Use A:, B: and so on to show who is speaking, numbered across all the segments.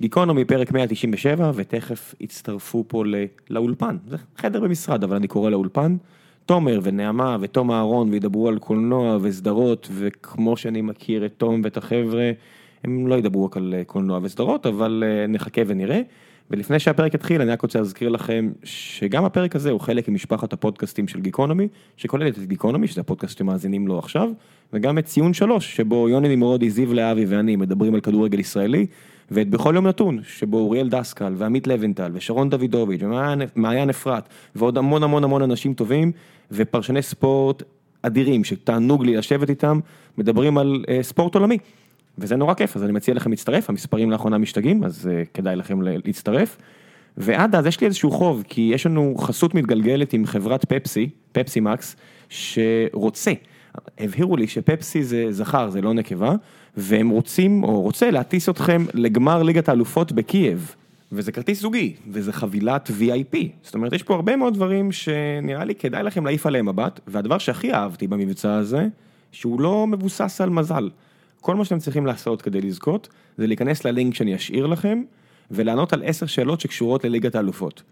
A: גיקונומי פרק 197 ותכף יצטרפו פה ל- לאולפן, זה חדר במשרד אבל אני קורא לאולפן. תומר ונעמה ותום אהרון וידברו על קולנוע וסדרות וכמו שאני מכיר את תום ואת החבר'ה הם לא ידברו רק על אה, קולנוע וסדרות אבל אה, נחכה ונראה. ולפני שהפרק יתחיל אני רק רוצה להזכיר לכם שגם הפרק הזה הוא חלק ממשפחת הפודקאסטים של גיקונומי שכוללת את גיקונומי שזה הפודקאסט שמאזינים לו עכשיו וגם את ציון שלוש שבו יוני נמרודי זיו להבי ואני מדברים על כדורגל ישראלי ואת בכל יום נתון, שבו אוריאל דסקל ועמית לבנטל ושרון דוידוביץ' ומעיין מעיין אפרת ועוד המון המון המון אנשים טובים ופרשני ספורט אדירים שתענוג לי לשבת איתם, מדברים על אה, ספורט עולמי. וזה נורא כיף, אז אני מציע לכם להצטרף, המספרים לאחרונה משתגעים, אז אה, כדאי לכם ל- להצטרף. ועד אז יש לי איזשהו חוב, כי יש לנו חסות מתגלגלת עם חברת פפסי, פפסי מקס, שרוצה. הבהירו לי שפפסי זה זכר, זה לא נקבה, והם רוצים, או רוצה, להטיס אתכם לגמר ליגת האלופות בקייב. וזה כרטיס זוגי, וזה חבילת VIP. זאת אומרת, יש פה הרבה מאוד דברים שנראה לי כדאי לכם להעיף עליהם מבט, והדבר שהכי אהבתי במבצע הזה, שהוא לא מבוסס על מזל. כל מה שאתם צריכים לעשות כדי לזכות, זה להיכנס ללינק שאני אשאיר לכם, ולענות על עשר שאלות שקשורות לליגת האלופות.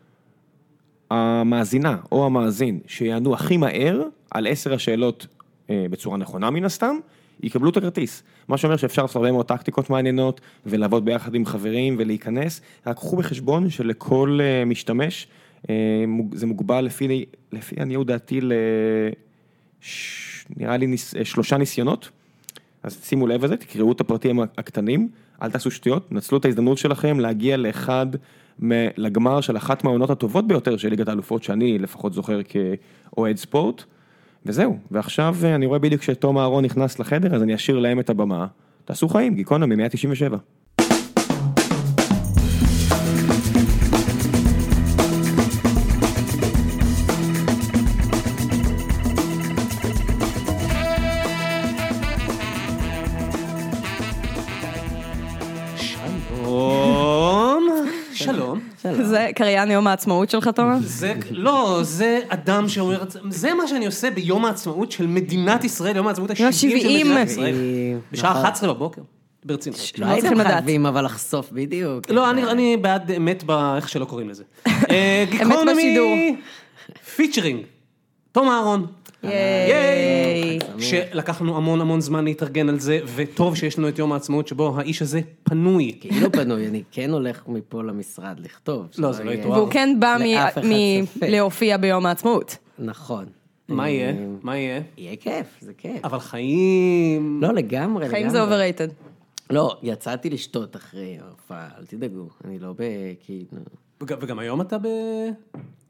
A: המאזינה או המאזין שיענו הכי מהר על עשר השאלות אה, בצורה נכונה מן הסתם, יקבלו את הכרטיס. מה שאומר שאפשר לעשות הרבה מאוד טקטיקות מעניינות ולעבוד ביחד עם חברים ולהיכנס, רק קחו בחשבון שלכל אה, משתמש אה, מוג- זה מוגבל לפי, לפי עניות דעתי ל... ש... נראה לי ניס... אה, שלושה ניסיונות. אז שימו לב לזה, תקראו את הפרטים הקטנים, אל תעשו שטויות, נצלו את ההזדמנות שלכם להגיע לאחד, מ- לגמר של אחת מהעונות הטובות ביותר של ליגת האלופות, שאני לפחות זוכר כאוהד ספורט, וזהו. ועכשיו אה, אני רואה בדיוק שתום אהרון נכנס לחדר, אז אני אשאיר להם את הבמה. תעשו חיים, גיקונומי 197.
B: שלום, שלום.
C: זה קריין יום העצמאות שלך, תומר?
B: זה, לא, זה אדם שאומר, זה מה שאני עושה ביום העצמאות של מדינת ישראל, יום העצמאות ה-70 של
C: ה-שבעים.
B: מדינת ישראל.
D: אה,
B: בשעה
D: נכון.
B: 11 בבוקר, ברצינות.
C: לא
D: לא
C: צריכים
D: הייתם
C: לדעת.
D: חייבים אבל לחשוף בדיוק.
B: לא, אני- אני בעד אמת ב... איך שלא קוראים לזה. אה, גיקונומי,
C: בשידור.
B: פיצ'רינג, תום אהרון.
C: ייי.
B: שלקחנו המון המון זמן להתארגן על זה, וטוב שיש לנו את יום העצמאות שבו האיש הזה פנוי.
D: כאילו פנוי, אני כן הולך מפה למשרד לכתוב.
B: לא,
D: שלא
B: זה לא
D: יהיה-
B: יתואר.
C: והוא כן בא מ-
D: לאף אחד
C: מ-
D: ספק.
C: להופיע ביום העצמאות.
D: נכון.
B: מה
D: אה,
B: יהיה? מה יהיה?
D: יהיה כיף, זה כיף.
B: אבל חיים...
D: לא, לגמרי,
C: חיים
D: לגמרי.
C: זה overrated.
D: לא, יצאתי לשתות אחרי ההופעה, אל תדאגו, אני לא בכאילו...
B: וג- וגם היום אתה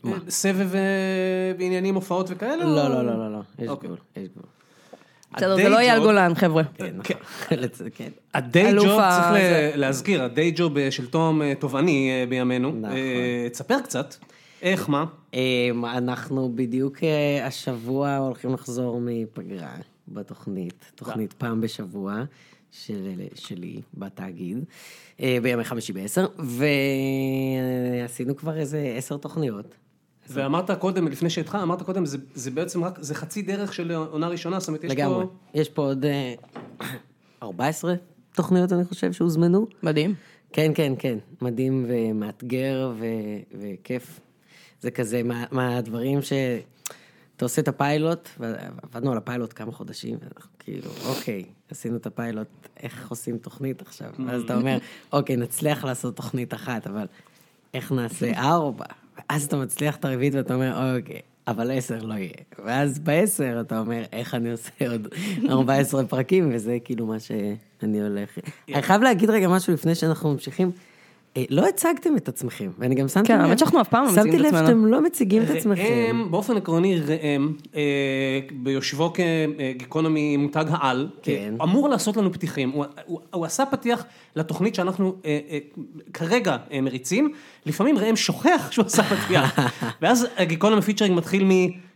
B: בסבב אה, בעניינים, הופעות וכאלה? או-
D: לא, לא, לא, לא, לא, יש
B: אוקיי.
D: גבול, יש גבול.
C: בסדר,
B: הדיי
C: זה לא יהיה על
B: ג'וב-
C: גולן, חבר'ה.
D: כן,
B: כן.
D: נכון. לצ- כן.
B: הדיי
C: אלוף
B: ג'וב,
C: ה-
B: צריך
C: זה.
B: ל- להזכיר, הדיי ג'וב אה, של תום אה, תובעני אה, בימינו.
D: נכון.
B: אה, תספר קצת, איך, מה?
D: אמ, אנחנו בדיוק אה, השבוע הולכים לחזור מפגרה בתוכנית, תוכנית פעם בשבוע של, אה, שלי בתאגיד, אה, בימי חמישי בעשר, ועשינו כבר איזה עשר תוכניות.
B: ואמרת קודם, לפני שהתחלת, אמרת קודם, זה- זה בעצם רק, זה חצי דרך של עונה ראשונה, זאת אומרת, יש פה...
D: לגמרי. יש פה עוד אה, 14 תוכניות, אני חושב, שהוזמנו.
C: מדהים.
D: כן, כן, כן. מדהים ומאתגר ו... וכיף. זה כזה מה- מהדברים ש... אתה עושה את הפיילוט, ועבדנו על הפיילוט כמה חודשים, ואנחנו כאילו, אוקיי, עשינו את הפיילוט, איך עושים תוכנית עכשיו? ואז אתה אומר, אוקיי, נצליח לעשות תוכנית אחת, אבל איך נעשה ארבע? ואז אתה מצליח את הרביעית ואתה אומר, אוקיי, אבל עשר לא יהיה. ואז בעשר אתה אומר, איך אני עושה עוד 14 פרקים, וזה כאילו מה שאני הולך... אני חייב להגיד רגע משהו לפני שאנחנו ממשיכים. אה, לא הצגתם את עצמכם, ואני גם שמתי
C: כן,
D: לב...
C: האמת שאנחנו אף פעם לא מציגים את
D: שמתי לב
C: עצמנו. אה,
D: שאתם לא מציגים את עצמכם.
B: ראם, באופן עקרוני ראם, אה, ביושבו כגיקונומי מותג העל,
D: כן.
B: אה, אמור לעשות לנו פתיחים. הוא, הוא, הוא עשה פתיח לתוכנית שאנחנו אה, אה, כרגע אה, מריצים, לפעמים ראם שוכח שהוא עשה פתיח. ואז הגיקונומי פיצ'רינג מתחיל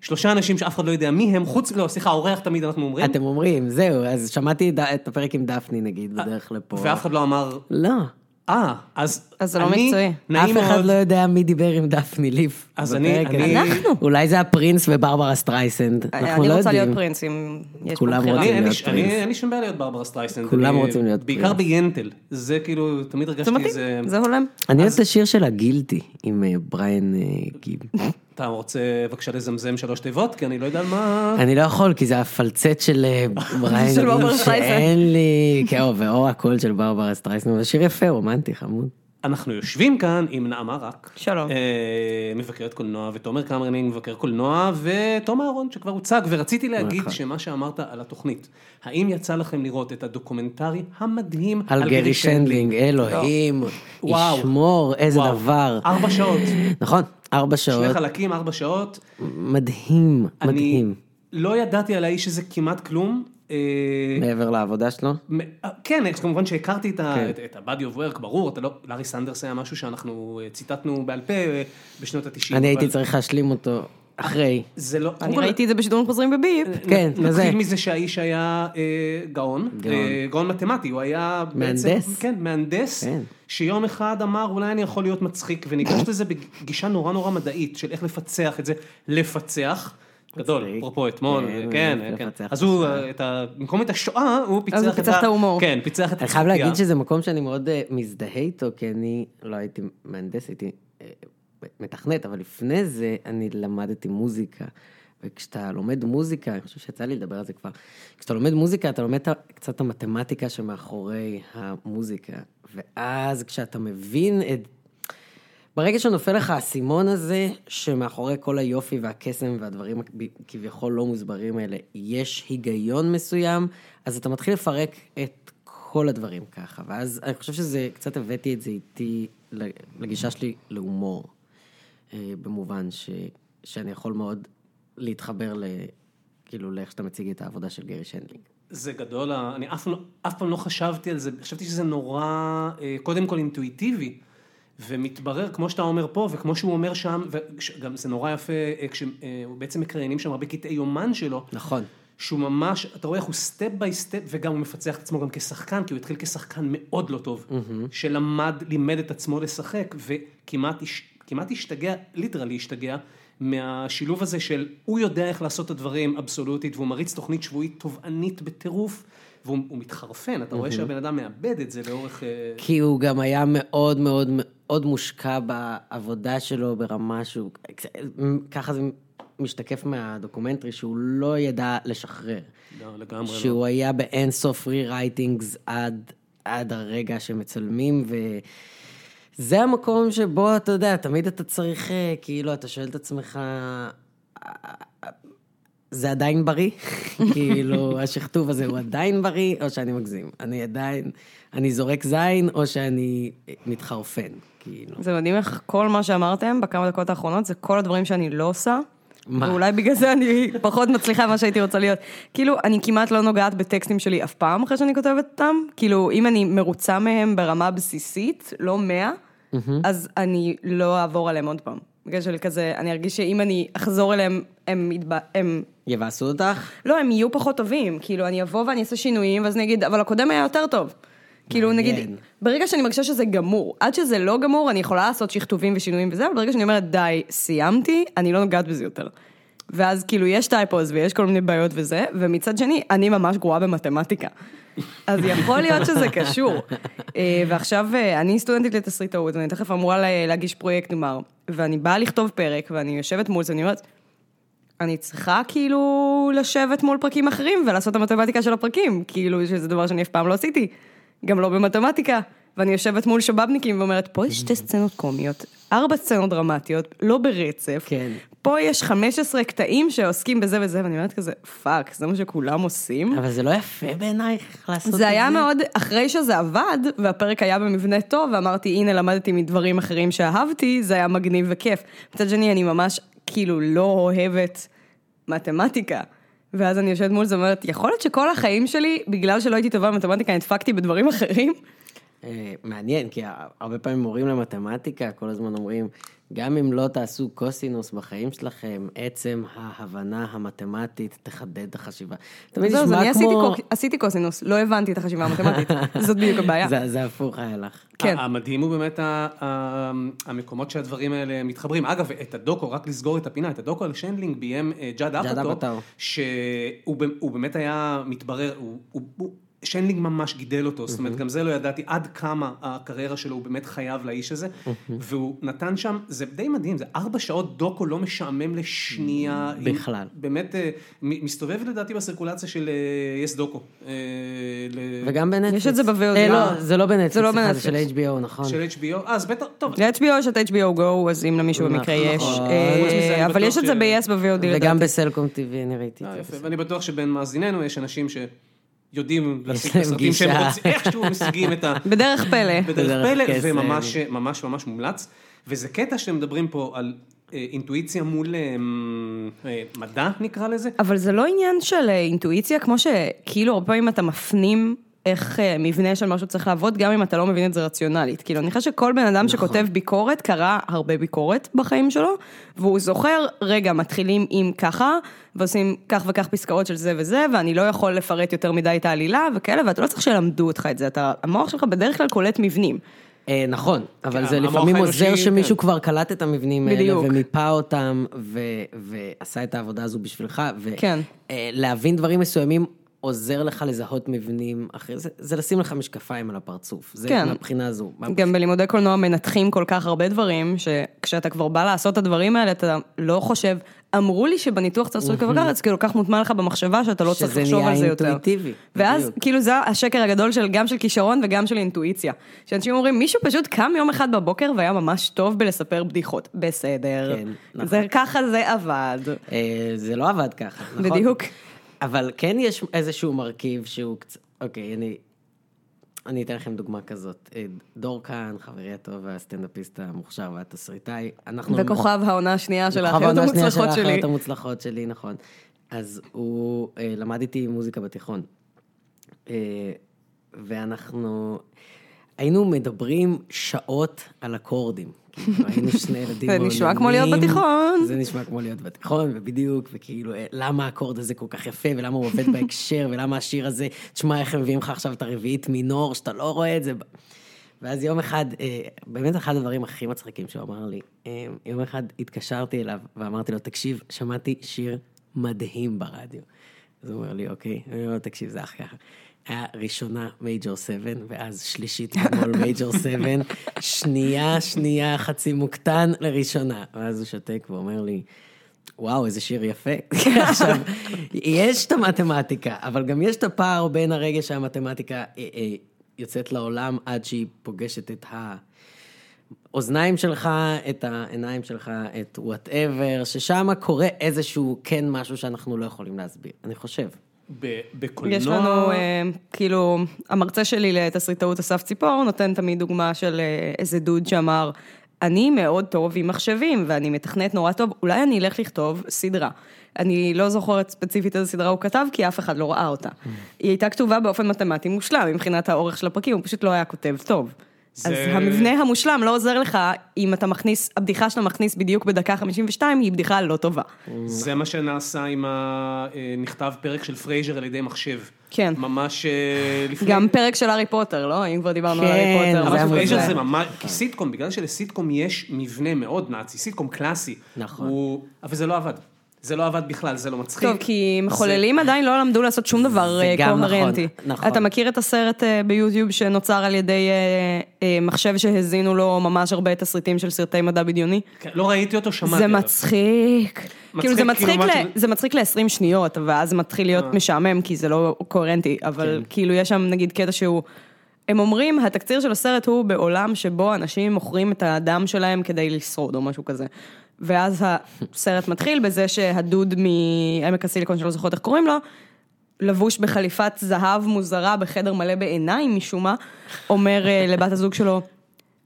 B: משלושה אנשים שאף אחד לא יודע מי הם, חוץ, לא, סליחה, האורח תמיד אנחנו אומרים,
D: אתם אומרים, זהו, אז שמעתי ד- את הפרק עם דפני נגיד בדרך לפה.
B: ואף אחד לא אמר,
D: לא.
B: אה, אז
C: אז זה לא
B: אני-
C: מקצועי.
B: נעים
D: אף אחד
B: מאוד.
D: לא יודע מי דיבר עם דפני ליף.
B: אז
D: בפרק
B: אני-
D: הזה.
B: אני- אנחנו.
D: אולי זה הפרינס וברברה סטרייסנד. אנחנו לא
C: אה, אני
D: יודעים.
C: רוצה להיות פרינס אם יש פה
D: כולם
C: בחירה.
B: אני-
D: רוצים
B: אין לי-
D: להיות
B: אני-
D: פרינס.
B: אין לי שום בעיה להיות ברברה סטרייסנד.
D: כולם
B: אני-
D: רוצים להיות
B: בעיקר
D: פרינס.
B: בינטל. זה כאילו, תמיד
C: זה
B: הרגשתי
C: מתאים,
B: איזה...
C: זה הולם.
D: אני אוהב את השיר של הגילטי עם אה, בריאן אה, גיב.
B: אתה רוצה בבקשה לזמזם שלוש תיבות? כי אני לא יודע על מה...
D: אני לא יכול, כי זה הפלצט של אה, בריאן
C: של ברברה
D: גיב
C: סטרייסנד.
D: שאין לי, כן, או, ואו הקול של ברברה סטרייסנד, אבל שיר יפה, רומנטי, חמוד.
B: אנחנו יושבים כאן עם נעמה רק.
C: שלום.
B: אה, מבקרת קולנוע, ותומר קמרנינג מבקר קולנוע, ותום אהרון שכבר הוצג, ורציתי להגיד שמה שאמרת על התוכנית, האם יצא לכם לראות את הדוקומנטרי המדהים
D: על גרי שנדלינג, אלוהים,
B: לא. וואו.
D: ישמור, איזה
B: וואו.
D: דבר.
B: ארבע שעות.
D: נכון, ארבע
B: שני
D: שעות,
B: חלקים, ארבע שעות.
D: מדהים, מדהים.
B: אני לא ידעתי על האיש הזה כמעט כלום. אה,
D: מעבר לעבודה שלו.
B: מ- כן, אז כמובן שהכרתי את, ה-
D: כן.
B: את, את ה-body of work, ברור, אתה לא, לארי סנדרס היה משהו שאנחנו אה, ציטטנו בעל פה אה, בשנות התשעים.
D: אני הייתי צריך להשלים אותו אחרי.
B: זה לא...
C: אני ראיתי את זה בשידורים חוזרים בביפ.
D: כן,
B: נ-
D: כזה.
B: נתחיל מזה שהאיש היה אה, גאון,
D: גאון.
B: אה, גאון מתמטי, הוא היה...
D: מהנדס.
B: בעצם- כן, מהנדס,
D: כן.
B: שיום אחד אמר, אולי אני יכול להיות מצחיק, וניגש לזה בגישה נורא נורא מדעית, של איך לפצח את זה, לפצח. גדול,
D: מצחיק.
B: אפרופו אתמול,
D: כן,
B: כן,
D: לפצח
B: כן.
D: את
B: אז הוא,
D: השואה.
B: אה, את ה- במקום את השואה, הוא פיצח את
C: הוא פיצח את ההומור.
B: כן, פיצח את
D: אני חייב להגיד
B: הצחוקייה.
D: שזה מקום שאני מאוד אה, מזדהה איתו, כי אני לא הייתי מהנדס, הייתי אה, מתכנת, אבל לפני זה אני למדתי מוזיקה. וכשאתה לומד מוזיקה, אני חושב שיצא לי לדבר על זה כבר, כשאתה לומד מוזיקה, אתה לומד את ה- קצת את המתמטיקה שמאחורי המוזיקה. ואז כשאתה מבין את... ברגע שנופל לך האסימון הזה, שמאחורי כל היופי והקסם והדברים הכביכול לא מוסברים האלה, יש היגיון מסוים, אז אתה מתחיל לפרק את כל הדברים ככה. ואז אני חושב שזה, קצת הבאתי את זה איתי לגישה שלי להומור, אה, במובן ש, שאני יכול מאוד להתחבר ל... כאילו, לאיך שאתה מציג את העבודה של גרי שנדלינג.
B: זה גדול, ה- אני אף, לא- אף פעם לא חשבתי על זה, חשבתי שזה נורא, אה, קודם כל אינטואיטיבי, ומתברר, כמו שאתה אומר פה, וכמו שהוא אומר שם, וגם זה נורא יפה, אה, כשבעצם מקריינים שם הרבה קטעי יומן שלו,
D: נכון.
B: שהוא ממש, אתה רואה איך הוא סטפ ביי סטפ, וגם הוא מפצח את עצמו גם כשחקן, כי הוא התחיל כשחקן מאוד לא טוב, שלמד, לימד את עצמו לשחק, וכמעט הש- כמעט השתגע, ליטרלי השתגע, מהשילוב הזה של הוא יודע איך לעשות את הדברים אבסולוטית, והוא מריץ תוכנית שבועית תובענית בטירוף, והוא הוא מתחרפן, אתה רואה שהבן אדם מאבד את זה לאורך... אה,
D: כי הוא גם היה מאוד מאוד מאוד מושקע בעבודה שלו ברמה שהוא... ככה זה משתקף מהדוקומנטרי, שהוא לא ידע לשחרר.
B: לא, לגמרי לא.
D: שהוא היה באינסוף רי-רייטינגס עד, עד הרגע שמצלמים, וזה המקום שבו, אתה יודע, תמיד אתה צריך, אה, כאילו, אתה שואל את עצמך, אה, זה עדיין בריא? כאילו, השכתוב הזה הוא עדיין בריא, או שאני מגזים? אני עדיין, אני זורק זין, או שאני אה, מתחרפן, כאילו.
C: זה מדהים איך כל מה שאמרתם בכמה דקות האחרונות, זה כל הדברים שאני לא עושה.
D: מה?
C: ואולי בגלל זה אני פחות מצליחה ממה שהייתי רוצה להיות. כאילו, אני כמעט לא נוגעת בטקסטים שלי אף פעם אחרי שאני כותבת אותם. כאילו, אם אני מרוצה מהם ברמה בסיסית, לא מאה, אז אני לא אעבור עליהם עוד פעם. בגלל של כזה, אני ארגיש שאם אני אחזור אליהם, הם, יתבע- הם
D: יבאסו אותך?
C: לא, הם יהיו פחות טובים. כאילו, אני אבוא ואני אעשה שינויים, ואז אני אגיד, אבל הקודם היה יותר טוב. כאילו,
D: מעניין.
C: נגיד, ברגע שאני מרגישה שזה גמור, עד שזה לא גמור, אני יכולה לעשות שכתובים ושינויים וזה, אבל ברגע שאני אומרת, די, סיימתי, אני לא נוגעת בזה יותר. ואז כאילו, יש טייפוז ויש כל מיני בעיות וזה, ומצד שני, אני ממש גרועה במתמטיקה. אז יכול להיות שזה קשור. אה, ועכשיו, אה, אני סטודנטית לתסריטאות, ואני תכף אמורה לה- להגיש פרויקט גמר, ואני באה לכתוב פרק, ואני יושבת מול זה, ואני אומרת, אני צריכה כאילו לשבת מול פרקים אחרים ולעשות את המתמטיקה של הפרקים, כאילו שזה דבר שאני אף פעם לא עשיתי, גם לא במתמטיקה. ואני יושבת מול שבאבניקים ואומרת, פה יש שתי סצנות קומיות, ארבע סצנות דרמטיות, לא ברצף.
D: כן.
C: פה יש 15 קטעים שעוסקים בזה וזה, ואני אומרת כזה, פאק, זה מה שכולם עושים?
D: אבל זה לא יפה בעינייך לעשות את זה?
C: זה היה מאוד, אחרי שזה עבד, והפרק היה במבנה טוב, ואמרתי, הנה, למדתי מדברים אחרים שאהבתי, זה היה מגניב וכיף. מצד שני, אני ממש, כאילו, לא אוהבת מתמטיקה. ואז אני יושבת מול זה ואומרת, יכול להיות שכל החיים שלי, בגלל שלא הייתי טובה במתמטיקה, נדפקתי בדברים אחרים?
D: אה, מעניין, כי הרבה פעמים מורים למתמטיקה כל הזמן אומרים, גם אם לא תעשו קוסינוס בחיים שלכם, עצם ההבנה המתמטית תחדד את החשיבה. תמיד
C: זהו, אז אני
D: נשמע
C: עשיתי
D: כמו...
C: קוק- עשיתי קוסינוס, לא הבנתי את החשיבה המתמטית, זאת בדיוק הבעיה.
D: זה- זה הפוך היה לך.
C: כן.
B: המדהים הוא באמת ה- ה- המקומות שהדברים האלה מתחברים. אגב, את הדוקו, רק לסגור את הפינה, את הדוקו על שיינדלינג ביים אה, ג'אד
D: ג'אד
B: אפאטור,
D: אפאטור.
B: שהוא ב- הוא באמת היה מתברר, הוא- הוא- הוא- שיינדלינג ממש גידל אותו, זאת אומרת, גם זה לא ידעתי עד כמה הקריירה שלו, הוא באמת חייב לאיש הזה, והוא נתן שם, זה די מדהים, זה ארבע שעות דוקו לא משעמם לשנייה. עם-
D: בכלל.
B: באמת, אה, מ- מסתובב לדעתי בסירקולציה של אה, יס דוקו. אה, ל-
D: וגם בנטפליקס.
C: יש את זה ב-VOD.
D: אה, לא, זה לא בנטפליקס,
C: זה לא
D: סליחה,
C: בנטפליקס.
D: של HBO, נכון.
B: של HBO, אה, אז בטח, טוב,
C: ל-HBO יש את HBO Go, אז אם למישהו
D: נכון.
C: במקרה יש.
D: נכון.
C: אה,
B: חוץ מזה, אני
C: אבל
B: בטוח
C: יש את זה
B: ש-
C: ב-yes ב-VOD
D: וגם
C: לדעתי.
D: בסלקום TV אני ראיתי
B: אה,
D: את
B: יפה,
D: זה.
B: ואני בטוח שבין מאזיננו יש אנשים שיודעים להשיג את
D: להם
B: הסרטים שהם
D: גישה.
B: רוצים, איכשהו משיגים את ה...
C: בדרך כן. פלא.
B: בדרך
D: בדרך
B: פלא,
D: קסם.
B: וממש ממש ממש מומלץ. וזה קטע שאתם מדברים פה על אה, אינטואיציה מול אה, אה, מדע, נקרא לזה.
C: אבל זה לא עניין של אה, אינטואיציה, כמו שכאילו הרבה פעמים אתה מפנים איך אה, מבנה של משהו צריך לעבוד, גם אם אתה לא מבין את זה רציונלית. כאילו, אני חושבת שכל בן אדם שכותב ביקורת, קרא הרבה ביקורת בחיים שלו, והוא זוכר, רגע, מתחילים עם ככה, ועושים כך וכך פסקאות של זה וזה, ואני לא יכול לפרט יותר מדי את העלילה וכאלה, ואתה לא צריך שילמדו אותך את זה, אתה, המוח שלך בדרך כלל קולט מבנים.
D: אה, נכון, אבל
B: כן,
D: זה
B: המוח
D: לפעמים
B: האנושי,
D: עוזר שמישהו
B: כן.
D: כבר קלט את המבנים האלה,
C: בדיוק.
D: ומיפה אותם, ו- ועשה את העבודה הזו בשבילך,
C: כן.
D: ולהבין דברים מסוימים עוזר לך לזהות מבנים אחרי זה, זה לשים לך משקפיים על הפרצוף, זה
C: כן.
D: מהבחינה הזו.
C: גם בלימודי קולנוע מנתחים כל כך הרבה דברים, שכשאתה כבר בא לעשות את הדברים האלה, אתה לא חושב, אמרו לי שבניתוח צריך לעשות כך וכך, אז כאילו כך מוטמע לך במחשבה שאתה לא צריך
D: שזה
C: לחשוב
D: נהיה
C: על זה יותר.
D: אינטואיטיבי,
C: ואז
D: בדיוק.
C: כאילו זה השקר הגדול של גם של כישרון וגם של אינטואיציה. שאנשים אומרים, מישהו פשוט קם יום אחד בבוקר והיה ממש טוב בלספר בדיחות. בסדר.
D: כן, נכון.
C: זה ככה זה עבד.
D: אה, זה לא עבד ככה, נכון?
C: בדיוק.
D: אבל כן יש איזשהו מרכיב שהוא קצת... אוקיי, אני... אני אתן לכם דוגמה כזאת. אה, דור כאן, חברי הטוב והסטנדאפיסט המוכשר והתסריטאי, אנחנו...
C: וכוכב העונה השנייה של
D: כוכב
C: האחיות
D: נכון. העונה השנייה נכון, של
C: המוצלחות שלי.
D: האחיות המוצלחות שלי, נכון. אז הוא אה, למד איתי מוזיקה בתיכון. אה, ואנחנו היינו מדברים שעות על אקורדים. כאילו, היינו שני ילדים
C: זה נשמע כמו להיות
D: מעוננים.
C: בתיכון.
D: זה נשמע כמו להיות בתיכון, ובדיוק, וכאילו, אה, למה האקורד הזה כל כך יפה, ולמה הוא עובד בהקשר, ולמה השיר הזה, תשמע, איך הם מביאים לך עכשיו את הרביעית מינור, שאתה לא רואה את זה. ב- ואז יום אחד, אה, באמת אחד הדברים הכי מצחיקים שהוא אמר לי, אה, יום אחד התקשרתי אליו ואמרתי לו, תקשיב, שמעתי שיר מדהים ברדיו. אז הוא אומר לי, אוקיי, אני אומר לו, תקשיב, זה אח ככה. היה ראשונה מייג'ור 7, ואז שלישית מול מייג'ור 7, שנייה, שנייה, חצי מוקטן לראשונה. ואז הוא שותק ואומר לי, וואו, איזה שיר יפה. עכשיו, יש את המתמטיקה, אבל גם יש את הפער בין הרגע שהמתמטיקה אה, אה, יוצאת לעולם עד שהיא פוגשת את האוזניים שלך, את העיניים שלך, את וואטאבר, ששם קורה איזשהו כן משהו שאנחנו לא יכולים להסביר, אני חושב.
B: ב- בקולנוע...
C: יש לנו, אה, כאילו, המרצה שלי לתסריטאות אסף ציפור נותן תמיד דוגמה של אה, איזה דוד שאמר, אני מאוד טוב עם מחשבים ואני מתכנת נורא טוב, אולי אני אלך לכתוב סדרה. אני לא זוכרת ספציפית איזה סדרה הוא כתב, כי אף אחד לא ראה אותה. היא הייתה כתובה באופן מתמטי מושלם מבחינת האורך של הפרקים, הוא פשוט לא היה כותב טוב.
B: זה-
C: אז המבנה המושלם לא עוזר לך אם אתה מכניס, הבדיחה שאתה מכניס בדיוק בדקה 52 היא בדיחה לא טובה.
B: זה מה שנעשה עם ה... אה, נכתב פרק של פרייזר על ידי מחשב.
C: כן.
B: ממש אה, לפני...
C: גם פרק של הארי פוטר, לא? אם כבר דיברנו על
D: כן,
C: הארי פוטר.
D: זה
C: משהו
B: אבל
D: היה
C: כזה.
B: פרייזר
D: מוזר.
B: זה ממש, כי סיטקום, בגלל שלסיטקום יש מבנה מאוד נאצי, סיטקום קלאסי.
D: נכון.
B: הוא- אבל זה לא עבד. זה לא עבד בכלל, זה לא מצחיק.
C: טוב, כי מחוללים עדיין לא למדו לעשות שום דבר
D: זה
C: אה,
D: גם נכון,
C: קוהרנטי.
D: נכון.
C: אתה מכיר את הסרט אה, ביוטיוב שנוצר על ידי אה, אה, מחשב שהזינו לו ממש הרבה תסריטים של סרטי מדע בדיוני?
B: כן, לא ראיתי אותו, שמעתי.
C: זה
B: עליו.
C: מצחיק. כאילו זה
B: כאילו אה.
C: מצחיק
B: משהו-
C: ל- זה מצחיק ל-20 שניות, ואז מתחיל להיות משעמם, כי זה לא קוהרנטי,
B: כן.
C: אבל כאילו יש שם נגיד קטע שהוא... הם אומרים, התקציר של הסרט הוא בעולם שבו אנשים מוכרים את הדם שלהם כדי לשרוד, או משהו כזה. ואז הסרט מתחיל בזה שהדוד מעמק הסיליקון, שלא זוכרת איך קוראים לו, לבוש בחליפת זהב מוזרה בחדר מלא בעיניים משום מה, אומר אה, לבת הזוג שלו,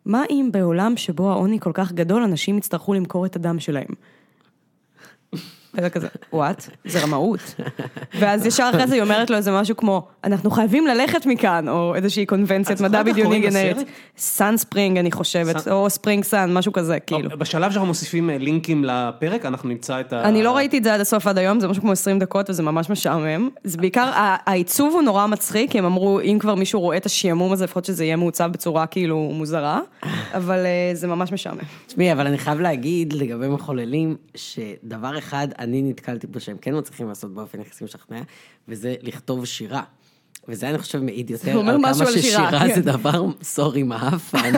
C: מה אם בעולם שבו העוני כל כך גדול, אנשים יצטרכו למכור את הדם שלהם? ואתה כזה, וואט, זה רמאות. ואז ישר אחרי זה היא אומרת לו איזה משהו כמו, אנחנו חייבים ללכת מכאן, או איזושהי
B: את
C: קונבנציית
B: זוכרת
C: מדע
B: איך
C: בדיוני
B: קוראים
C: גנרית.
B: לסרט?
C: סאן ספרינג, אני חושבת,
B: סאן-
C: או ספרינג סאן, משהו כזה, כאילו.
B: בשלב שאנחנו מוסיפים אה, לינקים לפרק, אנחנו נמצא את ה...
C: אני לא ראיתי את זה עד הסוף עד היום, זה משהו כמו 20 דקות וזה ממש משעמם. זה בעיקר, ה- העיצוב הוא נורא מצחיק, כי הם אמרו, אם כבר מישהו רואה את השעמום הזה, לפחות שזה יהיה מעוצב בצורה כאילו מוזרה, אבל אה, זה ממש משעמם.
D: תשמעי, אבל אני חייב להגיד לגבי מחוללים, שדבר אחד אני נתקלתי בו שהם כן מצליחים לעשות באופן יחסי משכנע, וזה לכתוב שירה. וזה אני חושב מעיד יותר
C: אומר
D: על כמה
C: משהו על שירה,
D: ששירה זה
C: כן.
D: דבר סורי מעפן.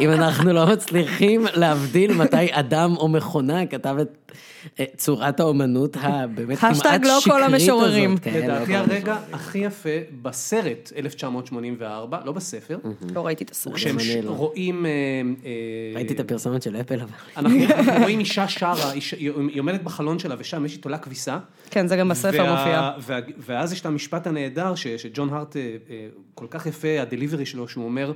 D: אם אנחנו לא מצליחים להבדיל מתי אדם או מכונה כתב את אה, צורת האומנות הבאמת כמעט
C: Hashtag
D: שקרית
C: לא כל
D: הזאת.
C: המשוררים.
D: כן, לא כל
B: לדעתי
D: המשוררים.
B: הרגע הכי יפה בסרט 1984, לא בספר,
C: לא ראיתי את הסרט.
B: כשהם
D: גם אני
B: ש-
D: לא.
B: רואים... אה, אה,
D: ראיתי את הפרסומת של אפל, אבל...
B: אנחנו אנחנו רואים אישה שרה, איש- היא היא עומדת בחלון שלה ושם יש היא תולה כביסה.
C: כן, זה גם בספר
B: וה- אה,
C: מופיע.
B: וה- ואז יש את המשפט הנהדר ש- שג'ון הארט, אה, אה, כל כך יפה, הדליברי שלו, שהוא אומר,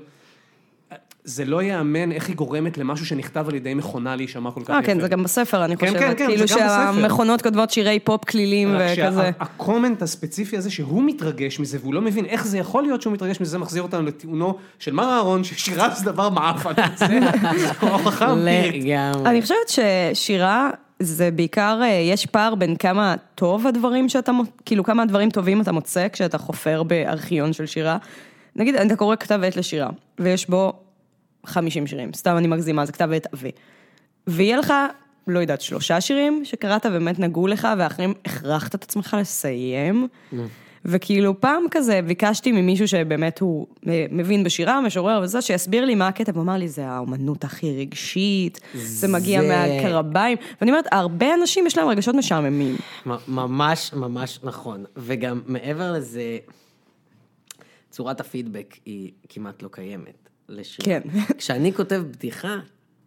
B: זה לא ייאמן איך היא גורמת למשהו שנכתב על ידי מכונה להישמע כל כך
C: אה,
B: יפה.
C: כן, זה גם בספר, אני
B: כן,
C: חושבת.
B: כן, כן,
C: כאילו
B: זה גם בספר.
C: שהמכונות כותבות שירי פופ כלילים
B: רק אה,
C: וכזה.
B: שהקומנט הספציפי הזה שהוא מתרגש מזה והוא לא מבין איך זה יכול להיות שהוא מתרגש מזה, זה מחזיר אותנו לטיעונו של מר אהרון ששירה זה דבר מעפן, זה הוכחה אמפירית.
D: לגמרי.
C: אני חושבת ששירה זה בעיקר, אה, יש פער בין כמה טוב הדברים שאתה, מו- כאילו כמה דברים טובים אתה מוצא כשאתה חופר בארכיון של שירה. נגיד, אתה קורא כתב עת לשירה, ויש בו 50 שירים, סתם אני מגזימה, זה כתב עת עבה. ויהיה לך, לא יודעת, שלושה שירים שקראת ובאמת נגעו לך, והאחרים הכרחת את עצמך לסיים. וכאילו פעם כזה ביקשתי ממישהו שבאמת הוא אה, מבין בשירה, משורר וזה, שיסביר לי מה הקטע, והוא אמר לי, זה האומנות הכי רגשית, זה מגיע
D: זה-
C: מהקרביים. ואני אומרת, הרבה אנשים יש להם רגשות משעממים.
D: מ- ממש ממש נכון. וגם מעבר לזה, צורת הפידבק היא כמעט לא קיימת לשירה.
C: כן.
D: כשאני כותב בדיחה,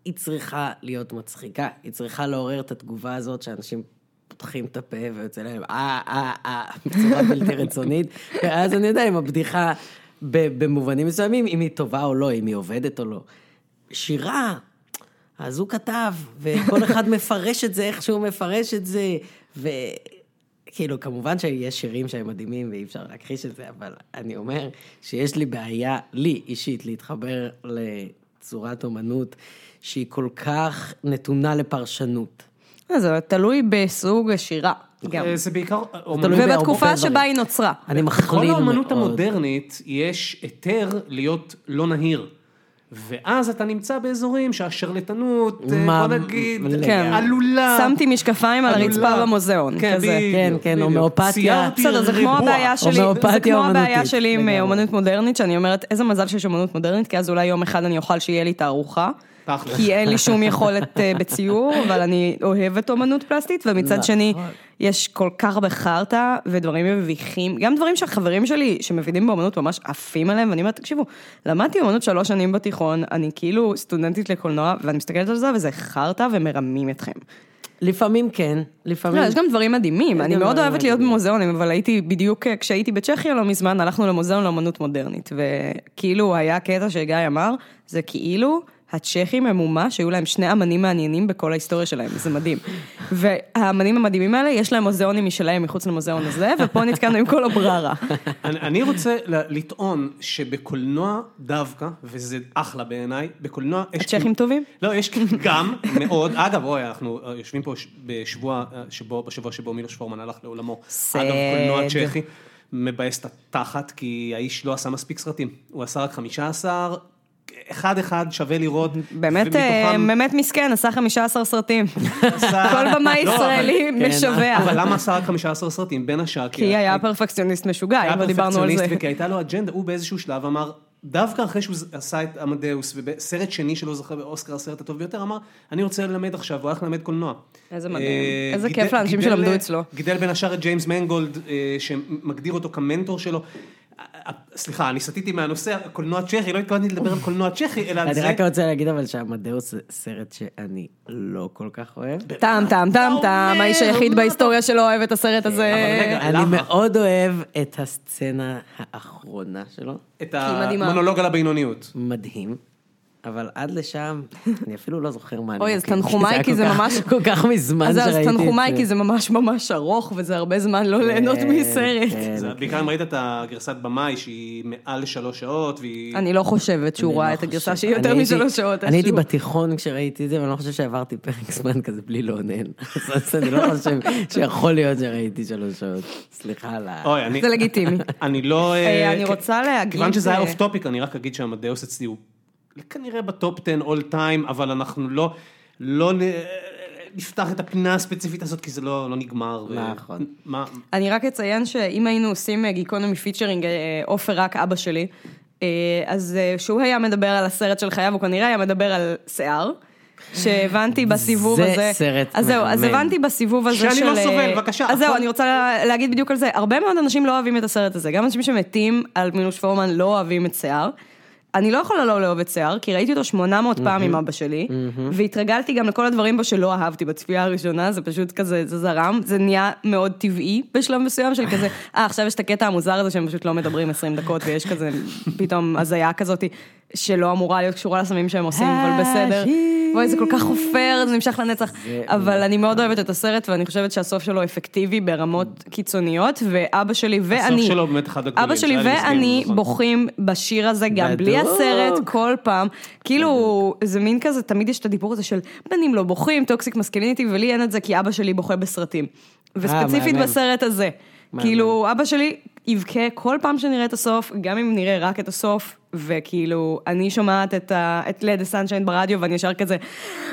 D: היא צריכה להיות מצחיקה. היא צריכה לעורר את התגובה הזאת שאנשים... פותחים את הפה ויוצא להם אה, אה, אה, בצורה בלתי רצונית, ואז אני יודע אם הבדיחה ב- במובנים מסוימים, אם היא טובה או לא, אם היא עובדת או לא. שירה, אז הוא כתב, וכל אחד מפרש את זה איך שהוא מפרש את זה, וכאילו, כמובן שיש שירים שהם מדהימים ואי אפשר להכחיש את זה, אבל אני אומר שיש לי בעיה, לי אישית, להתחבר לצורת אומנות שהיא כל כך נתונה לפרשנות.
C: אה, זה תלוי בסוג השירה, גם.
B: אה, זה בעיקר אומנות.
D: תלוי בהרבה
C: ובתקופה שבה
D: דברים.
C: היא נוצרה.
D: אני
B: כל
D: מכליל מאוד.
B: האומנות המודרנית, יש היתר להיות לא נהיר. ואז אתה נמצא באזורים שהשרלטנות, אה,
D: מה-
B: בוא נגיד,
D: כן.
B: עלולה.
C: שמתי משקפיים על הרצפה
B: עלולה.
C: במוזיאון,
B: כן,
C: כזה.
B: בדיוק,
D: כן, כן,
B: בדיוק.
D: הומאופתיה.
B: ציירתי
C: בסדר, זה כמו
B: ריבוע.
C: הבעיה שלי, זה
D: הומאופתיה
C: כמו הבעיה
D: אומנותית,
C: שלי עם
D: לגמרי.
C: אה, אומנות מודרנית, שאני אומרת, איזה מזל שיש אומנות מודרנית, כי אז אולי יום אחד אני אוכל שיהיה לי תערוכה.
B: תכל'ס.
C: כי אין לי שום יכולת אה, בציור, אבל אני אוהבת אומנות פלסטית, ומצד שני,
D: נכון.
C: יש כל כך הרבה חרטא ודברים מביכים, גם דברים שהחברים שלי שמבינים באומנות ממש עפים עליהם, ואני אומרת, תקשיבו, למדתי אומנות שלוש שנים בתיכון, אני כאילו סטודנטית לקולנוע, ואני מסתכלת על זה, וזה חרטא ומרמים אתכם.
D: לפעמים כן, לפעמים...
C: לא, יש גם דברים מדהימים, אני
D: גם
C: מאוד
D: דברים
C: אוהבת להיות
D: מדהימים.
C: במוזיאונים, אבל הייתי בדיוק, אה, כשהייתי בצ'כיה לא מזמן, הלכנו למוזיאון לאמנות מודרנית, וכאילו היה קטע שגיא אמר, זה כאילו הצ'כים הם אומה שהיו להם שני אמנים מעניינים בכל ההיסטוריה שלהם, זה מדהים. והאמנים המדהימים האלה, יש להם מוזיאונים משלהם מחוץ למוזיאון הזה, ופה נתקענו עם כל הבררה.
B: אני, אני רוצה ל- לטעון שבקולנוע דווקא, וזה אחלה בעיניי, בקולנוע... יש-
C: הצ'כים טובים?
B: לא, יש גם מאוד, אגב, אוי, אנחנו אה, יושבים פה ש- בשבוע, אה, שבו, בשבוע שבו מילוש פורמן הלך לעולמו. אגב, קולנוע
C: סד.
B: צ'כי מבאס את התחת, כי האיש לא עשה מספיק סרטים. הוא עשה רק 15, אחד-אחד שווה לראות.
C: באמת, אה,
B: ומתוכם
C: באמת מסכן, עשה 15 סרטים.
B: עשה-
C: כל במאי
B: לא, אבל-
C: ישראלי משווע.
B: אבל למה עשה רק 15 סרטים? בין השאר,
C: כי היה פרפקציוניסט משוגע, אם לא דיברנו על זה.
B: כן. פרפקציוניסט וכי הייתה לו אג'נדה, הוא באיזשהו שלב אמר, דווקא אחרי שהוא עשה את עמדאוס, וסרט שני שלו זכה באוסקר, הסרט הטוב ביותר, אמר, אני רוצה ללמד עכשיו, הוא הלך ללמד קולנוע.
C: איזה מדהים.
B: אה,
C: איזה
B: גידל-
C: כיף לאנשים
B: גידל-
C: שלמדו אצלו.
B: גידל בין השאר את ג'יימס מנגולד, אה, שמגדיר אותו כמנטור שלו. אה, אה, סליחה, אני סטיתי מהנושא, קולנוע צ'כי, לא התכוונתי לדבר על קולנוע צ'כי, אלא על
D: אני
B: זה.
D: רק רוצה להגיד אבל שעמדאוס זה סרט שאני לא כל כך אוהב.
C: טעם, טעם, טעם, טעם, האיש היחיד בהיסטוריה שלא אוהב את הסרט הזה.
B: אבל רגע,
D: אני
B: למה?
D: מאוד אוהב את הסצנה האחרונה שלו,
B: את
C: מדהימה.
B: המונולוג על הבינוניות.
D: מדהים. אבל עד לשם, אני אפילו לא זוכר מה אני...
C: אוי, אז תנחומיי, כי זה ממש...
D: כל כך מזמן
C: אז
D: שראיתי
C: אז
D: את זה.
C: תנחומיי, כי זה ממש ממש ארוך, וזה הרבה זמן לא ליהנות
D: כן,
C: מסרט.
D: כן,
B: זה בעיקר אם ראית את הגרסת במאי שהיא מעל שלוש שעות והיא...
C: אני לא חושבת
D: אני
C: שהוא ראה
D: לא
C: את הגרסה
D: חושב.
C: שהיא יותר
D: אני הייתי-
C: משלוש שעות.
D: אני הייתי
C: איכשהו.
D: בתיכון כשראיתי את זה, ואני לא חושב שעברתי פרק זמן כזה בלי לאונן. אז אני לא חושב שיכול להיות שראיתי שלוש שעות. סליחה על ה...
B: אוי, אני...
C: זה לגיטימי.
B: אני לא... אה,
C: אני
B: כ-
C: רוצה להגיד- אה,
B: כיוון שזה היה אוף טופיק, אני רק אגיד שהמדאוס אצלי הוא כנראה בטופ 10 all time, אבל אנחנו לא... לא נ- נפתח את הפינה הספציפית הזאת, כי זה לא לא נגמר. ו-
D: נכון.
B: מה...
C: אני רק אציין שאם היינו עושים אה, גיקונומי פיצ'רינג אה, עופר רק אבא שלי, אה, אז אה, שהוא היה מדבר על הסרט של חייו, הוא כנראה היה מדבר על שיער. שהבנתי בסיבוב
D: זה
C: הזה,
D: סרט
C: אז זהו, אז
D: מהמם.
C: הבנתי בסיבוב הזה של...
B: שאני לא
C: אה,
B: סובל, בבקשה,
C: אז זהו,
B: הכל-
C: אני רוצה לה- להגיד בדיוק על זה, הרבה מאוד אנשים לא אוהבים את הסרט הזה, גם אנשים שמתים על מינוש פורמן לא אוהבים את שיער. אני לא יכולה לא לאהוב את שיער, כי ראיתי אותו 800 פעם עם אבא שלי, והתרגלתי גם לכל הדברים בו שלא אהבתי בצפייה הראשונה, זה פשוט כזה, זה זרם, זה נהיה מאוד טבעי בשלב מסוים של כזה, אה, עכשיו יש את הקטע המוזר הזה שהם פשוט לא מדברים 20 דקות, ויש כזה פתאום הזיה כזאת, שלא אמורה להיות קשורה לסמים שהם עושים, אבל בסדר.
D: השיר.
C: וואי, זה כל כך חופר, זה נמשך לנצח.
D: זה
C: אבל אני מאוד אוהבת את הסרט, ואני חושבת שהסוף שלו אפקטיבי ברמות קיצוניות, ואבא שלי ואני...
B: הסוף שלו באמת אחד הגדולים,
C: אבא שלי
B: זה היה לי מסכים,
C: ואני
B: נכון.
C: בוכים בשיר הזה גם בלי
D: בדוק.
C: הסרט, כל פעם. כאילו, זה מין כזה, תמיד יש את הדיבור הזה של בנים לא בוכים, טוקסיק מסקיליניטי, ולי אין את זה כי אבא שלי בוכה בסרטים. וספציפית
D: מהמם.
C: בסרט הזה.
D: מהמם.
C: כאילו, אבא שלי יבכה כל פעם שנראה את הסוף, גם אם נראה רק את הסוף, וכאילו, אני שומעת את ה- את ליד הסנשיין ברדיו, ואני ישר כזה,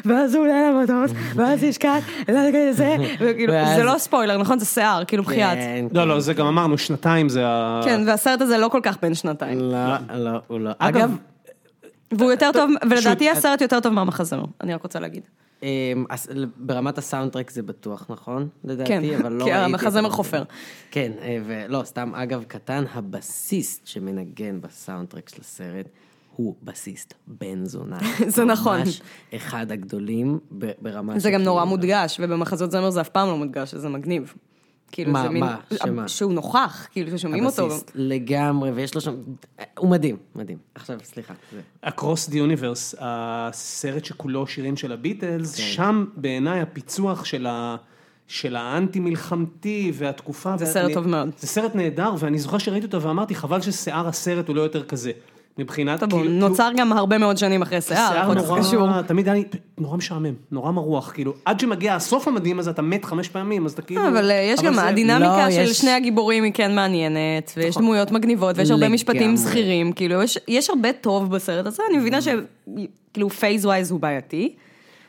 C: ואז הוא עולה למטוס, ואז יש כאן, לא, זה, וכאילו,
D: ואז-
C: זה לא ספוילר, נכון? זה שיער, כאילו, בחייאת.
D: כן,
B: לא, לא, זה גם אמרנו, שנתיים זה ה...
C: כן, והסרט הזה לא כל כך בן שנתיים.
D: לא, לא, הוא לא.
B: אגב,
D: אגב,
C: והוא יותר טוב, ולדעתי
D: שוט,
C: הסרט יותר טוב מהמחזמר, אני רק רוצה להגיד.
D: אמ, הס- ברמת הסאונדטרק זה בטוח, נכון? לדעתי,
C: כן,
D: אבל לא
C: כי
D: ראיתי. את
C: המחזמר
D: זה.
C: חופר.
D: כן, אה, ולא, סתם, אגב, קטן, הבסיסט שמנגן בסאונדטרק של הסרט, הוא בסיסט בן זונה.
C: זה נכון.
D: ממש אחד הגדולים ב- ברמה... כאילו,
C: זה גם
D: שכאילו-
C: נורא מודגש, ובמחזות זמר זה אף פעם לא מודגש, שזה מגניב. כאילו
D: מה,
C: זה מין...
D: מה, שמה?
C: שהוא נוכח, כאילו ששומעים אותו.
D: הבסיסט לגמרי, ויש לו שם... הוא מדהים, מדהים. עכשיו, סליחה. זה-
B: Across the Universe, הסרט שכולו שירים של הביטלס, כן. שם בעיניי הפיצוח של, ה... של האנטי-מלחמתי והתקופה...
C: זה
B: וה-
C: סרט
B: נ-
C: טוב מאוד.
B: זה סרט נהדר, ואני זוכר שראיתי אותו ואמרתי, חבל ששיער הסרט הוא לא יותר כזה. מבחינת... כאילו,
C: טוב, הוא
D: כאילו-
C: נוצר גם הרבה מאוד שנים אחרי שיער,
B: שיער
C: הכל זה קשור.
B: נורא, תמיד היה לי נורא משעמם, נורא מרוח, כאילו, עד שמגיע הסוף המדהים הזה, אתה מת חמש פעמים, אז אתה כאילו...
C: אה, אבל אה, יש גם,
B: זה-
C: הדינמיקה
D: לא,
C: של
D: יש- נכון.
C: שני הגיבורים היא כן מעניינת, ויש דמויות מגניבות, ויש הרבה
D: לגמרי.
C: משפטים זכירים, כאילו, יש- יש הרבה טוב בסרט הזה, אני מבינה שכאילו פייז ווייז הוא בעייתי.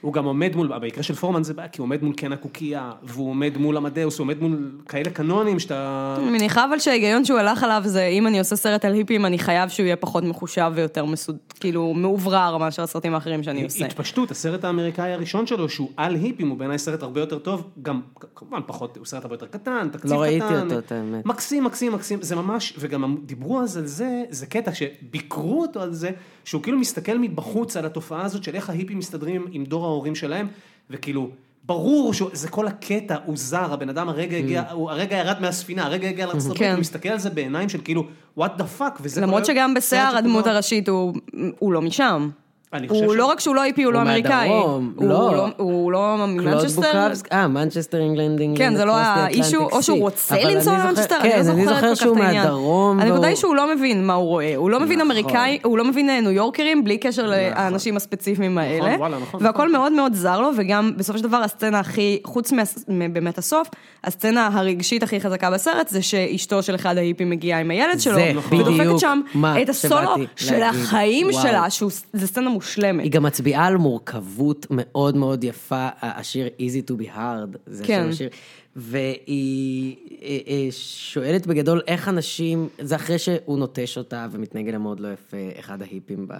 B: הוא גם עומד מול, במקרה של פורמן זה בעיה, כי הוא עומד מול קן הקוקייה, והוא עומד מול עמדאוס, הוא עומד מול כאלה קנונים שאתה...
C: אני מניחה אבל שההיגיון שהוא הלך עליו זה אם אני עושה סרט על היפים אני חייב שהוא יהיה פחות מחושב ויותר מסוד... כאילו מאוברר מאשר הסרטים האחרים שאני עושה.
B: התפשטות, הסרט האמריקאי הראשון שלו, שהוא על היפים, הוא בעיניי סרט הרבה יותר טוב, גם כמובן פחות, הוא סרט הרבה יותר קטן, תקציב קטן.
D: לא ראיתי אותו, את האמת.
B: מקסים, מקסים, מקסים, זה ממש, וגם דיברו אז על זה, זה קטע שביקרו אותו על זה, שהוא כאילו מסתכל מבחוץ על התופעה הזאת של איך ההיפים מסתדרים עם דור ההורים שלהם, וכאילו... ברור שזה כל הקטע, הוא זר, הבן אדם הרגע הגיע, הוא הרגע ירד מהספינה, הרגע הגיע לארצות הברית,
C: Mm. כן.
B: הוא מסתכל על זה בעיניים של כאילו, what the fuck, וזה...
C: למרות
B: כל ה-
C: שגם בשיער
B: סרט
C: הדמות
B: שכולו-
C: הראשית הוא, הוא לא משם.
B: אני חושב
C: הוא
B: ש-
C: לא רק שהוא לא היפי, הוא לא
D: הוא
C: אמריקאי.
D: מהדרום,
C: הוא
D: לא.
C: הוא לא
D: קלוד
C: מנצ'סטר.
D: בוקרבסקי, אה, מנצ'סטר אינגלנד אינגלנד.
C: כן, זה לא
D: across the
C: האישו,
D: Atlantic
C: או שהוא
D: Sea.
C: רוצה
D: אבל אני
C: לנסוע
D: זוכר-
C: למנצ'סטר,
D: כן,
C: אני לא זוכרת כל כך את
D: שהוא
C: העניין.
D: מהדרום.
C: הנקודה היא
D: והוא-
C: שהוא לא מבין מה הוא רואה, הוא לא מבין
D: נכון.
C: אמריקאי, הוא לא מבין אה, ניו יורקרים, בלי קשר לאנשים הספציפיים האלה.
B: וואלה, נכון,
C: והכל מאוד מאוד זר לו, וגם בסופו של דבר הסצנה הכי, חוץ מה- מ- באמת הסוף, הסצנה הרגשית הכי חזקה בסרט, זה שאשתו של אחד ההיפים מגיעה עם הילד שלו, ודופקת
D: בדיוק
C: שם
D: מה
C: את הסולו
D: שבאתי
C: של
D: להגיד.
C: החיים
D: וואו.
C: שלה, שזו סצנה מושלמת.
D: היא גם מצביעה על מורכבות מאוד מאוד יפה, ה- השיר Easy to be hard, זה
C: כן.
D: שם השיר. והיא אה, אה, שואלת בגדול איך אנשים, זה אחרי שהוא נוטש אותה ומתנהג לה מאוד לא יפה, אחד ההיפים ב...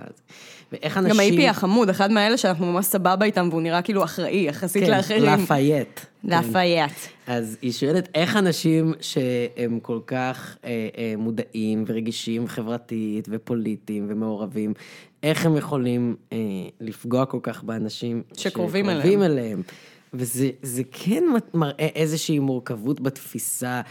D: ואיך אנשים...
C: גם האיפי החמוד, אחד מאלה שאנחנו ממש סבבה איתם, והוא נראה כאילו אחראי, יחסית
D: כן,
C: לאחרים.
D: לפייט.
C: כן. לפייט.
D: אז היא שואלת איך אנשים שהם כל כך אה, אה, מודעים ורגישים חברתית ופוליטיים ומעורבים, איך הם יכולים אה, לפגוע כל כך באנשים
C: שקרובים
D: שקרובים
C: אליהם.
D: אליהם. וזה זה כן מראה איזושהי מורכבות בתפיסה,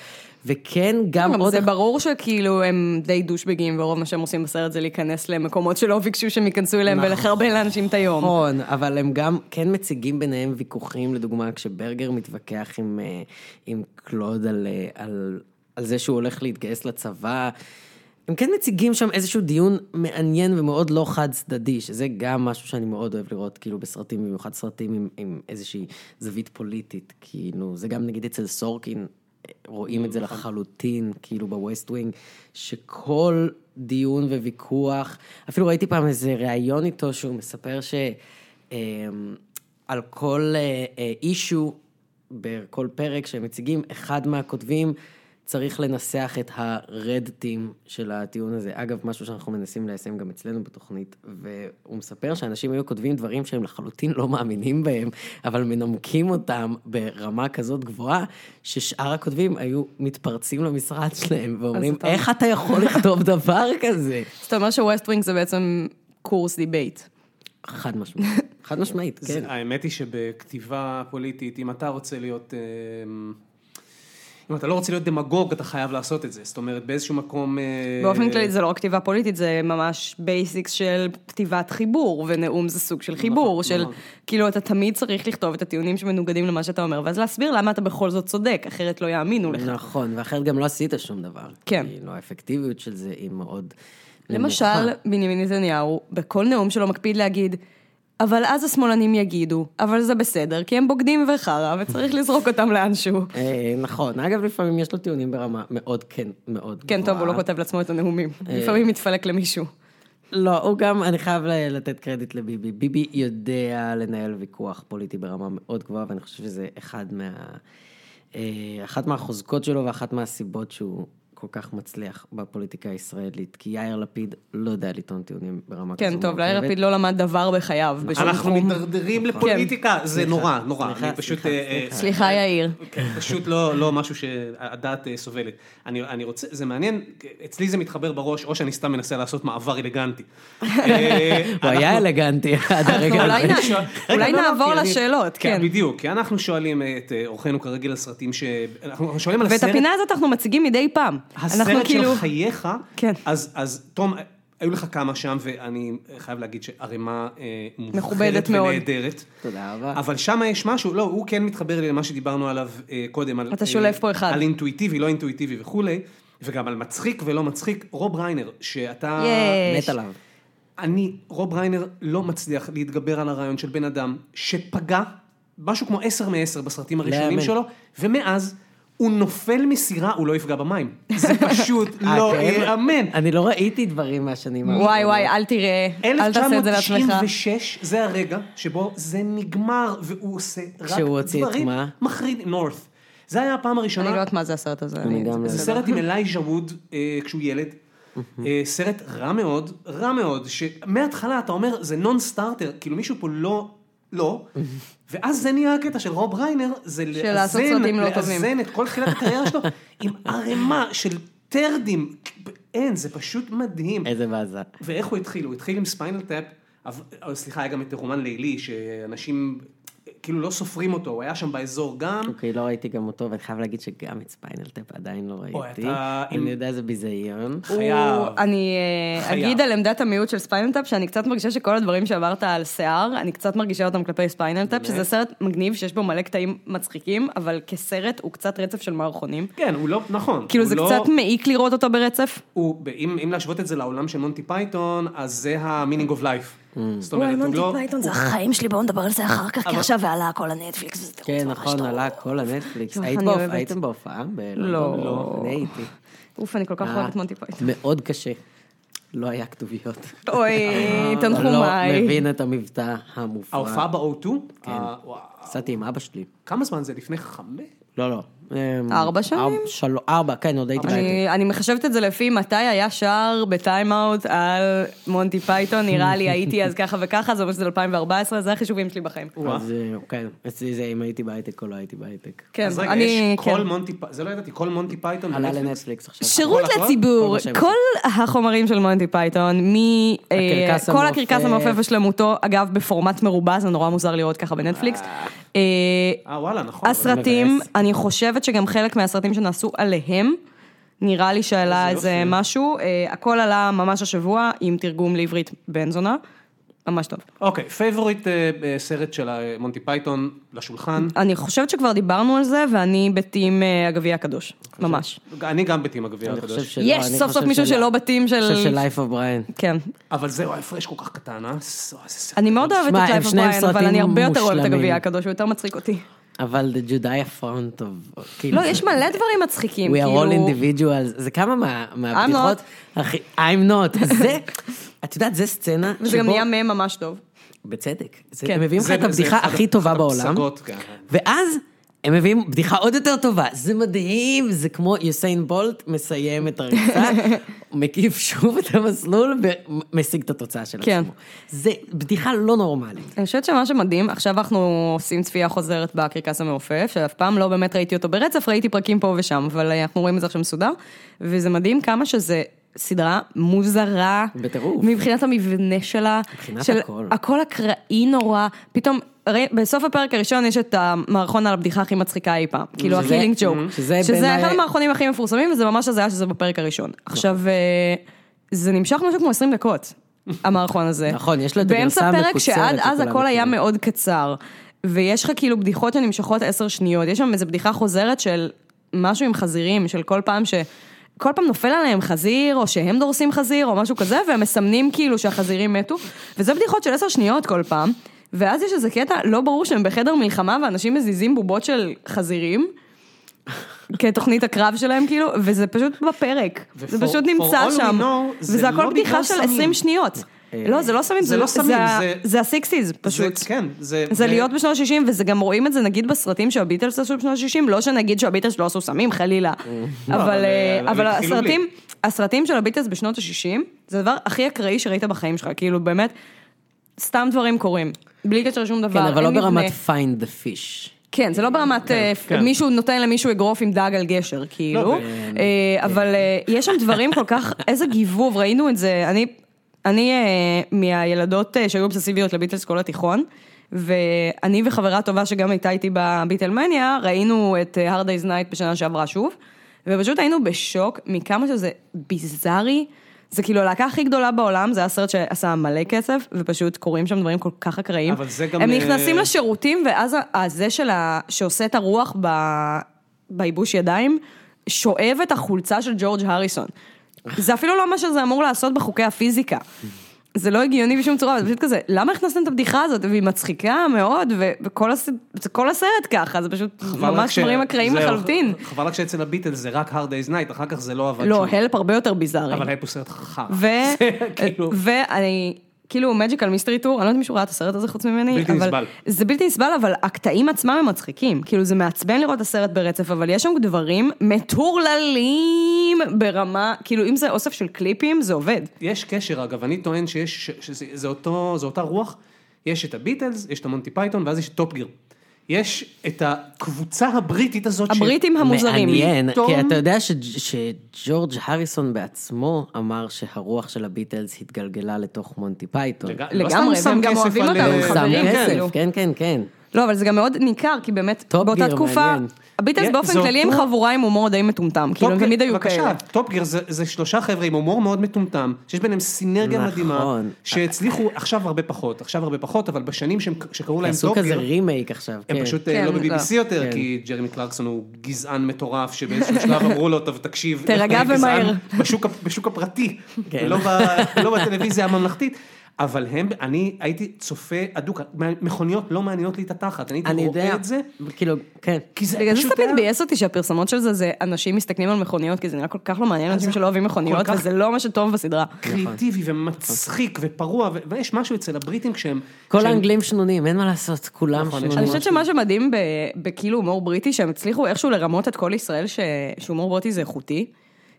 D: וכן גם
C: אבל
D: עוד...
C: לא, זה ברור שכאילו הם די דושבגים, ורוב מה שהם עושים בסרט זה להיכנס למקומות שלא ביקשו שהם ייכנסו אליהם ולחרבן לאנשים את היום.
D: נכון, אבל הם גם כן מציגים ביניהם ויכוחים, לדוגמה, כשברגר מתווכח עם, אה, עם קלוד על, אה, על, על זה שהוא הולך להתגייס לצבא. הם כן מציגים שם איזשהו דיון מעניין ומאוד לא חד צדדי, שזה גם משהו שאני מאוד אוהב לראות, כאילו, בסרטים, במיוחד סרטים עם, עם איזושהי זווית פוליטית, כאילו, זה גם נגיד אצל סורקין, רואים את זה לחלוטין, כאילו בווסט ווינג, שכל דיון וויכוח, אפילו ראיתי פעם איזה ראיון איתו שהוא מספר ש... אמ, על כל אה, אישו, בכל פרק שהם מציגים, אחד מהכותבים צריך לנסח את ה-red team של הטיעון הזה. אגב, משהו שאנחנו מנסים ליישם גם אצלנו בתוכנית, והוא מספר שאנשים היו כותבים דברים שהם לחלוטין לא מאמינים בהם, אבל מנמקים אותם ברמה כזאת גבוהה, ששאר הכותבים היו מתפרצים למשרד שלהם ואומרים,
C: אתה-
D: איך אתה יכול לכתוב דבר כזה?
C: זאת אומרת שווסט ווינג זה בעצם קורס דיבייט.
D: חד משמעית, חד משמעית, כן.
B: כן. האמת היא שבכתיבה פוליטית, אם אתה רוצה להיות... אמ, אם אתה לא רוצה להיות דמגוג, אתה חייב לעשות את זה. זאת אומרת, באיזשהו מקום... אה,
C: באופן כללי זה לא רק כתיבה פוליטית, זה ממש בייסיקס של כתיבת חיבור, ונאום זה סוג של חיבור,
B: נכון,
C: של
B: נכון.
C: כאילו אתה תמיד צריך לכתוב את הטיעונים שמנוגדים למה שאתה אומר, ואז להסביר למה אתה בכל זאת צודק, אחרת לא יאמינו לך.
D: נכון, ואחרת גם לא עשית שום דבר.
C: כן.
D: כאילו, האפקטיביות של זה היא מאוד נמוכה.
C: למשל, בנימין נתניהו, בכל נאום שלו מקפיד להגיד, אבל אז השמאלנים יגידו, אבל זה בסדר, כי הם בוגדים וחרא, וצריך לזרוק אותם לאנשהו.
D: אה, נכון, אגב, לפעמים יש לו טיעונים ברמה מאוד כן, מאוד
C: כן, טוב, הוא לא
D: גבוהה.
C: כותב לעצמו את הנאומים.
B: אה,
C: לפעמים מתפלק למישהו.
D: לא, הוא גם, אני חייב ל- לתת קרדיט לביבי. ביבי יודע לנהל ויכוח פוליטי ברמה מאוד גבוהה, ואני חושב שזה אחד מה... אה, אחת מהחוזקות שלו ואחת מהסיבות שהוא כל כך מצליח בפוליטיקה הישראלית. כי יאיר לפיד לא יודע לטעון טיעונים ברמה כזו.
C: כן, טוב, ליאיר
D: מורכבת.
C: לפיד לא למד דבר בחייו, בשום
B: אנחנו
C: תחום.
B: מידרדרים לפוליטיקה, זה נורא, נורא.
D: כן. סליחה,
B: אני פשוט...
D: סליחה,
B: אה, אה,
D: סליחה.
C: סליחה, יאיר.
B: כן, פשוט לא, לא משהו שהדעת אה, סובלת. אני, אני רוצה, זה מעניין, אצלי זה מתחבר בראש, או שאני סתם מנסה לעשות מעבר אלגנטי. אה,
D: הוא היה אלגנטי עד
C: אנחנו
D: הרגע
C: אולי
D: הזה.
C: נע-
B: כן, רגע,
C: אולי
B: לא, לא,
C: נעבור
B: כי אני-
C: לשאלות, כן.
B: בדיוק, כי אנחנו שואלים את אה, אורחנו כרגיל על סרטים ש... אנחנו שואלים על
C: ואת
B: הסרט...
C: הפינה הזאת אנחנו מציגים מדי פעם. אנחנו
B: הסרט של
C: כאילו...
B: חייך,
C: כן.
B: אז, אז תום, היו לך כמה שם, ואני חייב להגיד שערימה אה,
C: מכובדת
B: מובחרת
C: מאוד.
B: ונהדרת.
D: תודה רבה.
B: אבל שם יש משהו, לא, הוא כן מתחבר לי למה שדיברנו עליו אה, קודם. על,
C: אתה
B: אה,
C: שולף פה אחד.
B: על אינטואיטיבי, לא אינטואיטיבי וכולי, וגם על מצחיק ולא מצחיק. רוב ריינר, שאתה...
C: ייי.
D: מת עליו.
B: אני, רוב ריינר לא מצליח להתגבר על הרעיון של בן אדם שפגע משהו כמו עשר מעשר בסרטים
D: לא
B: הראשונים
D: להאמן.
B: שלו, ומאז הוא נופל מסירה, הוא לא יפגע במים. זה פשוט לא
D: אה, כן?
B: ייאמן.
D: אני לא ראיתי דברים מהשנים
C: וואי וואי, אל תראה, אל תעשה את זה לעצמך.
B: 1996 זה הרגע שבו זה נגמר, והוא עושה רק
D: כשהוא הוציא את
B: דברים
D: מה?
B: מחרידים. נורת. זה היה הפעם
C: אני לא
B: הראשונה.
C: יודעת מה זה הסרט הזה.
D: אני גם לא
B: זה סרט עם אלייז'ה ווד אה, כשהוא ילד. אה, סרט רע מאוד, רע מאוד, שמההתחלה אתה אומר, זה נון סטארטר, כאילו מישהו פה לא, לא, ואז זה נהיה הקטע של רוב ריינר, זה
C: לעשות
B: לאזן,
C: סרטים לא טובים.
B: לאזן את כל תחילת הקריירה שלו עם ערימה של טרדים, אין, זה פשוט מדהים.
C: אה-
D: איזה באזה.
B: ואיך הוא התחיל? הוא התחיל עם ספיינל טאפ, אבל- אבל אה, סליחה, היה גם את רומן לילי, שאנשים כאילו לא סופרים אותו, הוא היה שם באזור גם.
D: אוקיי, לא ראיתי גם אותו, ואני חייב להגיד שגם את ספיינל טאפ עדיין לא
B: אוי,
D: ראיתי.
B: אתה עם-
D: אני יודע זה ביזיון.
B: הוא- חייב.
C: אני אה,
B: חייב.
C: אגיד על עמדת המיעוט של ספיינלטאפ, שאני קצת מרגישה שכל הדברים שאמרת על שיער, אני קצת מרגישה אותם כלפי ספיינלטאפ, שזה סרט מגניב שיש בו מלא קטעים מצחיקים, אבל כסרט הוא קצת רצף של מערכונים.
B: כן, הוא לא, נכון.
C: כאילו
B: הוא
C: זה
B: לא-
C: קצת מעיק לראות אותו ברצף.
B: הוא, אם, אם להשוות את זה לעולם של מונטי פייתון, אז זה המינינג אוף לייף.
D: Mm.
B: זאת
E: וואי,
B: אומרת, הוא
E: מונטי
B: לא...
E: פייתון זה החיים שלי, בואו נדבר על זה אחר כך, כי עכשיו זה עלה הכל הנטפליקס וזה טירוף
D: כן,
E: ממש
D: נכון,
E: טוב.
D: עלה כל הנטפליקס.
C: יואו,
D: היית
C: אני
D: בהופ-
C: אוהבת.
D: הייתם בהופעה? בלונדון?
C: לא.
D: אני הייתי. אה,
C: אוף, אני כל כך אוהבת מונטי פייתון.
D: מאוד קשה. לא היה כתוביות.
C: אוי,
B: אה,
D: לא
C: אה, תנחומיי.
D: מבין את המבטא המופרע.
B: ההופעה ב-O2?
D: כן. נסעתי עם אבא שלי.
B: כמה זמן זה? לפני חמש?
D: לא, לא. אמ,
C: ארבע שנים?
D: ארבע, של... ארבע, כן, עוד הייתי בהייטק.
C: אני,
B: אוקיי.
C: אני מחשבת את זה לפי מתי היה שער בטיים-אאוט על מונטי פייתון, נראה לי הייתי אז ככה וככה, זה אומר שזה 2014, זה החישובים שלי בחיים.
D: אז אה, כן, אצלי זה אם הייתי בהייטק או לא הייתי בהייטק.
C: כן,
B: אז רגע,
C: אני...
B: יש כל
C: כן.
B: מונטי, פ- זה לא ידעתי, כל מונטי פייתון.
D: עלה
B: בנטפליקס?
D: לנטפליקס עכשיו.
C: שירות
B: הכל, הכל?
C: לציבור,
D: כל מה שהם
C: כל החומרים של מונטי פייתון, מ... אה,
D: הקרקס
C: כל
D: המעופף.
C: הקרקס המעופף בשלמותו, אגב, בפורמט מרובע, זה נורא מוזר לראות ככה בנטפליקס. אה,
B: אה, וואלה, נכון.
C: הסרטים,
D: מבאס.
C: אני חושבת שגם חלק מהסרטים שנעשו עליהם, נראה לי שעלה
B: איזה
C: איזה
B: יופי.
C: משהו, אה, הכל עלה ממש השבוע עם תרגום לעברית בן זונה, ממש טוב.
B: אוקיי, פייבוריט אה, אה, סרט של אה, מונטי פייתון לשולחן.
C: אני חושבת שכבר דיברנו על זה, ואני בטים אה, הגביע הקדוש, ממש.
B: אני גם בטים הגביע
D: אני חושב
B: הקדוש.
D: שלא,
C: יש
D: אני
C: סוף סוף
D: חושב
C: מישהו
D: שלא.
C: שלא בתים של...
D: אני חושב של Life of Brian.
C: כן.
B: אבל זהו, ההפרש כל כך קטן, אה? זו, איזה סרט.
C: אני מאוד אוהבת
D: שמע,
C: את
D: הם
C: לייב
D: שניהם
C: אופריין, אבל
D: סרטים
C: אני הרבה יותר אוהבת את הגביע
D: מושלמים. כאילו
C: הקדוש, הוא יותר מצחיק אותי.
D: אבל The Judea Front of... כאילו,
C: לא, יש מלא דברים מצחיקים,
D: We are all
C: כאילו...
D: individuals, זה כמה מה- מהבדיחות,
C: not.
D: הכי, I'm not, אז זה, את יודעת, זה סצנה
C: וזה גם
D: שבו,
C: נהיה מהם ממש טוב.
D: בצדק, זה-
C: כן.
D: הם מביאים לך
B: זה-
D: את
B: זה
D: הבדיחה
B: אחת
D: הכי
B: ה-
D: טובה
B: אחת
D: בעולם,
B: הפסגות, כן.
D: ואז הם מביאים בדיחה עוד יותר טובה, זה מדהים, זה כמו יוסיין בולט מסיים את הריצה, מקיף שוב את המסלול ומשיג את התוצאה של
C: כן.
D: עצמו. זה בדיחה לא נורמלית.
C: אני חושבת שמה שמדהים, עכשיו אנחנו עושים צפייה חוזרת בקרקס המעופף, שאף פעם לא באמת ראיתי אותו ברצף, ראיתי פרקים פה ושם, אבל אה, אנחנו רואים את זה עכשיו מסודר, וזה מדהים כמה שזה סדרה מוזרה.
D: בטירוף.
C: מבחינת המבנה שלה.
D: מבחינת
C: של
D: הכל.
C: הכל אקראי נורא, פתאום, הרי בסוף הפרק הראשון יש את המערכון על הבדיחה הכי מצחיקה אי פעם, כאילו
D: שזה- Mm-hmm.
C: הקילינג ג'וק.
D: שזה
C: שזה
D: בעיניי-
C: אחד המערכונים הכי מפורסמים, וזה ממש הזיה שזה בפרק הראשון. עכשיו,
D: נכון.
C: אה, זה נמשך משהו כמו 20 דקות. המערכון הזה.
D: נכון, יש לו את הגרסה
C: באמצע פרק
D: המקוצרת
C: שעד אז
D: שכולם
C: הכל היה
D: מכירים.
C: מאוד קצר, ויש לך כאילו בדיחות שנמשכות עשר שניות, יש שם איזו בדיחה חוזרת של משהו עם חזירים, של כל פעם ש... כל פעם נופל עליהם חזיר, או שהם דורסים חזיר, או משהו כזה, והם מסמנים כאילו שהחזירים מתו, וזה בדיחות של עשר שניות כל פעם, ואז יש איזה קטע, לא ברור שהם בחדר מלחמה ואנשים מזיזים בובות של חזירים. כתוכנית הקרב שלהם כאילו, וזה פשוט בפרק, זה
B: ו- for-
C: פשוט
B: for
C: נמצא
B: all we
C: שם,
B: know, זה
C: וזה הכל
B: לא
C: בדיחה
B: בגלל
C: של
B: סמים.
C: 20 שניות. לא, זה לא סמים,
B: זה לא סמים, זה-
C: זה הסיקסטיז פשוט.
B: זה- כן, זה...
C: זה
B: ו-
C: להיות בשנות ה-60, וזה גם רואים את זה נגיד בסרטים שהביטלס עשו בשנות ה-60, לא שנגיד שהביטלס לא עשו סמים, חלילה. אבל
B: אבל,
C: אה,
B: אבל
C: אבל
B: התחילו בלי.
C: הסרטים, הסרטים של הביטלס בשנות ה-60, זה הדבר הכי אקראי שראית בחיים שלך, כאילו באמת, סתם דברים קורים. בלי קשר לשום דבר,
D: כן, אבל לא
C: אין מבנה.
D: ברמת find the fish.
C: כן, זה לא ברמת אה,
B: כן. לא,
C: מישהו נותן למישהו אגרוף עם דג על גשר, כאילו, אה, אבל אה, יש שם דברים כל כך, איזה גיבוב, ראינו את זה, אני, אני אה, מהילדות אה, שהיו אובססיביות לביטלס כל התיכון, ואני וחברה טובה שגם הייתה איתי בביטלמניה, ראינו את אה, Hard Day's Night בשנה שעברה שוב, ופשוט היינו בשוק מכמה שזה ביזארי. זה כאילו הלהקה הכי גדולה בעולם, זה היה סרט שעשה מלא כסף, ופשוט קורים שם דברים כל כך אקראיים.
B: אבל זה גם,
C: הם
B: אה,
C: נכנסים שירותים, ואז ה- הזה של ה... שעושה את הרוח ב... בייבוש ידיים, שואב את החולצה של ג'ורג' הריסון. זה אפילו לא מה שזה אמור לעשות בחוקי הפיזיקה. זה לא הגיוני בשום צורה, זה פשוט כזה, למה הכנסתם את הבדיחה הזאת? והיא מצחיקה מאוד, ו- וכל הס... זה כל הסרט ככה, זה פשוט
B: חבל רק
C: ממש
B: ש-
C: דברים אקראיים
B: זהו,
C: לחלוטין.
B: חבל רק שאצל הביטלס זה רק Hard Day's Night, אחר כך זה לא עבד
C: לא,
B: שם.
C: הלפ הרבה יותר ביזארי.
B: אבל היה פה סרט חרא.
C: ו... אה,
B: זה כאילו-
C: ואני, כאילו מג'יקל מיסטרי טור, אני לא יודעת אם מישהו ראה את הסרט הזה חוץ ממני.
B: בלתי
C: אבל...
B: נסבל.
C: זה בלתי נסבל, אבל הקטעים עצמם הם מצחיקים. כאילו זה מעצבן לראות את הסרט ברצף, אבל יש שם דברים מטורללים ברמה, כאילו אם זה אוסף של קליפים, זה עובד.
B: יש קשר, אגב, אני טוען שיש, ש- שזה זה אותו, זו אותה רוח, יש את הביטלס, יש את המונטי פייתון, ואז יש את טופגיר. יש את הקבוצה הבריטית הזאת, ש-
C: הבריטים המוזרים.
D: מעניין,
B: פתאום-
D: כי אתה יודע ש- שג'ורג' הריסון בעצמו אמר שהרוח של הביטלס התגלגלה לתוך מונטי פייתון.
B: לג- לא סתם הוא
C: לגמרי,
B: שם
C: והם גם
B: כסף
C: אוהבים
B: על- אה,
C: אותם, הם
D: הוא שם
C: חברים,
D: כסף,
C: כאילו.
D: כן, כן, כן.
C: לא, אבל זה גם מאוד ניכר, כי באמת,
D: טופ
C: באותה
D: גיר,
C: תקופה,
D: מעניין.
C: הביטלס
B: יה-
C: באופן
B: זה
C: כללי הם
B: אותו-
C: חבורה עם הומור די מטומטם, כאילו הם
B: טופגיר-
C: תמיד היו כאלה.
B: אוקיי, בבקשה, טופגיר זה, זה שלושה חבר'ה עם הומור מאוד מטומטם, שיש ביניהם סינרגיה
D: נכון.
B: מדהימה, שהצליחו עכשיו הרבה פחות, עכשיו הרבה פחות, אבל בשנים שהם, שקראו להם
D: עשו כזה
B: טופגיר,
D: רימייק עכשיו, כן.
B: הם פשוט
C: כן,
B: אה, לא
C: לא.
B: ב-BBC יותר,
D: כן.
B: כי ג'רמי קלרקסון הוא גזען מטורף, שבאיזשהו שלב אמרו לו, "טוב, תקשיב,
C: תירגע
B: איך אתה גזען
C: ומהר."
B: בשוק ה- בשוק הפרטי,
D: כן.
B: ולא ב- לא בטלוויזיה הממלכתית. אבל הם, אני הייתי צופה אדוק, מכוניות לא מעניינות לי את התחת, אני
D: אני
B: הייתי
D: יודע,
B: רואה את זה,
D: כאילו, כן.
B: כי זה
C: בגלל זה
B: פשוט
C: תמיד
B: היה-
C: ביאס אותי שהפרסמות של זה, זה אנשים מסתכלים על מכוניות, כי זה נראה כל כך לא מעניין אנשים שלא אוהבים מכוניות,
B: כך-
C: וזה לא מה שטוב בסדרה.
B: קריאיטיבי ומצחיק ופרוע, ו- ויש משהו אצל הבריטים כשהם...
D: כל
B: כשהם-
D: האנגלים שנונים, אין מה לעשות, כולם
B: נכון, יש
C: אני
D: שנונים.
C: חושבת שמה שמדהים ב- בכאילו הומור בריטי, שהם הצליחו איכשהו לרמות את כל ישראל ש- שהומור בריטי זה איכותי.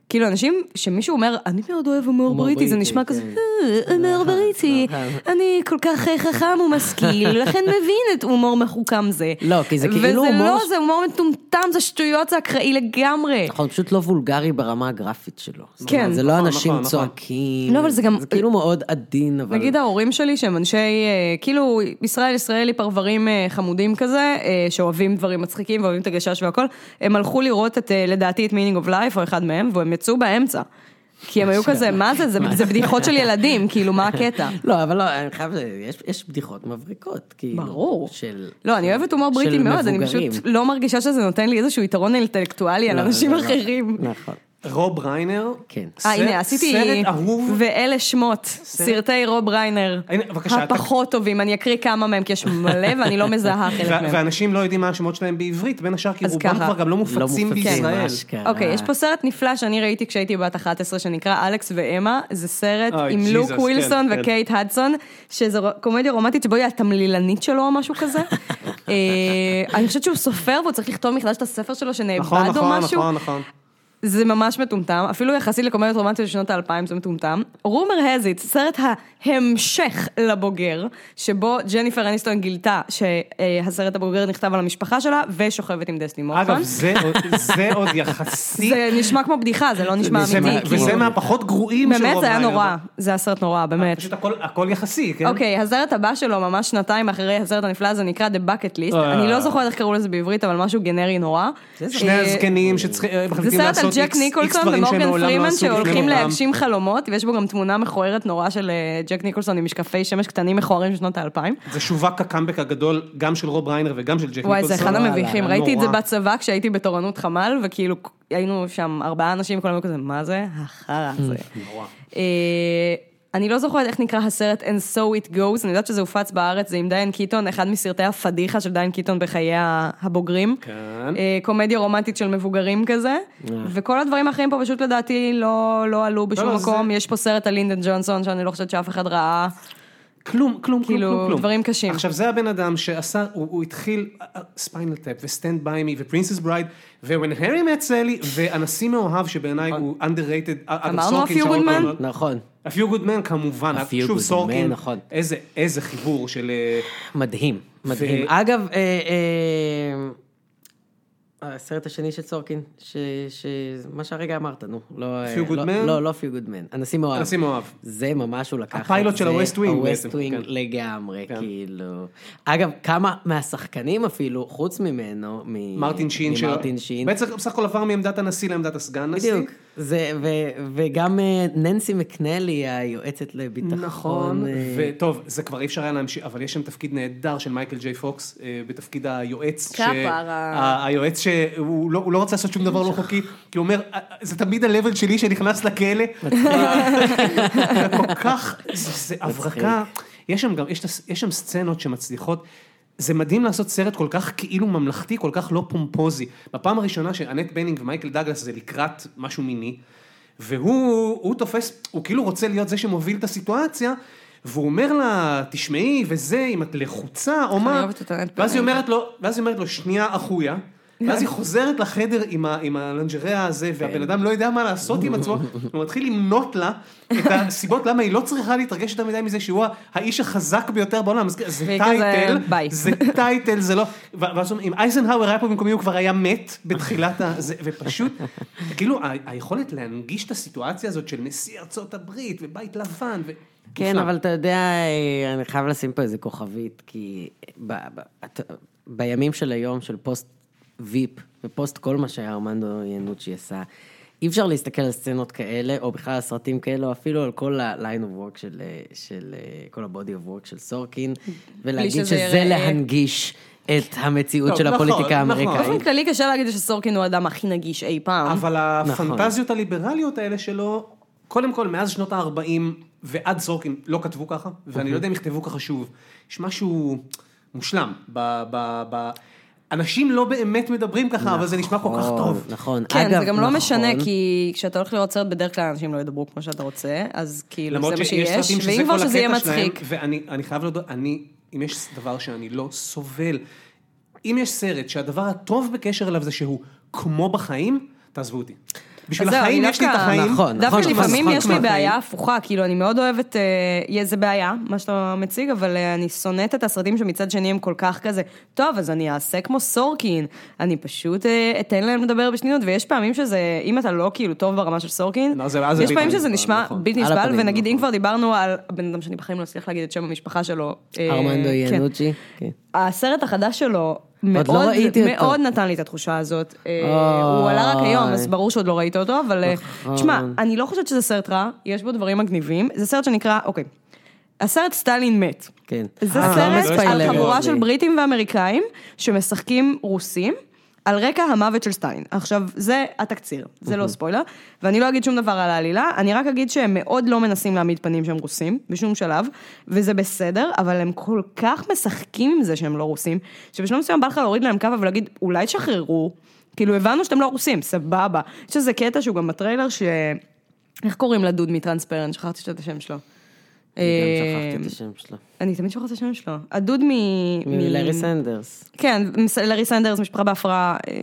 C: כאילו אנשים, שמישהו אומר, אני מאוד אוהב הומור
D: הומור
C: בריטי, זה
D: בריטי,
C: נשמע כזה,
D: כן. נכון.
C: "אה, הומור בריטי, אני כל כך אה, חכם ומשכיל, לכן מבין את הומור מחוכם זה.
D: לא, כי זה כאילו
C: וזה
D: הומור
C: לא,
D: ש-
C: זה הומור מטומטם, זה שטויות, זה אקראי לגמרי.
D: נכון, פשוט לא וולגרי ברמה הגרפית שלו. זאת
C: כן.
D: אומרת, זה לא
B: נכון,
D: אנשים
B: נכון, נכון.
D: צועקים.
C: לא, אבל זה גם-
D: זה כאילו מאוד עדין, אבל...
C: נגיד ההורים שלי שהם אנשי, אה, כאילו, ישראל, ישראלי, פרברים אה, חמודים כזה, אה, שאוהבים דברים מצחיקים ואוהבים את הגשש והכל, הם הלכו לראות את, אה, לדעתי, את מינינג אוף לייף או אחד מהם, והם יצאו באמצע. כי הם היו כזה, מה זה, זה- זה בדיחות של ילדים, כאילו, מה הקטע?
D: לא, אבל לא, אני חייב... יש- יש בדיחות מבריקות, כאילו.
C: ברור.
D: של...
C: לא, אני אוהבת הומור בריטי
D: של
C: מאוד, אני
D: מבוגרים.
C: פשוט לא מרגישה שזה נותן לי איזשהו יתרון אינטלקטואלי על
D: לא,
C: אנשים
D: לא, לא.
C: אחרים.
D: נכון.
B: רוב ריינר.
D: כן.
C: אה,
B: סרט-
C: הנה, עשיתי...
B: סרט אהוב.
C: ואלה שמות, סרטי רוב ריינר.
B: הנה, בבקשה, אתה-
C: הפחות טובים, אני אקריא כמה מהם, כי יש מלא ואני לא מזהה
B: ו-
C: חלק מהם.
B: ואנשים לא יודעים מה השמות שלהם בעברית, בין השאר כי
C: אז
B: רובם
C: ככה.
B: כבר גם לא
D: לא
B: מופצים
D: מופצים,
B: בישראל.
D: אשכרה.
C: אוקיי, יש פה סרט נפלא שאני ראיתי כשהייתי בת 11 שנקרא אלכס ואמה, זה סרט
B: אוי,
C: עם
B: ג'יזוס,
C: לוק
B: כן,
C: ווילסון
B: כן.
C: וקייט הדסון, שזו קומדיה רומנטית שבו היא התמלילנית שלו או משהו כזה. אה, אני חושבת שהוא סופר והוא צריך לכתוב מחדש את הספר שלו
B: נכון,
C: שנאבד או
B: נכון,
C: משהו.
B: נכון, נכון.
C: זה ממש מטומטם, אפילו יחסית לקומדיות רומנטיות של שנות האלפיים זה מטומטם. רומר הזיט, סרט ההמשך לבוגר, שבו ג'ניפר אניסטון גילתה שהסרט הבוגר נכתב על המשפחה שלה ושוכבת עם דסני מורפן.
B: אגב, זה עוד- זה עוד יחסית,
C: נכון? זה נשמע כמו בדיחה, זה לא נשמע
B: זה-
C: אמיתי. כאילו.
B: וזה מהפחות גרועים של רוב ריינר.
C: באמת, זה היה נורא, זה היה סרט נורא, באמת.
B: פשוט הכל- הכל יחסי, כן?
C: אוקיי, הסרט הבא שלו, ממש שנתיים אחרי הסרט הנפלא הזה, נקרא The Bucket List.
B: אה.
C: אני לא זוכרת איך קראו לזה בעברית, אבל משהו גנרי נורא.
B: שני
C: אה,
B: הזקנים שצריכים,
C: זה
B: מחליטים
C: סרט על
B: לעשות
C: ג'ק
B: איקס איקס
C: ניקולסון
B: דברים שהם
C: ומורגן
B: מעולם לא
C: פרימן
B: עשו לפני
C: שהולכים
B: מותם.
C: להגשים חלומות, ויש בו גם תמונה מכוערת נורא של אה, ג'ק ניקולסון עם משקפי שמש קטנים מכוערים משנות האלפיים.
B: זה שווק הקאמבק הגדול, גם של רוב ריינר וגם של ג'ק ניקולסון.
C: וואי, זה אחד
B: וואלה,
C: המביכים,
B: היה
C: ראיתי את זה
B: נורא.
C: בצבא כשהייתי בתורנות חמ"ל, וכאילו היינו שם ארבעה אנשים, כולם היו כזה, מה זה? החרא הזה. אה, אני לא זוכרת איך נקרא הסרט And So It Goes, אני יודעת שזה הופץ בארץ, זה עם דיין קיטון, אחד מסרטי הפדיחה של דיין קיטון בחיי ה- הבוגרים.
B: כן. אה.
C: אה, קומדיה רומנטית של מבוגרים כזה, וכל הדברים האחרים פה פשוט לדעתי לא לא עלו בשום
B: לא,
C: מקום,
B: זה-
C: יש פה סרט על לינדון ג'ונסון שאני לא חושבת שאף אחד ראה.
B: כלום, כלום,
C: כאילו,
B: כלום, כלום, כלום.
C: דברים קשים.
B: עכשיו, זה הבן אדם שעשה, הוא, הוא התחיל אה, ספיינל טאפ וסטנד ביי מי ופרינסס ברייד, ו-When Harry Met Sally, והנשיא מאוהב שבעיניי הוא underrated, אה, אגב,
C: אה, אמרנו
B: סורקין,
C: A Few
B: שאול
C: Good Men?
B: גולדמן.
D: נכון.
B: A Few Good Men כמובן,
D: A Few
B: שוב
D: Good
B: סורקין,
D: Men, נכון.
B: איזה, איזה חיבור של... אה,
D: מדהים, מדהים.
B: ו-
D: אגב, אה, אה, הסרט השני של סורקין, ש- ש- מה שהרגע אמרת, נו. לא, אה,
B: Few Good
D: לא-
B: Men?
D: לא, לא פיו גוד מן. הנשיא מאוהב.
B: הנשיא מאוהב.
D: זה ממש הוא לקח את זה.
B: הפיילוט של ה-West Wing
D: ה-West
B: בעצם,
D: Wing
B: כן.
D: לגמרי,
B: כן.
D: כאילו. אגב, כמה מהשחקנים אפילו, חוץ ממנו, מ-
B: מרטין שין, ש-
D: ממרטין שין.
B: בעצם בסך הכל עבר מעמדת הנשיא לעמדת הסגן נשיא.
D: בדיוק. זה, ו- וגם אה, ננסי מקנלי, היועצת לביטחון.
B: נכון,
D: אה,
B: וטוב, זה כבר אי אפשר היה להמשיך, אבל יש שם תפקיד נהדר של מייקל ג'יי פוקס, אה, בתפקיד היועץ. ש-
C: כפרה.
B: ה- היועץ שהוא לא- הוא לא רוצה לעשות שום דבר לא חוקי, כי הוא אומר, "אה, אה, זה תמיד ה-level שלי שנכנס לכלא. זה כל כך, זה זה הברקה. יש שם גם, יש את הס- יש שם סצנות שמצליחות. זה מדהים לעשות סרט כל כך כאילו ממלכתי, כל כך לא פומפוזי. בפעם הראשונה שאנט בנינג ומייקל דגלס זה לקראת משהו מיני, והוא הוא תופס, הוא כאילו רוצה להיות זה שמוביל את הסיטואציה, והוא אומר לה, תשמעי, וזה, אם את לחוצה או מה,
C: אוהבת את האנט
B: ואז היא אומרת לו, ואז היא אומרת לו, שנייה אחויה. ואז היא חוזרת לחדר עם, ה, עם הלנג'ריה הזה,
C: כן.
B: והבן אדם לא יודע מה לעשות עם עצמו, הוא מתחיל למנות לה את הסיבות למה היא לא צריכה להתרגש יותר מדי מזה שהוא האיש החזק ביותר בעולם. אז זה
C: והיא
B: טייטל,
C: כזה, ביי.
B: זה טייטל, זה לא... ו- ואז אומרים, אם אייזנהאואר היה פה במקומי, הוא כבר היה מת בתחילת ה... זה, ופשוט, כאילו, ה- היכולת להנגיש את הסיטואציה הזאת של נשיא ארצות הברית ובית לבן, ו...
D: כן,
B: נפלא.
D: אבל אתה יודע, אה, אני חייב לשים פה איזה כוכבית, כי ב, ב, את, בימים של היום, של פוסט ויפ, ופוסט כל מה שארמנדו ינוצ'י עשה, אי אפשר להסתכל על סצנות כאלה, או בכלל על סרטים כאלה, או אפילו על כל ה-line of work של, אה, של אה, כל ה-body of work של סורקין, ולהגיד
C: שזה
D: שזה
C: יראה-
D: להנגיש את המציאות
B: טוב,
D: של
B: נכון,
D: הפוליטיקה
B: נכון.
D: האמריקאית.
C: באופן כללי קשה להגיד שסורקין הוא האדם הכי נגיש אי פעם.
D: נכון.
B: אבל הפנטזיות הליברליות האלה שלו, קודם כל, מאז שנות ה-40, ועד סורקין לא כתבו ככה,
D: אוקיי.
B: ואני לא יודע אם יכתבו ככה שוב. יש משהו מושלם ב... ב, ב אנשים לא באמת מדברים ככה, אבל זה נשמע כל כך טוב.
D: נכון.
C: כן,
D: אגב,
C: זה גם לא
D: נכון.
C: משנה, כי כשאתה הולך לראות סרט, בדרך כלל אנשים לא ידברו כמו שאתה רוצה, אז כאילו זה
B: למרות
C: מה
B: שיש
C: שיש,
B: סרטים שזה
C: ואם
B: כל
C: כבר שזה יהיה
B: הקטע
C: מצחיק.
B: שלהם, ואני אני חייב להודות, אני, אם יש דבר שאני לא סובל, אם יש סרט שהדבר הטוב בקשר אליו זה שהוא כמו בחיים, תעזבו אותי. בשביל
C: אז זהו,
B: החיים
C: אני
B: יש לי את
C: דווקא-
B: החיים.
D: נכון,
C: דווקא
D: נכון,
C: לפעמים
B: נכון,
C: יש לי
B: נכון.
C: בעיה הפוכה, כאילו אני מאוד אוהבת, אה, זה בעיה, מה שאתה מציג, אבל אה, אני שונאת את הסרטים שמצד שני הם כל כך כזה, טוב, אז אני אעשה כמו סורקין, אני פשוט אה, אתן להם לדבר בשנינות, ויש פעמים שזה, אם אתה לא כאילו טוב ברמה של סורקין,
B: לא, זה- אז זה
C: יש
B: בלי
C: פעמים
B: פנים,
C: שזה נשמע
B: נכון.
C: בלתי
D: על
C: נסבל,
D: הפנים,
C: ונגיד אם
D: נכון.
C: כבר דיברנו על הבן אדם שאני בחיים לא אצליח להגיד את שם המשפחה שלו. אה,
D: ארמנדו
C: כן.
D: ינוצ'י. כן.
C: הסרט החדש שלו מאוד,
D: לא ראיתי אותו.
C: מאוד נתן לי את התחושה הזאת. אה,
D: אוי.
C: הוא עלה רק היום, אז ברור שעוד לא ראית אותו, אבל... אה,
D: נכון.
C: תשמע, אני לא חושבת שזה סרט רע, יש בו דברים מגניבים. זה סרט שנקרא, אוקיי, הסרט סטלין מת.
D: כן.
C: זה
D: אה,
B: לא
C: סרט על
B: מספיילר.
C: חבורה של
D: לי.
C: בריטים ואמריקאים שמשחקים רוסים. על רקע המוות של סטיין. עכשיו, זה התקציר, זה
D: אוקיי.
C: לא ספוילר, ואני לא אגיד שום דבר על העלילה, אני רק אגיד שהם מאוד לא מנסים להעמיד פנים שהם רוסים, בשום שלב, וזה בסדר, אבל הם כל כך משחקים עם זה שהם לא רוסים, שבשלב מסוים בא לך להוריד להם כאפה ולהגיד, אולי תשחררו, כאילו הבנו שאתם לא רוסים, סבבה. יש איזה קטע שהוא גם בטריילר, ש... איך קוראים לדוד מטרנספרנט? שכחתי את השם שלו.
D: אני גם
C: אה,
D: שכחתי את השם שלו.
C: אני תמיד שוכחת את השם שלו. הדוד מ...
D: מלארי סנדרס.
C: כן, מס- לארי סנדרס, משפחה בהפרעה, אה,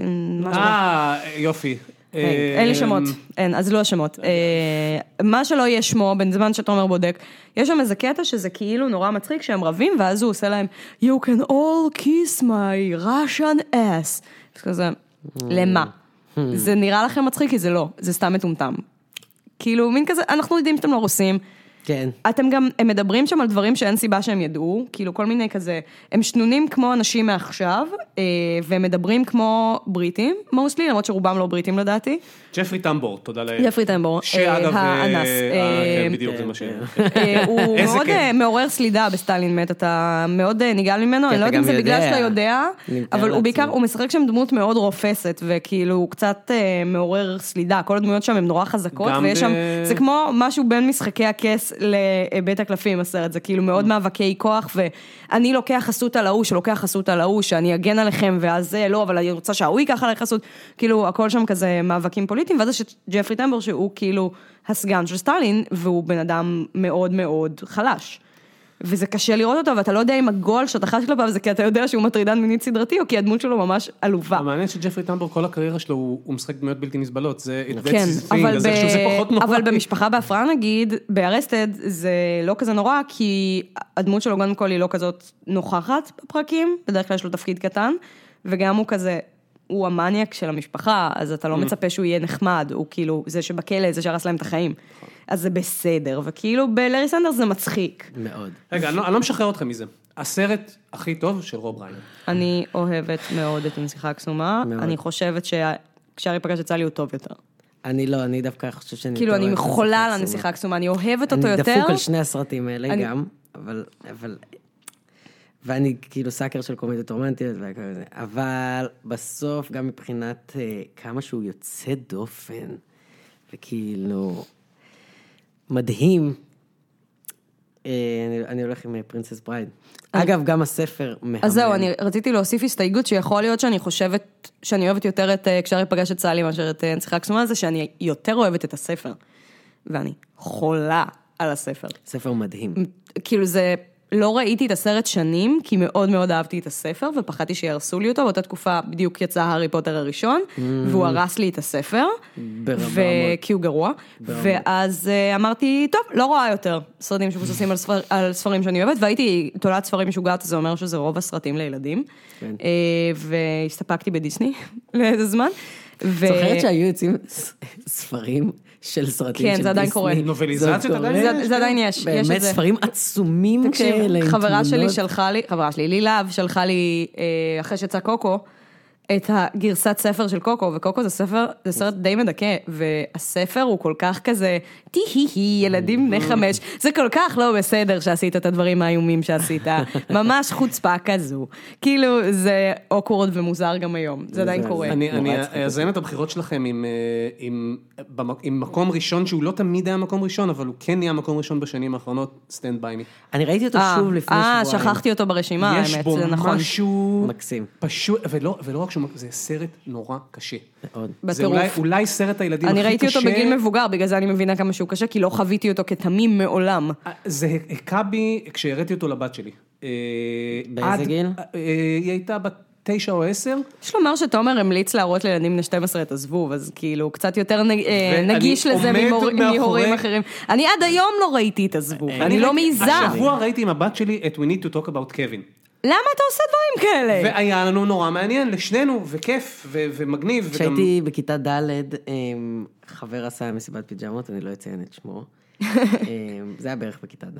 C: משהו. כן,
B: אה, יופי.
D: אה,
B: אה,
C: אין לי שמות, אין, אז לא השמות.
D: אוקיי.
C: אה, מה שלא יהיה שמו, בין זמן שתומר בודק, יש שם איזה קטע שזה כאילו נורא מצחיק שהם רבים, ואז הוא עושה להם, You can all kiss my Russian ass. אז כזה, למה?
D: Mm.
C: זה נראה לכם מצחיק? כי זה לא, זה סתם מטומטם. כאילו, מין כזה, אנחנו יודעים שאתם לא רוסים.
D: כן.
C: אתם גם, הם מדברים שם על דברים שאין סיבה שהם ידעו, כאילו כל מיני כזה, הם שנונים כמו אנשים מעכשיו, אה, והם מדברים כמו בריטים, מוסלי, למרות שרובם לא בריטים לדעתי.
B: ג'פרי טמבור, תודה לאל.
C: ג'פרי טמבור,
B: שאגב,
C: אה,
B: אה,
C: האנס,
B: אה,
C: אה,
B: כן, בדיוק, זה מה ש...
C: אה, הוא
B: איזה
C: מאוד
B: כיף.
C: אה, מעורר סלידה בסטלין מת, אתה מאוד אה, נגעל ממנו, אני לא
D: כן, אתה
C: יודעת אם
D: גם
C: זה בגלל
D: יודע.
C: שאתה יודע,
D: אני מתאר
C: אבל הוא
D: לעצמי.
C: בעיקר, הוא משחק שם דמות מאוד רופסת, וכאילו הוא קצת אה, מעורר סלידה, כל הדמויות שם הן נורא חזקות,
B: גם
C: ויש שם,
B: ב-
C: זה כמו משהו בין משחקי הכס לבית הקלפים, הסרט, זה כאילו מאוד מאבקי כוח, ואני לוקח חסות על ההוא שלוקח חסות על ההוא, שאני אגן עליכם, ואז זה, לא, אבל אני רוצה שההוא ייקח עליי חסות, כאילו, הכל שם כזה מאבקים פוליטיים, ואז יש את ג'פרי טמבר, שהוא כאילו הסגן של סטלין, והוא בן אדם מאוד מאוד חלש. וזה קשה לראות אותו, ואתה לא יודע אם הגול שאתה חש כלפיו זה כי אתה יודע שהוא מטרידן מינית סדרתי, או כי הדמות שלו ממש עלובה.
B: המעניין שג'פרי טמבור, כל הקריירה שלו, הוא הוא משחק דמויות בלתי נסבלות, זה... it
C: כן,
B: that's the thing,
C: אבל,
B: אז
C: ב...
B: איכשהו זה פחות נורא.
C: אבל במשפחה בהפרעה נגיד, בארסטד זה לא כזה נורא, כי הדמות שלו קודם כל היא לא כזאת נוכחת בפרקים, בדרך כלל יש לו תפקיד קטן, וגם הוא כזה, הוא המניאק של המשפחה, אז אתה לא מצפה שהוא יהיה נחמד, הוא כאילו זה שבכלא, זה שהרס להם את החיים. אז זה בסדר, וכאילו בלארי סנדרס זה מצחיק.
D: מאוד.
B: רגע, אני לא- אני לא משחרר אתכם מזה. הסרט הכי טוב של רוב ריינר.
C: אני אוהבת מאוד את הנסיכה הקסומה,
D: מאוד.
C: אני חושבת שכשארי פגש את סלי הוא טוב יותר.
D: אני לא, אני דווקא חושבת שאני...
C: כאילו,
D: יותר
C: אני
D: אוהבת את
C: חולה על
D: הסרט
C: הנסיכה
D: עצמו.
C: הקסומה, אני אוהבת אותו יותר.
D: אני דפוק על שני הסרטים האלה
C: אני-
D: גם, אבל... אבל... ואני כאילו סאקר של קומדיות רומנטיות וכל זה, אבל בסוף גם מבחינת אה, כמה שהוא יוצא דופן, וכאילו מדהים, אה, אני, אני הולך עם אה, פרינסס ברייד. אגב, גם הספר מהמם.
C: אז זהו, אני רציתי להוסיף הסתייגות שיכול להיות שאני חושבת שאני אוהבת יותר את אה, כשארי פגש את סלי מאשר את אה, הנסיכה הקסומה, זה שאני יותר אוהבת את הספר. ואני חולה על הספר.
D: ספר מדהים.
C: כאילו זה, לא ראיתי את הסרט שנים, כי מאוד מאוד אהבתי את הספר, ופחדתי שיהרסו לי אותו, באותה תקופה בדיוק יצא הארי פוטר הראשון, והוא הרס לי את הספר,
D: Mm. ברמה
C: ו-
D: מאוד.
C: כי הוא גרוע, ואז אה, אמרתי, טוב, לא רואה יותר סרטים שמבוססים על, ספר, על ספרים שאני אוהבת, והייתי תולעת ספרים משוגעת, זה אומר שזה רוב הסרטים לילדים,
D: כן.
C: אה, והסתפקתי בדיסני לאיזה זמן. ו-
D: זוכרת שהיו יוצאים ס- ספרים של סרטים
C: כן,
D: של
C: זה עדיין קורה.
B: נובליזציות
D: זה עוד
B: עדיין
D: קורה.
C: זה- זה עדיין יש, יש את זה.
D: באמת, ספרים עצומים כאלה,
C: תקשיב,
D: עם
C: חברה שלי
D: אוקיי, תמונות.
C: שלחה לי, חברה שלי, לי להב, שלחה לי, אה, אחרי שיצא קוקו, את הגרסת ספר של קוקו, וקוקו זה ספר, זה סרט די מדכא, והספר הוא כל כך כזה, טי-הי-הי, ילדים בני חמש, זה כל כך לא בסדר שעשית את הדברים האיומים שעשית, ממש חוצפה כזו. כאילו, זה אוקוורד ומוזר גם היום, זה עדיין
D: זה-
C: קורה.
B: אני,
D: נורא
B: אני
D: הצחיק
B: אזיין את הבחירות שלכם עם, אה, עם, במק- עם מקום ראשון שהוא לא תמיד היה מקום ראשון, אבל הוא כן נהיה מקום ראשון בשנים האחרונות, סטנד ביי מי.
D: אני ראיתי אותו שוב לפני שבועיים.
C: אה, שכחתי אותו ברשימה, האמת,
B: יש
C: זה
B: בו
C: נכון.
B: משהו...
D: מקסים.
B: פשוט, ולא, ולא רק שהוא... מק- זה סרט נורא קשה.
D: מאוד.
B: זה
C: בטירוף.
B: אולי, אולי סרט הילדים הכי
C: אני
B: קשה...
C: ראיתי אותו בגיל מבוגר, בגלל זה אני מבינה כמה שהוא קשה, כי לא חוויתי אותו כתמים מעולם.
B: אה, זה הכה בי כשהראיתי אותו לבת שלי. אה,
D: באיזה
B: עד-
D: גיל?
B: אה, היא הייתה בת תשע או עשר.
C: יש לומר שתומר המליץ להראות לילדים בני 12 את הזבוב, אז כאילו, הוא קצת יותר נג- אה,
B: ואני
C: נגיש לזה
B: עומד
C: ממור-
B: מאחורי-
C: מהורים אחרים. אני עד היום לא ראיתי את הזבוב, אני לא
B: ראיתי-
C: מעיזה.
B: השבוע ראיתי עם הבת שלי את We need to talk about Kevin.
C: למה אתה עושה דברים כאלה?
B: והיה לנו נורא מעניין, לשנינו, וכיף, ו- ומגניב, וגם...
D: כשהייתי בכיתה ד', אמ, חבר עשה מסיבת פיג'מות, אני לא אציין את שמו. אמ, זה היה בערך בכיתה ד'.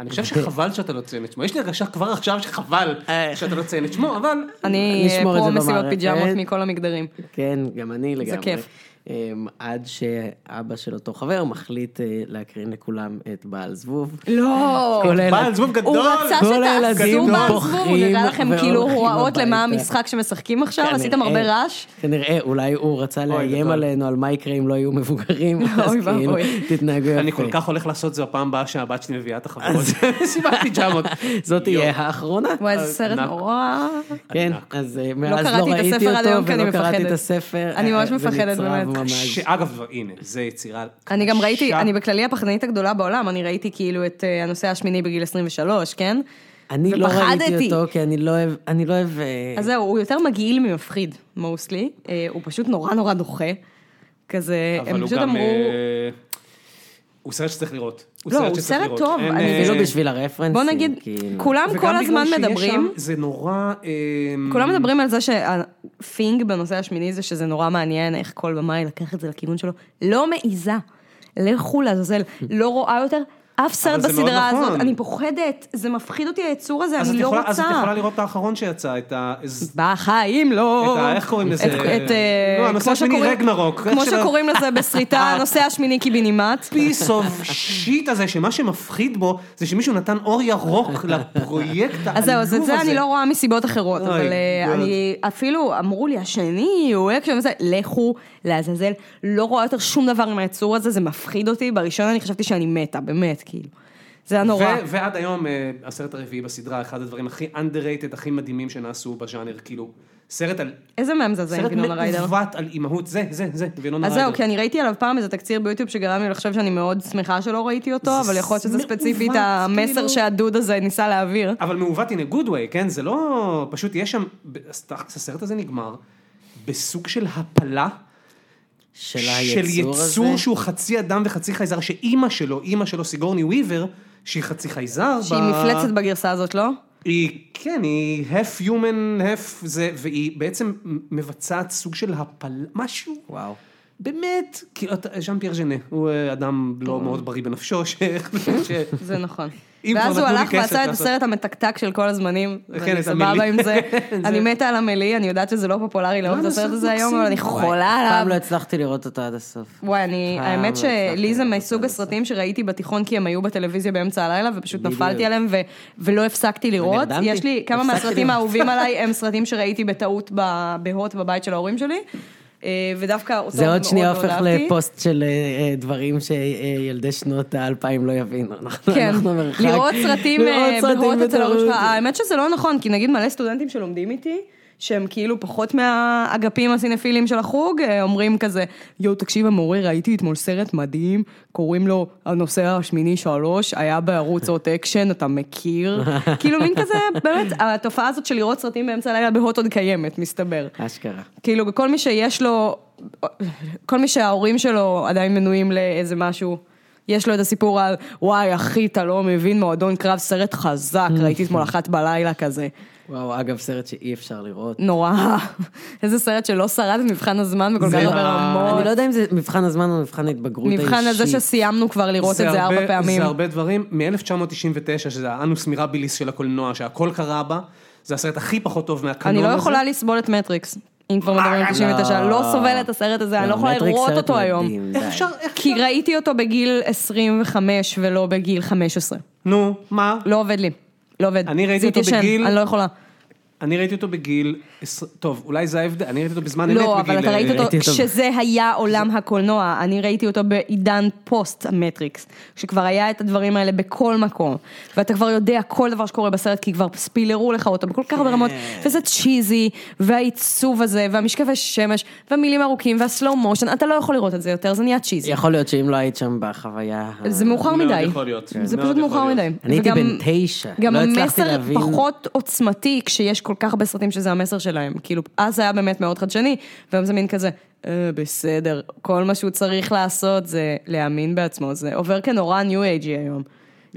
B: אני חושב שחבל שאתה לא ציין את שמו. יש לי הרגשה כבר עכשיו שחבל
C: אה.
B: שאתה לא ציין את שמו, אבל...
C: אני אה,
D: נשמור את
C: פרו
D: זה
C: מסיבות
D: במערכת.
C: פיג'מות מכל המגדרים.
D: כן, גם אני לגמרי.
C: כיף.
D: אמ, עד שאבא של אותו חבר מחליט אה, להקרין לכולם את בעל זבוב.
C: לא!
D: כולל-
B: בעל זבוב
C: הוא
B: גדול!
C: רצה
D: כל
C: שתעשו
D: הילדים
C: בעל
D: בוכים
C: זבוב, הוא נראה לכם כאילו
D: והולכים
C: הוראות
D: הביתה.
C: למה המשחק שמשחקים עכשיו, לא, עשיתם הרבה
D: כנראה-
C: רעש.
D: כנראה, אולי הוא רצה לאיים
B: גדול.
D: עלינו על מה יקרה אם לא יהיו מבוגרים, אז
C: אוי
D: כאילו,
C: ואבוי.
D: תתנהגו יפה.
B: אני כל כך הולך לעשות זה בפעם הבאה שהבת שלי מביאה את החברות. מסיבת פיג'מות.
D: זאת תהיה האחרונה.
C: וואי, איזה סרט
B: ענק.
C: נורא.
D: כן,
B: ענק.
D: אז אה, מאז
C: קראתי
D: לא
C: את
D: ראיתי
C: הספר עד היום
D: אותו,
C: כי אני
D: ולא קראתי
C: מפחדת.
D: את הספר.
C: אני ממש
D: אה, אה, זה
C: מפחדת,
D: נצרב
C: באמת.
D: ממש.
B: שאגב, הנה, זה יצירה
C: אני גם ראיתי,
B: קשה.
C: אני בכללי הפחדנית הגדולה בעולם, אני ראיתי כאילו את אה, הנושא השמיני בגיל 23, כן?
D: אני לא ראיתי
C: ופחדתי.
D: אותו, כי אני לא אוהב, אני לא אוהב... אה,
B: כן.
C: אז זהו, הוא יותר מגעיל ממפחיד, מוסלי. הוא פשוט נורא נורא דוחה. כזה,
B: אבל
C: הם
B: הוא
C: פשוט
B: גם...
C: אמרו...
B: אה, הוא סרט שצריך לראות.
C: לא, הוא
B: שצריך
C: סרט
B: לראות.
C: טוב,
B: אין,
C: אני-
B: אה,
D: אפילו לא בשביל הרפרנסים,
C: בוא נגיד,
D: כאילו.
C: כולם
B: וגם
C: כל
B: בגלל
C: הזמן
B: שיש
C: מדברים,
B: שם- זה נורא... אה,
C: כולם מדברים על זה שהפינג בנושא השמיני זה שזה נורא מעניין איך כל במאי לקח את זה לכיוון שלו. לא מעיזה. לכו לעזאזל, לא רואה יותר אף סרט
B: זה מאוד
C: בסדרה
B: נכון.
C: הזאת, אני פוחדת, זה מפחיד אותי היצור הזה,
B: אז את
C: אני לא
B: יכולה-
C: רוצה.
B: אז את יכולה לראות את האחרון שיצא, את ה... ז-
C: בחיים לא.
B: את ה- איך קוראים לזה?
C: את, את, אה,
B: לא, הנושא
C: כמו
B: השמיני,
C: שקוראים-
B: רגנרוק.
C: כמו
B: איך שלא- אה.
C: שקוראים לזה בסריטה, הנושא השמיני קיבינימט.
B: piece of shit הזה, שמה שמפחיד בו, זה שמישהו נתן אור ירוק לפרויקט העלוב
C: אז
B: הזה.
C: זהו, אז את זה אני לא רואה מסיבות אחרות,
B: אוי,
C: אבל אה,
B: God.
C: אני, אפילו אמרו לי, השני הוא אקשן וזה, לכו לעזאזל, לא רואה יותר שום דבר מהיצור הזה, זה מפחיד אותי, בראשון אני חשבתי שאני מתה, באמת, כאילו. זה היה נורא.
B: ו- ועד היום, אה, הסרט הרביעי בסדרה, אחד הדברים הכי underrated, הכי מדהימים שנעשו בז'אנר, כאילו, סרט על...
C: איזה מהם זה זה עם
B: סרט
C: גנון הריידר?
B: מעוות על אימהות, זה, זה, זה, וינונה
C: אז
B: ריידר.
C: זהו, כן. כי אני ראיתי עליו פעם איזה תקציר ביוטיוב שגרם לי לחשוב שאני מאוד שמחה שלא ראיתי אותו, אבל יכול להיות שזה
B: מעוות,
C: ספציפית
B: כאילו.
C: המסר שהדוד הזה ניסה להעביר.
B: אבל מעוות in a good way, כן? זה לא... פשוט יש שם... אז תכלס, הסרט הזה נגמר בסוג של הפלה.
D: של
B: של
D: היצור הזה.
B: יצור שהוא חצי אדם וחצי חייזר, שאימא שלו, אימא שלו סיגורני וויבר, שהיא חצי חייזר.
C: שהיא
B: ב-
C: מפלצת בגרסה הזאת, לא?
B: היא, כן, היא half human, half זה, והיא בעצם מבצעת סוג של הפלה, משהו,
D: וואו.
B: באמת, כאילו, אתה- ז'אן פייר ז'נה, הוא אה, אדם לא מאוד בריא בנפשו, ש... ש-
C: זה נכון.
B: אם כבר
C: ואז
B: נתנו
C: הוא
B: לי
C: הלך
B: כסף
C: ועשה את
B: לעשות-
C: הסרט המתקתק של כל הזמנים,
B: את
C: ואני סבבה
B: המילי.
C: עם זה.
B: זה-
C: אני מתה על המלי, אני יודעת שזה לא פופולרי לאהוב את
B: זה
C: הסרט
B: סרט
C: הזה היום,
B: מקסים.
C: אבל אני
D: וואי,
C: חולה
D: אף פעם לא
C: עליו.
D: הצלחתי לראות אותו עד הסוף.
C: וואי, אני,
D: פעם
C: האמת
D: לא הצלחתי
C: שלי זה
D: לראות
C: מהסוג
D: אותו עד הסוף.
C: הסרטים שראיתי בתיכון כי הם היו בטלוויזיה באמצע הלילה ופשוט נפלתי עליהם ו- ולא הפסקתי לראות.
D: נרדמתי.
C: יש לי כמה
D: הפסקתי
C: מהסרטים
D: לראות.
C: האהובים עליי הם סרטים שראיתי בטעות ב- בהוט בבית של ההורים שלי, אה, ודווקא אותו
D: זה
C: מאוד
D: עוד שנייה
C: לא
D: הופך
C: אהבתי.
D: לפוסט של אה, אה, דברים שילדי שנות האלפיים לא יבינו. אנחנו-
C: כן,
D: אנחנו מרחק.
C: לראות סרטים
D: לראות
C: אה,
D: סרטים
C: בהוט אצל ההורים שלך.
D: בטעות.
C: האמת שזה לא נכון, כי נגיד מלא סטודנטים שלומדים איתי, שהם כאילו פחות מהאגפים הסינפילים של החוג, אה, אומרים כזה, יואו, תקשיב המורה, ראיתי אתמול סרט מדהים, קוראים לו הנושא השמיני שלוש, היה בערוץ הוט אקשן, אתה מכיר? כאילו מין כזה, באמת, התופעה הזאת של לראות סרטים באמצע הלילה בהוט עוד קיימת, מסתבר.
D: אשכרה.
C: כאילו, כל מי שיש לו, כל מי שההורים שלו עדיין מנויים לאיזה משהו, יש לו את הסיפור על, וואי, אחי, אתה לא מבין, מועדון קרב, סרט חזק, ראיתי אתמול אחת בלילה כזה.
D: וואו, אגב, סרט שאי אפשר לראות.
C: נורא. איזה סרט שלא שרד את מבחן הזמן בכל כך
B: זה
C: הרבה
B: ה-
C: רמות.
D: אני לא יודע אם זה מבחן הזמן או מבחן ההתבגרות האישית.
C: מבחן על זה שסיימנו כבר לראות את זה ארבע פעמים.
B: זה הרבה דברים, מ-1999, שזה האנוס מירביליס של הקולנוע, שהכל קרה בה, זה הסרט הכי פחות טוב מהקנון
C: אני
B: הזה.
C: לא יכולה לסבול את מטריקס. אם כבר מדברים על 99, לא סובל את הסרט הזה, אני לא יכולה
D: מטריקס
C: לראות
D: סרט
C: אותו היום.
D: מדהים,
B: איך
D: די.
B: אפשר, איך
C: כי ראיתי אותו בגיל 25 ולא בגיל 15.
B: נו, מה?
C: לא עובד לי. לא עובד.
B: אני ראיתי
C: זה
B: אותו
C: התיישן,
B: בגיל-
C: אני לא יכולה.
B: אני ראיתי אותו בגיל, עשר- טוב, אולי זה ההבדל, אני ראיתי אותו בזמן אמת בגיל...
C: לא, אבל אתה ראית
B: אה,
C: אותו
D: ראיתי אותו-
C: כשזה היה עולם הקולנוע. אני ראיתי אותו בעידן פוסט המטריקס, שכבר היה את הדברים האלה בכל מקום. ואתה כבר יודע כל דבר שקורה בסרט, כי כבר ספילרו לך אותו בכל
B: כן.
C: כך הרבה רמות. וזה צ'יזי, והעיצוב הזה, והמשקפי שמש, והמילים ארוכים, והסלואו מושן, אתה לא יכול לראות את זה יותר, זה נהיה צ'יזי.
D: יכול להיות שאם לא היית שם בחוויה... ה-
C: זה מאוחר
B: מאוד
C: מדי.
B: יכול להיות, כן.
C: זה
B: מאוד
C: פשוט מאוחר
B: יכול
C: מדי.
B: להיות.
D: אני הייתי
C: וגם-
D: בן תשע,
C: גם
D: לא הצלחתי
C: המסר
D: להבין.
C: פחות עוצמתי כשיש כל כך הרבה סרטים שזה המסר שלהם. כאילו, אז זה היה באמת מאוד חדשני, והיום זה מין כזה, "אה, בסדר, כל מה שהוא צריך לעשות זה להאמין בעצמו, זה עובר כנורא ניו אייג'י היום.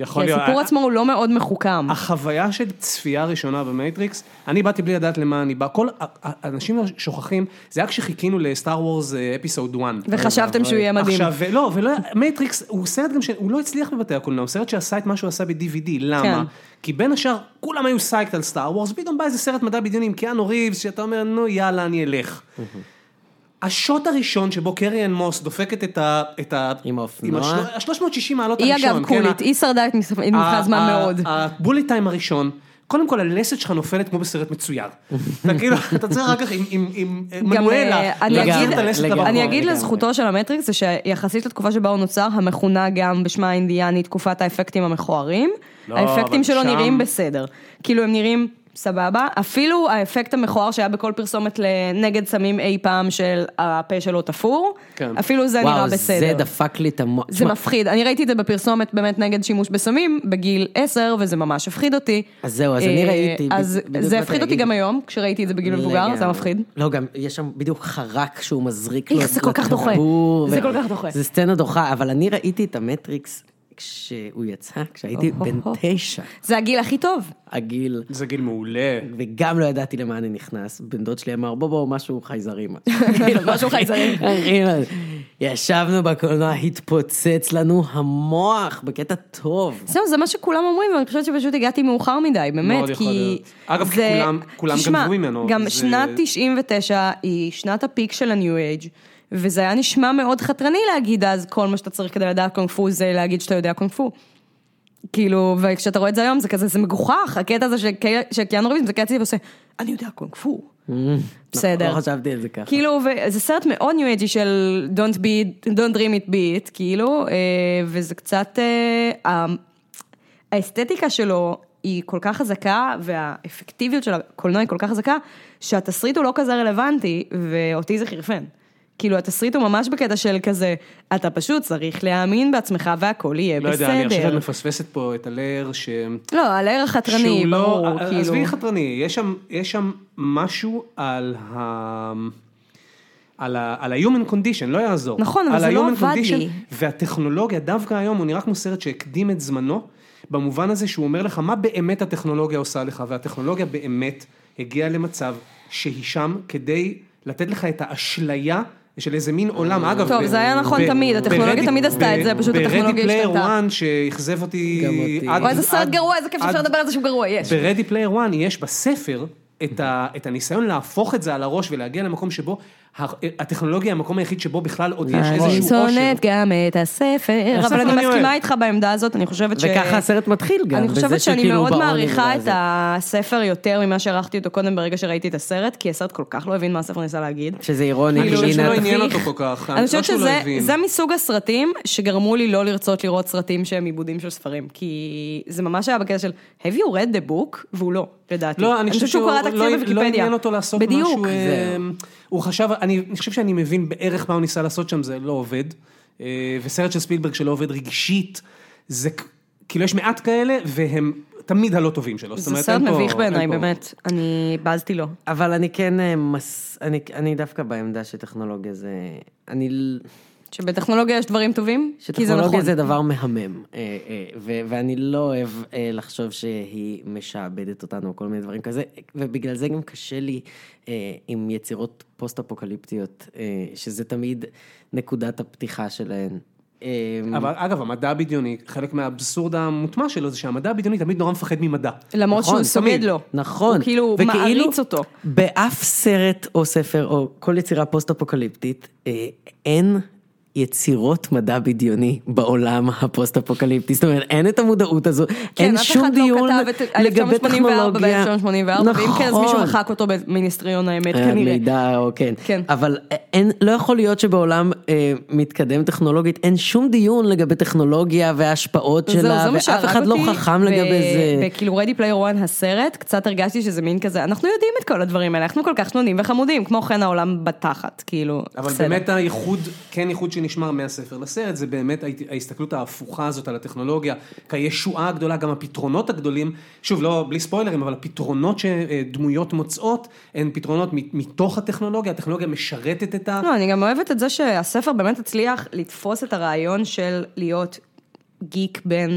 B: יכול
C: כי
B: להיות.
C: הסיפור עצמו הוא לא מאוד מחוכם.
B: החוויה של צפייה ראשונה במייטריקס, אני באתי בלי לדעת למה אני בא, כל ה- ה- האנשים שוכחים, זה היה כשחיכינו לסטאר וורס אה, אפיסוד 1.
C: וחשבתם שהוא יהיה מדהים.
B: עכשיו, לא, ולא, מייטריקס הוא סרט גם שהוא לא הצליח בבתי הקולנוע, הוא סרט שעשה את מה שהוא עשה ב-DVD, למה?
C: כן.
B: כי בין השאר, כולם היו סייקט על סטאר וורס, פתאום בא איזה סרט מדע בדיוני עם קיאנו ריבס, שאתה אומר, נו יאללה, אני אלך. השוט הראשון שבו קריאן מוס דופקת את ה... את ה
D: עם האופנוע.
B: ה-360 מעלות
C: היא
B: הראשון.
C: אגב
B: כן,
C: קולית,
B: ה-
C: היא שרדה את מס- את מבחן הזמן
B: ה- ה-
C: מאוד.
B: הבולט טיים הראשון, קודם כל הלסת שלך נופלת כמו בסרט מצויר. אתה כאילו, אתה צריך אחר כך עם- עם עם
C: גם,
B: מנואלה,
C: אה, אני
B: להחזיר
C: אגיד-
B: את הלסת
D: לגמרי.
B: למקום.
C: אני אגיד
D: לגמרי.
C: לזכותו של המטריקס זה שיחסית לתקופה שבה הוא נוצר, המכונה גם בשמה האינדיאני תקופת האפקטים המכוערים.
B: לא,
C: האפקטים
B: אבל
C: שלו
B: שם-
C: נראים בסדר. כאילו הם נראים סבבה, אפילו האפקט המכוער שהיה בכל פרסומת לנגד סמים אי פעם של הפה שלו תפור,
B: כן.
C: אפילו זה נראה בסדר.
D: וואו, זה דפק לי את המוח.
C: זה
D: תשמע,
C: מפחיד, אני ראיתי את זה בפרסומת באמת נגד שימוש בסמים בגיל 10 וזה ממש הפחיד אותי.
D: אז זהו, אז אני
C: אה,
D: ראיתי,
C: אז
D: בדיוק באתי
C: זה הפחיד אותי
D: להגיד.
C: גם היום, כשראיתי את זה בגיל כאילו, מבוגר, זה היה
D: לגמרי.
C: מפחיד.
D: לא, גם יש שם בדיוק חרק שהוא מזריק לו
C: איך
D: את
C: זה כל כך דוחה.
D: הכדור,
C: זה
D: ו-
C: כל כך דוחה.
D: זה סצנה דוחה, אבל אני ראיתי את המטריקס כשהוא יצא, כשהייתי בן
C: או-הו-הו.
D: תשע,
C: זה הגיל הכי טוב.
D: הגיל,
B: זה גיל מעולה.
D: וגם לא ידעתי למה אני נכנס. בן דוד שלי אמר, בוא בוא, משהו חייזרים.
C: משהו חייזרים.
D: אחי, ישבנו בקולנוע, התפוצץ לנו המוח, בקטע טוב.
C: זהו, זה מה שכולם אומרים, ואני חושבת שפשוט הגעתי מאוחר מדי, באמת,
B: מאוד
C: כי...
B: יכול להיות. אגב, כי כולם- כולם
C: תשמע,
B: גנבו ממנו,
C: גם
B: זה-
C: שנת 99 היא שנת הפיק של הניו אייג', וזה היה נשמע מאוד חתרני להגיד אז, כל מה שאתה צריך כדי לדעת קונג פו זה להגיד שאתה יודע קונג פו. כאילו, וכשאתה רואה את זה היום, זה כזה, זה מגוחך, הקטע הזה שק- שקיאנו ריבס מקצי ועושה, אני יודע קונג פו.
B: Mm.
C: בסדר.
D: לא חשבתי על זה ככה.
C: כאילו, וזה סרט מאוד ניו אייג'י של Don't be, Don't dream it be it, כאילו, אה, וזה קצת, אה, ה- האסתטיקה שלו היא כל כך חזקה, והאפקטיביות של הקולנוע היא כל כך חזקה, שהתסריט הוא לא כזה רלוונטי, ואותי זה חירפן. כאילו, התסריט הוא ממש בקטע של כזה, אתה פשוט צריך להאמין בעצמך והכל יהיה
B: לא
C: בסדר.
B: יודע, אני חושב שאת מפספסת פה את הלר ש...
C: לא, על הערך חתרני,
B: שהוא לא-
C: ברור,
B: ע-
C: כאילו.
B: עזבי חתרני, יש שם- יש שם משהו על ה... על ה- על ה-human condition, לא יעזור.
C: נכון, אבל
B: על
C: זה לא
B: ה-human
C: עבד לי.
B: condition, והטכנולוגיה, דווקא היום, הוא נראה כמו סרט שהקדים את זמנו, במובן הזה שהוא אומר לך מה באמת הטכנולוגיה עושה לך, והטכנולוגיה באמת הגיעה למצב שהיא שם כדי לתת לך את האשליה של איזה מין עולם. אגב,
C: טוב,
B: ב-
C: זה היה נכון
B: ב-
C: תמיד, הטכנולוגיה
B: ב-Ready-
C: תמיד עשתה את זה,
B: ב-
C: פשוט הטכנולוגיה
B: ב-Ready Player
C: השתנתה.
B: One שאכזב אותי...
D: גם אותי.
B: עד-
C: וואי, איזה סרט
B: עד-
C: גרוע, איזה כיף שאפשר
B: עד-
C: לדבר על זה שהוא גרוע, יש.
B: ברדי פלייר 1 יש בספר את, ה, את הניסיון להפוך את זה על הראש ולהגיע למקום שבו ה- הטכנולוגיה היא המקום היחיד שבו בכלל עוד יש
C: אני
B: איזשהו אה, אושר.
C: שונאת גם את הספר,
B: הספר
C: אבל אני
B: אני אוהב.
C: מסכימה איתך בעמדה הזאת, אני חושבת ש...
D: וככה הסרט מתחיל גם,
C: אני
D: בזה
C: חושבת שאני
D: שכאילו
C: מאוד
D: בעוני
C: מעריכה את
D: ובזה.
C: הספר יותר ממה שהערכתי אותו קודם ברגע שראיתי את הסרט, כי הסרט כל כך לא הבין מה הספר ניסה להגיד.
D: שזה אירוני,
C: כאילו
B: אני חושב
D: כי
B: שלא
D: הנה-
B: עניין
C: תביך.
B: אותו כל כך.
C: אני חושבת
B: לא שהוא לא
C: שזה
B: הבין.
C: זה מסוג הסרטים שגרמו לי לא לרצות לראות סרטים שהם עיבודים של ספרים, כי זה ממש היה בקטע של have you read the book? והוא לא, לדעתי.
B: לא, אני חושב
C: חושבת שהוא
B: שהוא
C: קרא
B: לא-
C: תקציר
B: לא
C: בוויקיפדיה.
B: עניין אותו לעשות
C: בדיוק.
B: משהו, אה, הוא חשב, אני אני חושב שאני מבין בערך מה הוא ניסה לעשות שם, זה לא עובד. אה, וסרט של ספילברג שלא עובד רגשית, זה כ- כאילו יש מעט כאלה, והם תמיד הלא טובים שלו. זאת
C: זה
B: אומרת,
C: סרט
B: אין פה-
C: מביך
B: אין
C: בעיניי,
B: פה-
C: באמת. אני בזתי לו.
D: אבל אני כן אה, מס... אני, אני דווקא בעמדה שטכנולוגיה זה... אני... ל-
C: שבטכנולוגיה יש דברים טובים? כי זה
D: שטכנולוגיה
C: נכון.
D: זה דבר מהמם, אה, אה, ו- ואני לא אוהב אה, לחשוב שהיא משעבדת אותנו, או כל מיני דברים כזה, ובגלל זה גם קשה לי אה, עם יצירות פוסט-אפוקליפטיות, אה, שזה תמיד נקודת הפתיחה שלהן. אמ,
B: אבל אגב, המדע הבדיוני, חלק מהאבסורד המוטמע שלו זה שהמדע הבדיוני תמיד נורא מפחד ממדע.
C: למרות
D: נכון,
C: שהוא סוגד
D: תמיד.
C: לו.
D: נכון.
C: הוא כאילו
D: וכאילו,
C: מעריץ אותו.
D: באף סרט או ספר או כל יצירה פוסט-אפוקליפטית, אה, אין יצירות מדע בדיוני בעולם הפוסט-אפוקליפטי. זאת אומרת, אין את המודעות הזו, אין
C: אף אחד
D: שום
C: לא
D: דיון
C: כתב את
D: לגבי טכנולוגיה.
C: 1984 ב-1984, ואם כן, אז מישהו
D: נכון.
C: מחק אותו במיניסטריון האמת
D: אה,
C: כנראה.
D: מידע, או כן.
C: כן.
D: אבל אין, לא יכול להיות שבעולם אה, מתקדם טכנולוגית, אין שום דיון לגבי טכנולוגיה וההשפעות
C: זהו,
D: שלה,
C: זה מה
D: ואף
C: שהרג
D: אחד לא
C: אותי
D: חכם
C: ב-
D: לגבי זה.
C: בכאילו רדי פלייר 1 הסרט, קצת הרגשתי שזה מין כזה, אנחנו יודעים את כל הדברים האלה, אנחנו כל כך שנונים וחמודים, כמו כן העולם בתחת, כאילו,
B: אבל
C: בסדר.
B: באמת הייחוד, כן הייחוד שנשמר מהספר לסרט, זה באמת ההת- ההסתכלות ההפוכה הזאת על הטכנולוגיה, כי הישועה הגדולה, גם הפתרונות הגדולים, שוב, לא, בלי ספוילרים, אבל הפתרונות שדמויות מוצאות, הן פתרונות מ- מתוך הטכנולוגיה, הטכנולוגיה משרתת את ה...
C: לא, אני גם אוהבת את זה שהספר באמת הצליח לתפוס את הרעיון של להיות גיק בן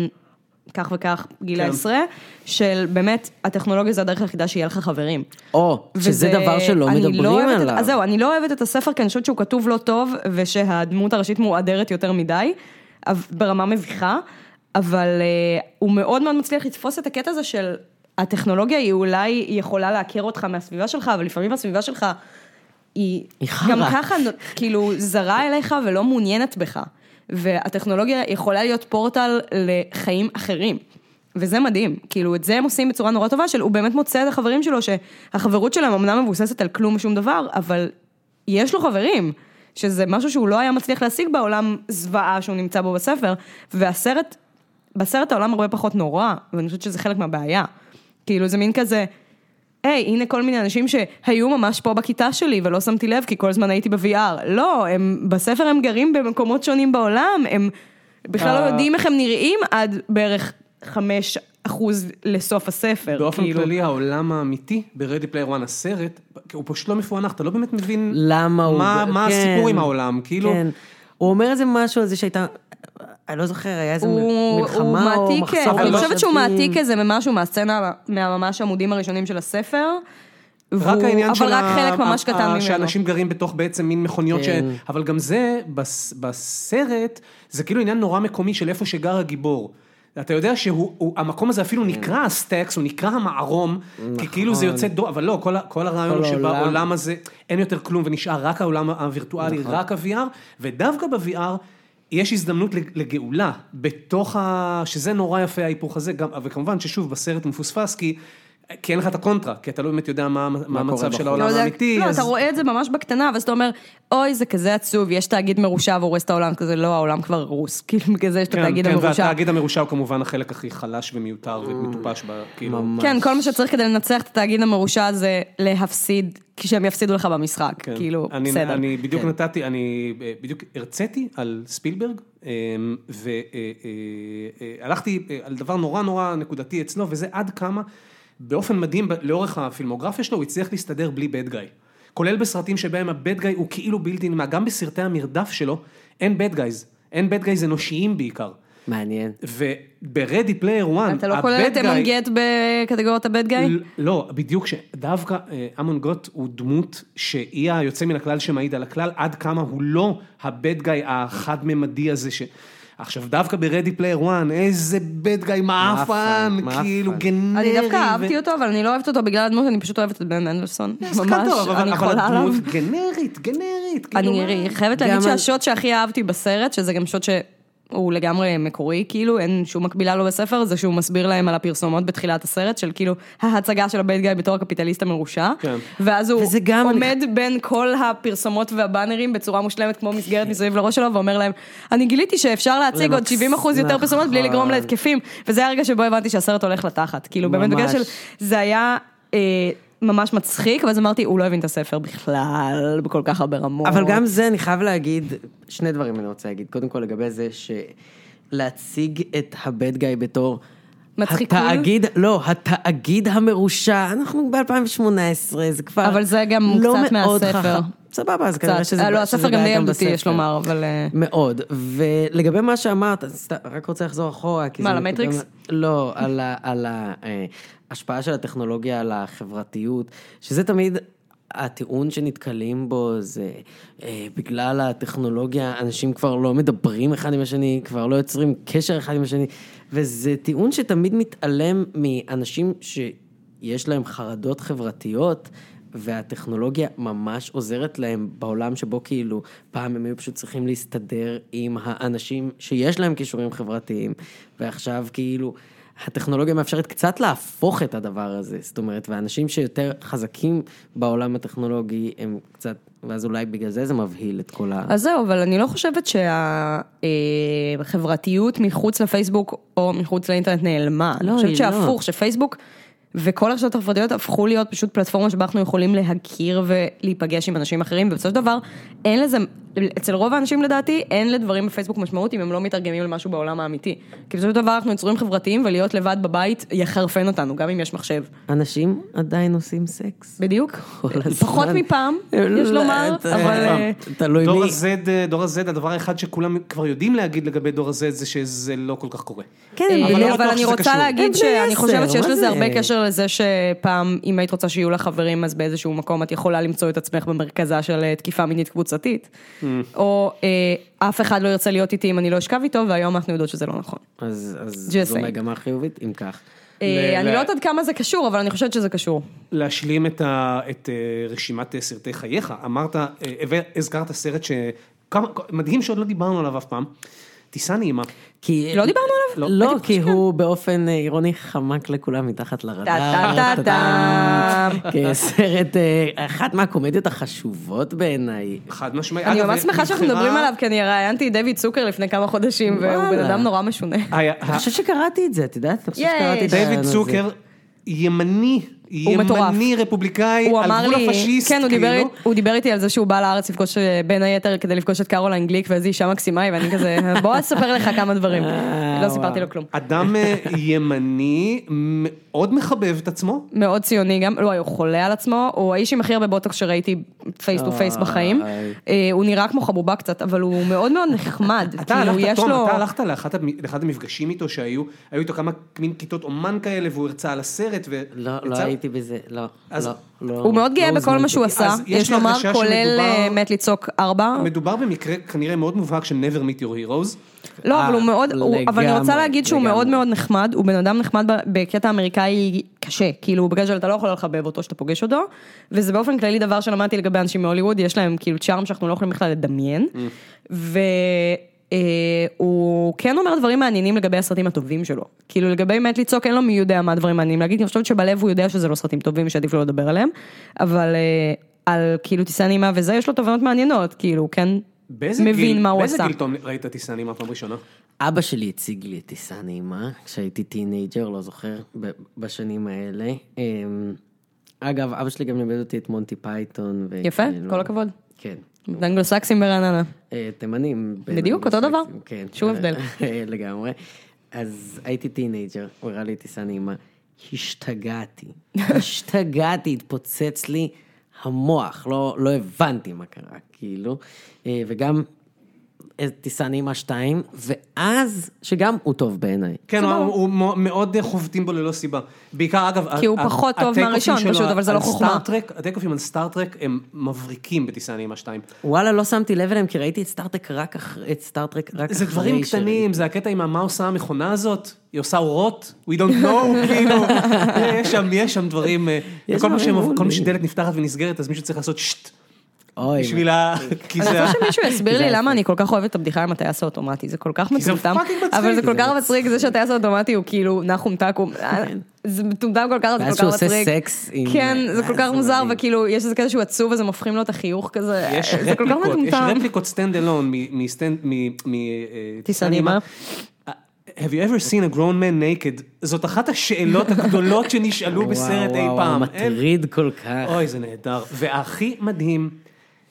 C: כך וכך גיל
B: כן.
C: העשרה, של באמת, הטכנולוגיה זה הדרך היחידה שיהיה לך חברים.
D: או, שזה
C: וזה-
D: דבר שלא
C: אני לא
D: מדברים
C: אוהבת
D: עליו.
C: את, אז זהו, אני לא אוהבת את הספר, כי אני חושבת שהוא כתוב לא טוב, ושהדמות הראשית מועדרת יותר מדי, אב- ברמה מביכה, אבל אה, הוא מאוד מאוד מצליח לתפוס את הקטע הזה של הטכנולוגיה, היא אולי יכולה לעקר אותך מהסביבה שלך, אבל לפעמים הסביבה שלך היא...
D: היא חרא.
C: גם ככה, נו- כאילו, זרה אליך ולא מעוניינת בך. והטכנולוגיה יכולה להיות פורטל לחיים אחרים. וזה מדהים, כאילו את זה הם עושים בצורה נורא טובה, של הוא באמת מוצא את החברים שלו, שהחברות שלהם אמנם מבוססת על כלום ושום דבר, אבל יש לו חברים, שזה משהו שהוא לא היה מצליח להשיג בעולם זוועה שהוא נמצא בו בספר, והסרט, בסרט העולם הרבה פחות נורא, ואני חושבת שזה חלק מהבעיה. כאילו זה מין כזה, היי, הנה כל מיני אנשים שהיו ממש פה בכיתה שלי ולא שמתי לב כי כל הזמן הייתי ב-VR. לא, הם, בספר הם גרים במקומות שונים בעולם, הם בכלל לא
B: אה.
C: יודעים איך הם נראים עד בערך 5% לסוף
D: לא,
C: הספר.
B: באופן
C: כאילו.
B: כללי, העולם האמיתי ברדי פלייר 1 הסרט, הוא פשוט לא מפוענח, אתה לא באמת מבין
D: למה הוא...
B: מה, מה
D: כן,
B: הסיפור עם העולם, כאילו...
D: כן. הוא אומר איזה משהו על זה שהייתה... אני לא זוכר, היה איזה
C: הוא, הוא
D: מלחמה או
C: מעתיק, כן.
D: מחסור.
C: אני
B: אבל
C: חושבת שהוא
D: במשאבים.
C: מעתיק איזה ממשהו מהסצנה, מהממש עמודים הראשונים של הספר.
B: רק
C: והוא-
B: העניין של
C: אבל רק
B: ה-
C: חלק ממש
B: ה- ה-
C: קטן ממנו.
B: שאנשים גרים בתוך בעצם מין מכוניות ש...
D: כן.
B: אבל גם זה, בס- בסרט, זה כאילו עניין נורא מקומי של איפה שגר הגיבור. אתה יודע שהמקום הזה
C: כן.
B: אפילו נקרא הסטקס, הוא נקרא המערום, כי כאילו
C: נכון.
B: זה יוצא דו, אבל לא, כל, ה- כל הרעיון
D: כל
B: הוא
D: העולם.
B: שבעולם הזה אין יותר כלום ונשאר רק העולם הווירטואלי,
D: נכון.
B: רק ה-VR, ודווקא ב-VR יש הזדמנות לג- לגאולה, בתוך ה... שזה נורא יפה ההיפוך הזה, גם, וכמובן ששוב, בסרט מפוספס, כי... כי אין לך את הקונטרה, כי אתה לא באמת יודע מה, מה
D: קורה
B: המצב של
D: בחוץ.
B: העולם
C: לא, זה-
B: האמיתי.
C: לא,
B: אז-
C: אתה רואה את זה ממש בקטנה, ואז אתה אומר, אוי, זה כזה עצוב, יש תאגיד מרושע והורס את העולם, כזה לא, העולם כבר הרוס, כאילו, בגלל זה יש את
B: כן,
C: התאגיד
B: כן,
C: המרושע.
B: והתאגיד המרושע הוא כמובן החלק הכי חלש ומיותר ומטופש, ב- כאילו.
C: כן, כל מה שצריך כדי לנצח את התאגיד המרושע זה להפסיד, כשהם יפסידו לך במשחק,
B: כן.
C: כאילו,
B: אני-
C: בסדר.
B: אני בדיוק נתתי, אני אה, בדיוק הרציתי על ספילברג, אמ, אה, והלכתי אה, על דבר נורא נורא נקודתי אצלו, וזה עד כמה, באופן מדהים, ב- לאורך הפילמוגרפיה שלו, הוא הצליח להסתדר בלי bad guy. כולל בסרטים שבהם ה-bad guy הוא כאילו בלתי נמנע, גם בסרטי המרדף שלו, אין bad guys, אין bad guys אנושיים בעיקר.
D: מעניין.
B: וברדי פלייר 1,
C: אתה לא כולל את אמון גט בקטגוריית הבד גיא?
B: לא, בדיוק שדווקא אה, אמון גוט הוא דמות שהיא היוצא מן הכלל שמעיד על הכלל, עד כמה הוא לא הבד גיא החד-ממדי הזה ש... עכשיו, דווקא ברדי פלייר 1, איזה בד גיא מעפן,
D: מעפן.
B: כאילו גנרי.
C: אני דווקא
B: ו-
C: אהבתי אותו, אבל אני לא אוהבת אותו בגלל הדמות, אני פשוט אוהבת את בן מנדלסון.
B: אז כאן
C: ממש,
B: טוב, אבל-
C: אני
B: אבל
C: חולה עליו.
B: הדמות גנרית, גנרית. כאילו,
C: אני
B: מה?
C: חייבת
D: גם
C: להגיד
D: על-
C: שהשוט שהכי אהבתי בסרט, שזה גם שוט שהוא לגמרי מקורי, כאילו, אין שום מקבילה לו בספר, זה שהוא מסביר להם על הפרסומות בתחילת הסרט, של כאילו, ההצגה של הבייד גיא בתור הקפיטליסט המרושע,
B: כן.
C: ואז הוא
D: וזה גם-
C: עומד בין כל הפרסומות והבאנרים בצורה מושלמת, כמו מסגרת מסביב לראש שלו, ואומר להם, אני גיליתי שאפשר להציג עוד
D: למקס-
C: 70 אחוז יותר פרסומות בלי לגרום
D: נכון.
C: להתקפים, וזה הרגע שבו הבנתי שהסרט הולך לתחת, כאילו, באמת בגלל
D: ממש.
C: של, זה היה... אה, ממש מצחיק, ואז אמרתי, הוא לא הבין את הספר בכלל, בכל כך הרבה רמות.
D: אבל גם זה, אני חייב להגיד, שני דברים אני רוצה להגיד. קודם כל לגבי זה שלהציג את הבד גיא בתור...
C: מצחיקול?
D: התאגיד, לא, התאגיד המרושע, אנחנו ב-2018, זה כבר...
C: אבל זה גם
D: לא
C: קצת
D: מאוד
C: מהספר.
D: חכם. סבבה, אז כנראה
C: קצת.
D: שזה...
C: אה, לא,
D: שזה
C: הספר גם
D: בעיה
C: די ילדותי, יש
D: בספר.
C: לומר, אבל... אה,
D: מאוד, ולגבי מה שאמרת, אז סת- רק רוצה לחזור אחורה. כי
C: מה,
D: זה
C: על
D: נקודה-
C: המטריקס?
D: לא, על אה, ה- על ההשפעה של הטכנולוגיה על החברתיות, שזה תמיד הטיעון שנתקלים בו זה אה, בגלל הטכנולוגיה, אנשים כבר לא מדברים אחד עם השני, כבר לא יוצרים קשר אחד עם השני, וזה טיעון שתמיד מתעלם מאנשים שיש להם חרדות חברתיות. והטכנולוגיה ממש עוזרת להם בעולם שבו כאילו פעם הם היו פשוט צריכים להסתדר עם האנשים שיש להם כישורים חברתיים, ועכשיו כאילו הטכנולוגיה מאפשרת קצת להפוך את הדבר הזה, זאת אומרת, והאנשים שיותר חזקים בעולם הטכנולוגי הם קצת, ואז אולי בגלל זה זה מבהיל את כל ה...
C: אז זהו, אבל אני לא חושבת שהחברתיות מחוץ לפייסבוק או מחוץ לאינטרנט נעלמה.
D: לא,
C: אני
D: היא
C: חושבת
D: לא.
C: שהפוך, שפייסבוק וכל הרשתות החברתיות הפכו להיות פשוט פלטפורמה שבה אנחנו יכולים להכיר ולהיפגש עם אנשים אחרים, ובסופו של דבר, אין לזה, אצל רוב האנשים לדעתי, אין לדברים בפייסבוק משמעות אם הם לא מתרגמים למשהו בעולם האמיתי. כי בסופו של דבר אנחנו יצורים חברתיים ולהיות לבד בבית יחרפן אותנו, גם אם יש מחשב.
D: אנשים עדיין עושים סקס.
C: בדיוק.
D: כל הזמן.
C: פחות מפעם, יש
D: לא,
C: לומר,
D: ת-
C: אבל... אה,
D: תלוי
B: דור
D: מי.
B: ה-Z, אה, דור ה-Z, הדבר האחד שכולם כבר יודעים להגיד לגבי דור ה-Z זה שזה לא כל כך קורה.
D: כן,
C: אה,
B: אבל
C: אבל,
B: לא
C: אבל
B: בטוח
C: אני
B: שזה
C: רוצה
B: קשור. אה,
D: הם
C: להגיד
D: בני
C: שאני
D: עשר,
C: חושבת שיש
D: מה
C: לזה
D: זה?
C: הרבה קשר לזה שפעם, אם היית רוצה שיהיו לך חברים, אז באיזשהו מקום את יכולה למצוא את עצמך במרכזה של אה, תקיפה מינית קבוצתית.
B: Mm.
C: או אה, אף אחד לא ירצה להיות איתי אם אני לא אשכב איתו, והיום אנחנו יודעות שזה לא נכון.
D: אז, אז
C: Just
D: זו
C: saying.
D: מגמה חיובית, אם כך.
C: אה,
B: ל-
C: אני
B: ל-
C: לא יודעת כמה זה קשור, אבל אני חושבת שזה קשור.
B: להשלים את, ה, את אה, רשימת אה, סרטי חייך. אמרת, אה, והזכרת סרט ש... כמה, מדהים שעוד לא דיברנו עליו אף פעם. טיסה נעימה.
D: כי...
C: לא דיברנו עליו?
D: לא,
C: הייתי
D: לא כי הוא באופן אה, אירוני חמק לכולם מתחת לרדאר.
C: טה-טה-טה-טם.
D: כסרט, אה, אחת מהקומדיות החשובות בעיניי.
B: חד משמעית.
C: אני
B: אגב,
C: ממש שמחה שאנחנו
B: נבחרה-
C: מדברים עליו, כי אני ראיינתי את דויד צוקר לפני כמה חודשים, והוא בן
D: וואלה.
C: אדם נורא משונה.
B: היה-
D: אני חושבת שקראתי את זה, את יודעת? אני חושבת
C: ייי.
D: שקראתי את זה.
B: דיוויד צוקר, ימני,
C: מטורף.
B: ימני רפובליקאי,
C: הוא
B: על
C: אמר
B: גבול
C: לי,
B: הפשיסט,
C: כן, הוא
B: כאילו.
C: דיבר, אית- הוא דיבר איתי על זה שהוא בא לארץ לפגוש, אה, בין היתר כדי לפגוש את קרוליין גליק ואיזו אישה מקסימה היא, ואני כזה, בוא אספר לך כמה דברים.
B: אה,
C: לא סיפרתי לו כלום.
B: אדם אה, ימני, מאוד מחבב את עצמו.
C: מאוד ציוני גם, לא, הוא חולה על עצמו, הוא האיש עם הכי הרבה בוטוקס שראיתי פייס טו פייס בחיים.
D: איי.
C: אה, הוא נראה כמו חבובה קצת, אבל הוא מאוד מאוד נחמד.
B: אתה
C: כאילו,
B: הלכת,
C: יש
B: תום,
C: לו-
B: אתה הלכת לאחת המ- לאחד המפגשים איתו שהיו, היו איתו כמה מין כיתות אומן כאלה, והוא הרצה על הסרט, ו...
D: לא, לא
B: יצא-
D: הייתי בזה, לא,
B: אז-
D: לא, לא.
C: הוא מאוד גאה
D: לא
C: בכל מה
D: הוזמנתי.
C: שהוא עשה,
B: אז יש
C: יש
B: לי
C: לומר,
B: הרגשה
C: כולל
B: שמדובר-
C: אה, מת לצעוק ארבע.
B: מדובר במקרה כנראה מאוד מובהק של never meet your heroes.
C: לא, אבל הוא
D: אה,
C: מאוד, הוא- אבל אני רוצה
D: לגמרי,
C: להגיד שהוא
D: לגמרי.
C: מאוד מאוד נחמד, הוא בן אדם נחמד ב- בקטע אמריקאי קשה, כאילו בגלל שאתה לא יכול לחבב אותו שאתה פוגש אותו, וזה באופן כללי דבר שלמדתי לגבי אנשים מהוליווד, יש להם כאילו צ'ארם שאנחנו לא יכולים בכלל לדמיין,
D: Mm.
C: והוא כן אומר דברים מעניינים לגבי הסרטים הטובים שלו, כאילו לגבי מת לצעוק אין לו מי יודע מה הדברים מעניינים להגיד, אני חושבת שבלב הוא יודע שזה לא סרטים טובים שעדיף לא לדבר עליהם, אבל אה, על כאילו טיסה נעימה וזה, יש לו תובנות מעניינות, כאילו הוא כן
B: באיזה גיל,
C: מבין מה הוא עשה.
B: באיזה גיל תום ראית טיסה נעימה פעם ראשונה?
D: אבא שלי הציג לי את טיסה נעימה, כשהייתי טינג'ר, לא זוכר, ב- בשנים האלה. אמ, אגב, אבא שלי גם לימד אותי את מונטי פייתון. ו-
C: יפה,
D: כאילו-
C: כל הכבוד.
D: כן.
C: אנגלוסקסים ברעננה.
D: אה, תימנים. בין
C: בדיוק, אותו דבר.
D: אנגלוסקסים, כן.
C: שום הבדל.
D: אה, לגמרי. אז הייתי טינג'ר, הוא הראה לי טיסה נעימה. השתגעתי. השתגעתי, התפוצץ לי המוח. לא, לא הבנתי מה קרה, כאילו. אה, וגם אה, טיסה נעימה 2, ואז, שגם הוא טוב בעיניי.
B: כן, הוא- הוא מו- מאוד אה, חובטים בו ללא סיבה. בעיקר, אגב,
C: כי הוא
B: ה- ה-
C: פחות טוב
B: הטייק-אופים
C: מהראשון,
B: שלו
C: פשוט, אבל זה לא
B: על
C: חוכמה.
B: סטארט-טרק- הטייק-אופים על סטארט-טרק הם מבריקים בטיסה נעימה 2.
D: וואלה, לא שמתי לב אליהם, כי ראיתי את סטארטרק רק אחרי, את סטארטרק רק אחרי
B: זה דברים קטנים, זה הקטע עם ה- מה עושה המכונה הזאת, היא עושה אורות, we don't know, כאילו, יש שם, יש שם דברים, אה,
D: יש
B: וכל פעם
D: דברים
B: שהם- כל פעם
D: מעולים.
B: שדלת נפתחת ונסגרת, אז מישהו צריך לעשות שט,
D: אוי,
B: בשביל ה... כי זה...
C: אני
B: ה-
C: רוצה שמישהו יסביר לי
D: זה
C: למה אני כל כך אוהבת את הבדיחה עם הטייס האוטומטי, זה כל כך
B: זה
C: מטומטם,
B: fucking מצחיק.
C: אבל זה כל
B: זה
C: כך מצחיק, זה שהטייס האוטומטי הוא כאילו נחום תקום,
B: כן.
C: זה מטומטם כל כך, זה
D: ואז
C: כל כך
D: שהוא עושה
C: מצחיק.
D: סקס עם-
C: כן, זה
D: אה,
C: כל כך
D: זה
C: מוזר,
D: מדהים.
C: וכאילו, יש איזה קטע שהוא עצוב, אז הם הופכים לו את החיוך כזה,
B: יש
C: זה כל כך
B: רפליקות, יש
C: מטומטם.
B: רפליקות סטנד אלון מטיסה
C: נעימה.
B: "Uh, Have you ever seen a grown man naked? זאת אחת השאלות הגדולות שנשאלו בסרט אי פעם. אין-
D: מטריד כל כך.
B: אוי, זה נהדר. והכי מדהים,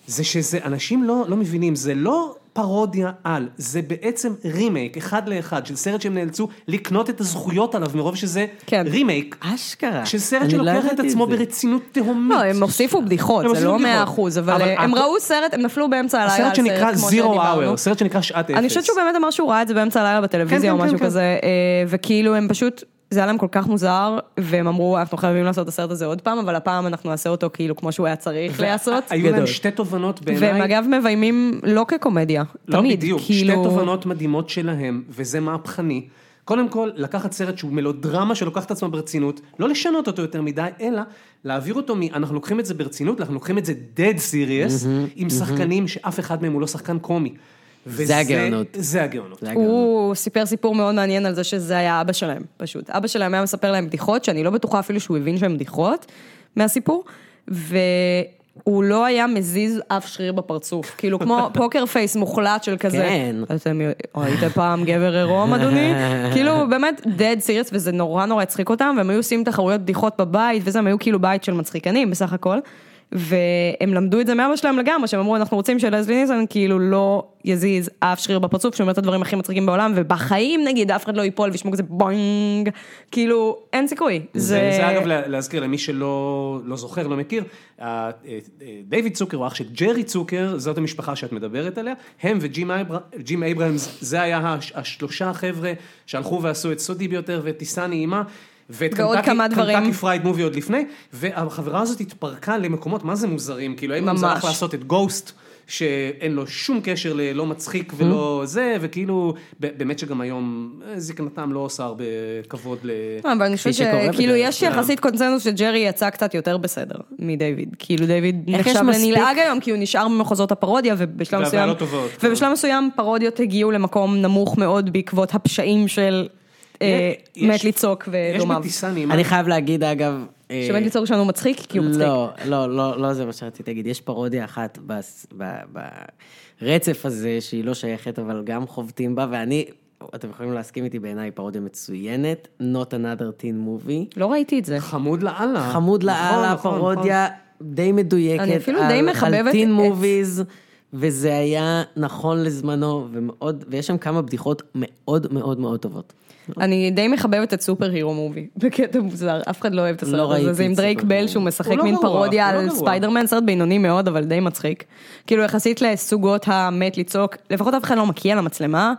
B: זה שזה, אנשים לא, לא מבינים, זה לא פרודיה על, זה בעצם רימייק, אחד לאחד, של סרט שהם נאלצו לקנות את הזכויות עליו, מרוב שזה
C: כן.
B: רימייק,
D: אשכרה.
B: של סרט
D: אני לא
B: שלוקח את
D: ידעתי
B: עצמו
D: זה.
B: ברצינות תהומית.
C: לא, הם הוסיפו בדיחות,
B: הם
C: זה לא
B: הוסיפו
C: מאה
B: בדיחות.
C: אחוז, אבל
B: אבל
C: אה, הם
B: הכל-
C: ראו סרט, הם נפלו באמצע הלילה
B: הסרט
C: על סרט,
B: שנקרא
C: כמו
B: Zero
C: שדיברנו.
B: Hour, סרט שנקרא שעת אפס.
C: אני חושבת שהוא באמת אמר שהוא ראה את זה באמצע הלילה
B: כן,
C: בטלוויזיה
B: כן,
C: או
B: כן,
C: משהו
B: כן.
C: כזה, אה, וכאילו הם פשוט זה היה להם כל כך מוזר, והם אמרו, אנחנו חייבים לעשות את הסרט הזה עוד פעם, אבל הפעם אנחנו נעשה אותו כאילו כמו שהוא היה צריך לעשות.
B: היו להם
D: גדול.
B: שתי תובנות
C: והם
B: בעיניי.
C: אגב מביימים לא כקומדיה,
B: לא
C: תמיד,
B: בדיוק,
C: כאילו...
B: שתי תובנות מדהימות שלהם, וזה מהפכני. קודם כל, לקחת סרט שהוא מלודרמה שלוקח את עצמה ברצינות, לא לשנות אותו יותר מדי, אלא להעביר אותו מ... אנחנו לוקחים את זה ברצינות, אנחנו לוקחים את זה dead serious, עם שחקנים שאף אחד מהם הוא לא שחקן קומי. וזה-
D: הגאונות.
B: זה הגאונות.
D: זה היה גאון.
C: הוא סיפר סיפור מאוד מעניין על זה שזה היה אבא שלהם, פשוט. אבא שלהם היה מספר להם בדיחות, שאני לא בטוחה אפילו שהוא הבין שהן בדיחות מהסיפור, והוא לא היה מזיז אף שריר בפרצוף, כאילו כמו פוקר פייס מוחלט של כזה.
D: כן.
C: אתם ראיתם פעם גבר עירום, אדוני? כאילו, באמת, dead serious, וזה נורא נורא הצחיק אותם, והם היו עושים תחרויות בדיחות בבית, וזה, הם היו כאילו בית של מצחיקנים בסך הכל. והם למדו את זה מאבא שלהם לגמרי, שהם אמרו, אנחנו רוצים שלזלי ניסן כאילו לא יזיז אף שריר בפרצוף, שהוא אומר את הדברים הכי מצחיקים בעולם, ובחיים נגיד אף אחד לא ייפול וישמעו כזה בונג, כאילו, אין סיכוי.
B: זה, זה אגב לה- להזכיר למי שלא לא זוכר, לא מכיר, אה, אה, אה, דיוויד צוקר הוא אח של ג'רי צוקר, זאת המשפחה שאת מדברת עליה, הם וג'ים אייבר- ג'ים אייברהמס, זה היה הש- השלושה חבר'ה שהלכו ועשו את סודי ביותר ואת טיסה נעימה. ואת
C: ועוד כמה דברים.
B: קנטקי פרייד מובי עוד לפני, והחברה הזאת התפרקה למקומות מה זה מוזרים, כאילו האם
C: ממש.
B: זה הלך לעשות את גוסט, שאין לו שום קשר ללא מצחיק
C: Mm-hmm.
B: ולא זה, וכאילו, ב- באמת שגם היום אה, זקנתם לא עושה הרבה כבוד ל...
C: אה, אבל אני חושבת
D: שקורה בדרך
C: שכאילו יש
B: כלל.
C: יחסית קונצנזוס שג'רי יצא קצת יותר בסדר מדיוויד. כאילו דיוויד
D: איך
C: נחשב
D: יש מספיק-
C: לנלעג היום כי הוא נשאר במחוזות הפרודיה ובשלב
B: והבעלות
C: מסוים...
B: טובות.
C: ובשלב מסוים פרודיות הגיעו למקום נמוך מאוד בעקבות הפשעים של אה,
B: יש-
C: מת לצעוק
B: יש
C: ודומיו.
B: בטיסה נעימה.
D: אני חייב להגיד, אגב... אה,
C: שמת לצעוק שלנו מצחיק כי הוא מצחיק.
D: לא, לא, לא, לא זה מה שרציתי להגיד. יש פרודיה אחת בס- ב- ברצף הזה, שהיא לא שייכת, אבל גם חובטים בה, ואני, אתם יכולים להסכים איתי, בעיניי היא פרודיה מצוינת, Not another teen movie.
C: לא ראיתי את זה.
B: חמוד לאללה.
C: אה,
D: חמוד
B: נכון,
D: לאללה,
B: נכון,
D: פרודיה די מדויקת.
C: אני אפילו די
D: על-
C: מחבבת
D: על
C: את-
D: טין מוביז, וזה היה נכון לזמנו, ומאוד, ויש שם כמה בדיחות מאוד מאוד מאוד טובות.
C: אני די מחבבת את סופר הירו מובי, בקטע מוזר, אף אחד לא אוהב את הסרט
D: לא
C: הזה,
D: ראיתי
C: זה עם
D: את
C: דרייק
D: סופר
C: בל
D: הירו.
C: שהוא משחק
B: הוא לא
C: מין
B: גרוע,
C: פרודיה
B: הוא לא
C: על
B: גרוע.
C: ספיידרמן, סרט בינוני מאוד, אבל די מצחיק. כאילו יחסית לסוגות המת לצעוק, לפחות אף אחד לא מקיא על המצלמה,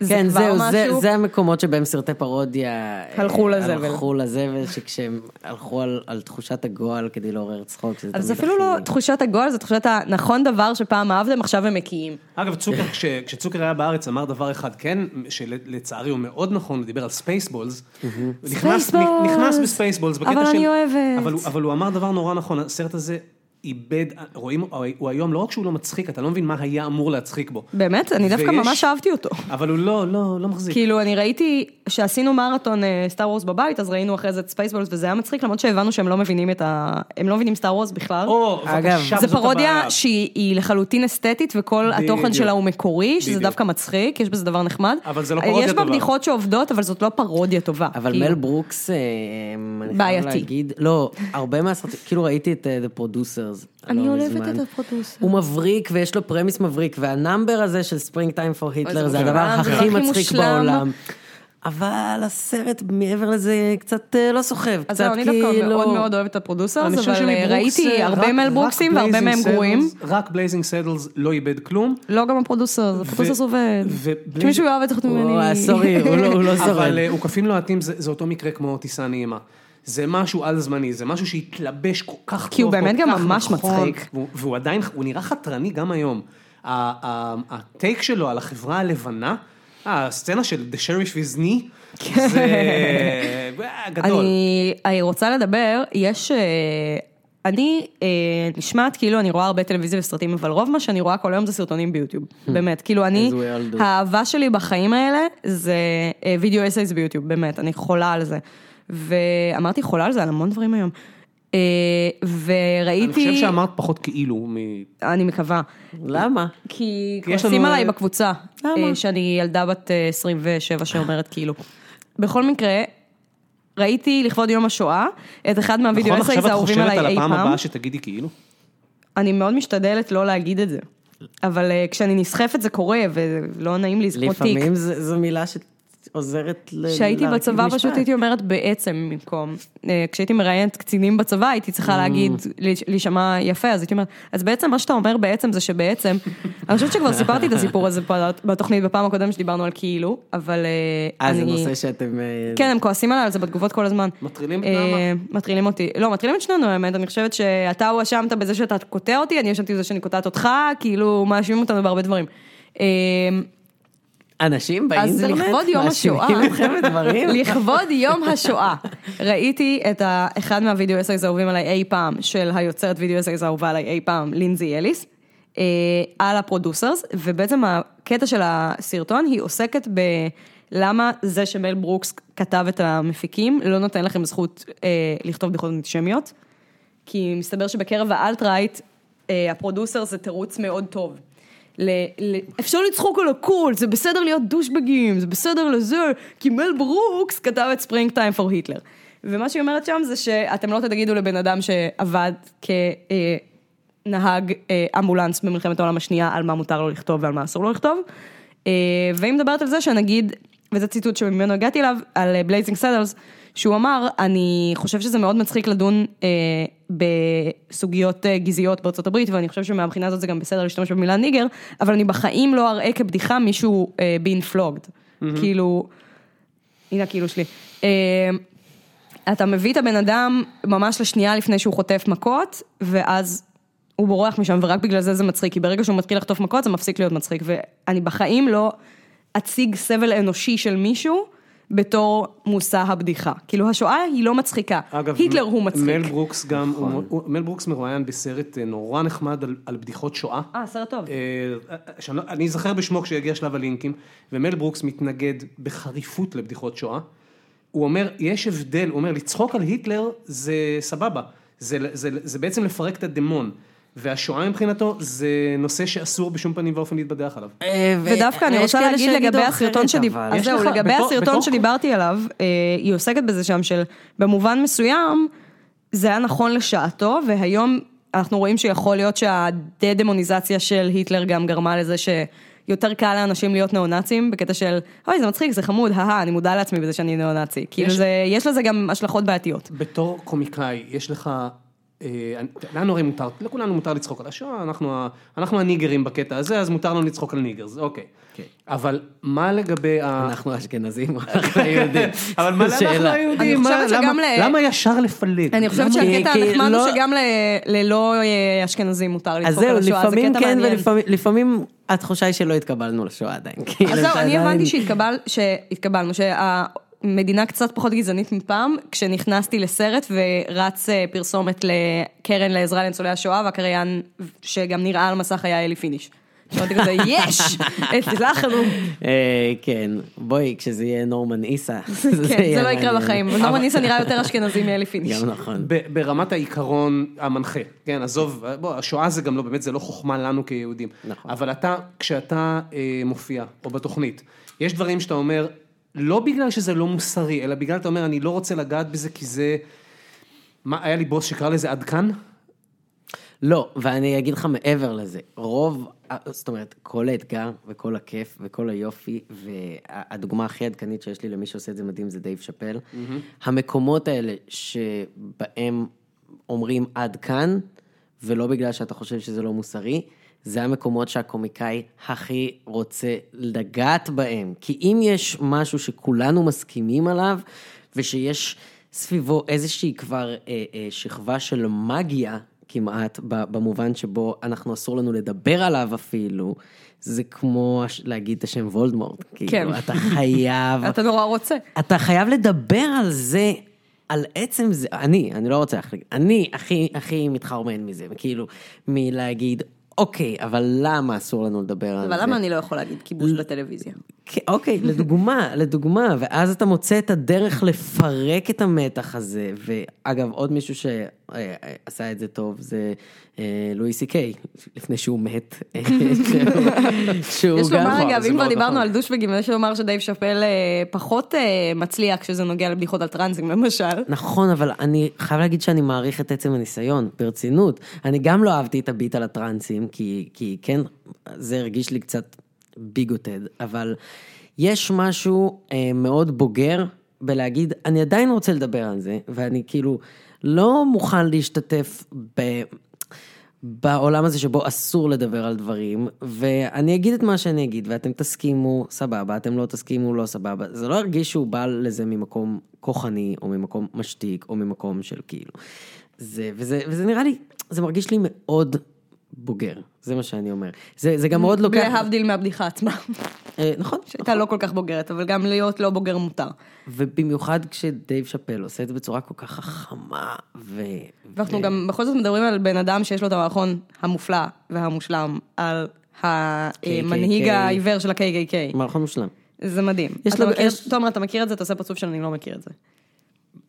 C: זה
D: כן,
C: כבר
D: זהו, זה,
C: משהו.
D: זה המקומות שבהם סרטי פרודיה...
C: הלכו
D: אה,
C: לזבל.
D: הלכו לזבל, שכשהם הלכו על, על תחושת הגועל כדי לעורר צחוק, שזה
C: אז
D: תמיד
C: אפילו
D: הכי-
C: לא תחושת הגועל, זה תחושת הנכון דבר שפעם אהבתם, עכשיו הם מקיים.
B: אגב, צוקר, כש, כשצוקר היה בארץ, אמר דבר אחד כן, שלצערי הוא מאוד נכון, הוא דיבר על ספייסבולס.
D: Mhm.
B: נכנס,
C: Spaceballs.
B: נכנס בספייסבולס, בקטע
C: אבל
B: של...
C: אני אוהבת.
B: אבל, הוא- אבל הוא אמר דבר נורא נכון, הסרט הזה איבד, רואים, הוא היום, לא רק שהוא לא מצחיק, אתה לא מבין מה היה אמור להצחיק בו.
C: באמת? אני דווקא
B: ויש-
C: ממש אהבתי אותו.
B: אבל הוא לא, לא, לא מחזיק.
C: כאילו, אני ראיתי, שעשינו מרתון אה, סטאר וורס בבית, אז ראינו אחרי זה את ספייסבולס, וזה היה מצחיק, למרות שהבנו שהם לא מבינים את ה... הם לא מבינים סטאר וורס בכלל.
B: או,
D: אגב,
B: בבקשה,
C: זה
B: וזאת
C: פרודיה
B: הבעיה.
C: שהיא היא לחלוטין אסתטית, וכל התוכן
B: בדיוק.
C: שלה הוא מקורי, שזה
B: בדיוק.
C: דווקא מצחיק, יש בזה דבר נחמד.
B: אבל זה לא פרודיה
C: יש בה
B: טובה.
C: בדיחות שעובדות, אבל זאת לא פרודיה טובה.
D: אבל
C: כאילו.
D: מל ברוקס, אה, אה, אני חייב
C: בעייתי.
D: להגיד, לא, הרבה מהסרטים, כאילו ראיתי את אה, The Producers.
C: אני
D: לא
C: אוהבת
D: מזמן.
C: את The Producers.
D: הוא מבריק ויש לו פרמיס מבריק, והנאמבר הזה של ספרינג טיים פור היטלר
C: זה
D: זה הדבר
C: מושלם, זה
D: הכי
C: הכי
D: מצחיק
C: מושלם.
D: בעולם. אבל הסרט מעבר לזה קצת אה, לא סוחב,
C: אז זהו,
D: קצת
C: אני דווקא
D: כאילו...
C: מאוד מאוד אוהבת את הפרודוסרס,
B: אני חושב
C: אבל אה,
B: שמברוקס,
C: ראיתי
B: אה,
C: הרבה
B: רק-
C: מל
B: רק
C: ברוקסים והרבה
B: Blazing
C: מהם
B: Saddles-
C: גרועים.
B: רק בלייזינג סדלס לא איבד כלום.
C: לא גם הפרודוסרס, הפרודוסרס עובד.
B: ו-
C: שמישהו יאהב את זה חוץ ממני.
D: הוא-
C: אה,
D: סורי, הוא לא- הוא לא שורד.
B: אבל אה, עוקפים לוהטים זה זה אותו מקרה כמו טיסה נעימה. זה משהו על זמני, זה משהו שהתלבש כל כך טוב,
C: כי הוא באמת
B: כל
C: גם
B: כך
C: ממש
B: נכון,
C: מצחיק.
B: והוא- והוא עדיין, הוא נראה חתרני גם היום. ה- ה- הטייק שלו על החברה הלבנה, אה, הסצנה של The Sheriff is me, זה אה, גדול.
C: כן. אני, אני רוצה לדבר, יש... אה, אני אה, נשמעת כאילו אני רואה הרבה טלוויזיה וסרטים, אבל רוב מה שאני רואה כל היום זה סרטונים ביוטיוב. באמת, כאילו אני,
D: As we all do.
C: האהבה שלי בחיים האלה זה אה, וידאו אסייס ביוטיוב, באמת, אני חולה על זה. ואמרתי חולה על זה, על המון דברים היום. אה, וראיתי...
B: אני חושב שאמרת פחות כאילו, מ-
C: אני מקווה.
D: למה?
C: כי
B: כי יש
C: כועסים
B: לנו-
C: עליי בקבוצה.
D: למה?
C: אה, שאני ילדה בת אה, 27 שאומרת כאילו. בכל מקרה, ראיתי לכבוד יום השואה את אחד
B: נכון
C: מהווידאו אסייז
B: עכשיו את
C: האהובים
B: חושבת
C: עליי
B: על
C: אי
B: הפעם
C: פעם.
B: הבאה שתגידי כאילו?
C: אני מאוד משתדלת לא להגיד את זה. אבל אה, כשאני נסחפת זה קורה, ולא נעים לי, זה כמו תיק.
D: לפעמים זו מילה ש... עוזרת ל...
C: כשהייתי
D: להרכיב
C: בצבא
D: משפט.
C: פשוט הייתי אומרת בעצם במקום. אה, כשהייתי מראיינת קצינים בצבא הייתי צריכה להגיד, להיש- להישמע יפה, אז הייתי אומרת, אז בעצם מה שאתה אומר בעצם זה שבעצם, אני חושבת שכבר סיפרתי את הסיפור הזה פה בתוכנית בפעם הקודמת שדיברנו על כאילו, אבל אה,
D: אה, זה
C: אני...
D: נושא שאתם... אה,
C: כן, הם כועסים עליי על זה בתגובות כל הזמן.
B: מטרילים את
C: אה,
B: נעמה?
C: מטרילים אותי. לא, מטרילים את שנינו, האמת. אני חושבת שאתה הואשמת בזה שאתה קוטע אותי, אני האשמתי בזה שאני קוטעת אותך, כאילו, מאשימים אותנו בהרבה דברים. אה,
D: אנשים
C: אז
D: באינטרנט?
C: לכבוד יום השואה,
D: מאשימים אתכם בדברים?
C: לכבוד יום השואה, ראיתי את ה- אחד מהווידאו אסייז האהובים עליי אי פעם, של היוצרת וידאו אסייז האהובה עליי אי פעם, לינזי אליס, אה, על הפרודוסרס, ובעצם הקטע של הסרטון, היא עוסקת ב... למה זה שמל ברוקס כתב את המפיקים לא נותן לכם זכות אה, לכתוב בדיחות אנטישמיות? כי מסתבר שבקרב האלט-רייט, אה, הפרודוסר זה תירוץ מאוד טוב. ל, ל, אפשר לצחוק על הכל, זה בסדר להיות דושבגים, זה בסדר לזה, כי מל ברוקס כתב את ספרינג טיים פור היטלר. ומה שהיא אומרת שם זה שאתם לא תגידו לבן אדם שעבד אה, כנהג אה, אמבולנס במלחמת העולם השנייה על מה מותר לו לכתוב ועל מה אסור לו לכתוב. אה, והיא מדברת על זה שנגיד, וזה ציטוט שממנו הגעתי אליו, על בלייזינג סדלס, שהוא אמר, אני חושב שזה מאוד מצחיק לדון אה, בסוגיות אה, גזעיות בארצות הברית, ואני חושב שמהבחינה הזאת זה גם בסדר להשתמש במילה ניגר, אבל אני בחיים לא אראה כבדיחה מישהו אה, בין פלוגד. כאילו, הנה הכאילו שלי. אה, אתה מביא את הבן אדם ממש לשנייה לפני שהוא חוטף מכות, ואז הוא בורח משם, ורק בגלל זה זה מצחיק, כי ברגע שהוא מתחיל לחטוף מכות זה מפסיק להיות מצחיק, ואני בחיים לא אציג סבל אנושי של מישהו בתור מושא הבדיחה. כאילו, השואה היא לא מצחיקה,
B: אגב,
C: היטלר הוא מצחיק.
B: מל ברוקס גם, הוא- הוא- מל ברוקס מרואיין בסרט אה, נורא נחמד על- על בדיחות שואה.
C: אה, סרט טוב.
B: אה, שאני לא- אני אזכר בשמו כשיגיע שלב הלינקים, ומל ברוקס מתנגד בחריפות לבדיחות שואה. הוא אומר, יש הבדל, הוא אומר, לצחוק על היטלר זה סבבה, זה, זה, זה בעצם לפרק את הדמון, והשואה מבחינתו זה נושא שאסור בשום פנים ואופן להתבדח עליו.
D: אה, ו-
C: ודווקא אני
D: ויש
C: רוצה
D: כאלה
C: להגיד
D: שיגידו
C: לגבי
D: אחרת,
C: הסרטון שדיב-
D: אבל.
C: אז
B: יש
C: זהו, לא.
B: לך-
C: לגבי
B: בתור-
C: הסרטון
B: בתור-
C: שדיברתי עליו, אה, היא עוסקת בזה שם של במובן מסוים, זה היה נכון לשעתו, והיום אנחנו רואים שיכול להיות שהדה-דמוניזציה של היטלר גם גרמה לזה ש... יותר קל לאנשים להיות ניאו-נאצים, בקטע של, אוי, זה מצחיק, זה חמוד, הא אני מודע לעצמי בזה שאני ניאו-נאצי. כאילו,
B: יש-
C: זה- יש לזה גם השלכות בעייתיות.
B: בתור קומיקאי, יש לך... אה, אני- לנו הרי מותר, לכולנו מותר לצחוק על השואה, אנחנו, ה- אנחנו הניגרים בקטע הזה, אז מותר לנו לצחוק על ניגרס, אוקיי.
D: כן.
B: אבל מה לגבי ה...
D: אנחנו אשכנזים, אנחנו היהודים.
B: אבל מה
D: שאלה.
B: אנחנו היהודים?
C: אני חושבת
B: מה-
C: שגם
B: למה-
C: ל-
B: למה ישר לפלג?
C: אני חושבת
D: כי-
C: שהקטע
D: כי
C: הנחמד הוא
D: לא-
C: שגם ל- ללא אה, אשכנזים מותר
D: אז
C: לצחוק
D: זהו,
C: על השואה, זה
D: לפעמים
C: קטע
D: כן
C: מעניין.
D: ולפעמים לפעמים התחושה היא שלא התקבלנו לשואה עדיין. כאילו,
C: אז זהו,
D: זה
C: אני
D: עדיין-
C: הבנתי שהתקבל, שהתקבלנו, שהמדינה קצת פחות גזענית מפעם, כשנכנסתי לסרט ורץ אה, פרסומת לקרן לעזרה לניצולי השואה, והקריין שגם נראה על מסך היה אלי פיניש. אמרתי כזה, יש! הצלחנו!
D: אה, כן, בואי, כשזה יהיה נורמן איסה.
C: כן,
D: יהיה
C: זה לא יקרה
D: מעניין.
C: בחיים. נורמן ניסה נראה יותר אשכנזי מאלי פיניש.
D: גם נכון.
B: ב- ברמת העיקרון המנחה, כן, עזוב, בוא, השואה זה גם לא, באמת, זה לא חוכמה לנו כיהודים.
D: נכון.
B: אבל אתה, כשאתה אה, מופיע, או בתוכנית, יש דברים שאתה אומר, לא בגלל שזה לא מוסרי, אלא בגלל אתה אומר, אני לא רוצה לגעת בזה כי זה... מה, היה לי בוס שקרא לזה עד כאן?
D: לא, ואני אגיד לך מעבר לזה, רוב, זאת אומרת, כל האתגר וכל הכיף וכל היופי, והדוגמה הכי עדכנית שיש לי למי שעושה את זה מדהים זה דייב שאפל. המקומות האלה שבהם אומרים עד כאן, ולא בגלל שאתה חושב שזה לא מוסרי, זה המקומות שהקומיקאי הכי רוצה לגעת בהם. כי אם יש משהו שכולנו מסכימים עליו, ושיש סביבו איזושהי כבר אה, אה, שכבה של מגיה, כמעט, ב- במובן שבו אנחנו אסור לנו לדבר עליו אפילו, זה כמו הש- להגיד את השם וולדמורט. כאילו,
C: כן.
D: אתה חייב,
C: אתה נורא רוצה.
D: אתה חייב לדבר על זה, על עצם זה, אני, אני לא רוצה להחליט, אני הכי, הכי מתחרמן מזה, כאילו, מלהגיד, אוקיי, אבל למה אסור לנו לדבר על זה?
C: אבל למה אני לא יכול להגיד כיבוש בטלוויזיה?
D: כן, אוקיי, לדוגמה, לדוגמה, ואז אתה מוצא את הדרך לפרק את המתח הזה. ואגב, עוד מישהו שעשה את זה טוב זה אה, לואי סי קיי, לפני שהוא מת. שהוא- שהוא
C: יש
D: גם...
C: לומר, אגב,
B: זה
C: אם כבר
B: מאוד
C: דיברנו
B: נכון.
C: על דושבגים, יש לומר שדייב שאפל אה, פחות אה, מצליח כשזה נוגע לבדיחות על טרנסים, למשל.
D: נכון, אבל אני חייב להגיד שאני מעריך את עצם הניסיון, ברצינות. אני גם לא אהבתי את הביט על הטרנסים, כי, כי כן, זה הרגיש לי קצת ביגוטד, אבל יש משהו אה, מאוד בוגר בלהגיד, אני עדיין רוצה לדבר על זה, ואני כאילו לא מוכן להשתתף ב... בעולם הזה שבו אסור לדבר על דברים, ואני אגיד את מה שאני אגיד, ואתם תסכימו, סבבה, אתם לא תסכימו, לא סבבה. זה לא ירגיש שהוא בא לזה ממקום כוחני, או ממקום משתיק, או ממקום של כאילו. זה, וזה, וזה נראה לי, זה מרגיש לי מאוד בוגר, זה מה שאני אומר. זה, זה גם מאוד לוקח...
C: להבדיל מהבדיחה עצמה,
D: אה, נכון,
C: שהייתה לא כל כך בוגרת, אבל גם להיות לא בוגר מותר.
D: ובמיוחד כשדייב שאפל עושה את זה בצורה כל כך חכמה, ו... כן.
C: ואנחנו גם בכל זאת מדברים על בן אדם שיש לו את המערכון המופלא והמושלם, על המנהיג העיוור של ה-KKK.
D: מערכון מושלם.
C: זה מדהים.
D: יש
C: אתה
D: לו-
C: מכיר-
D: יש-
C: תומר, אתה מכיר את זה? אתה עושה פרצוף שאני לא מכיר את זה.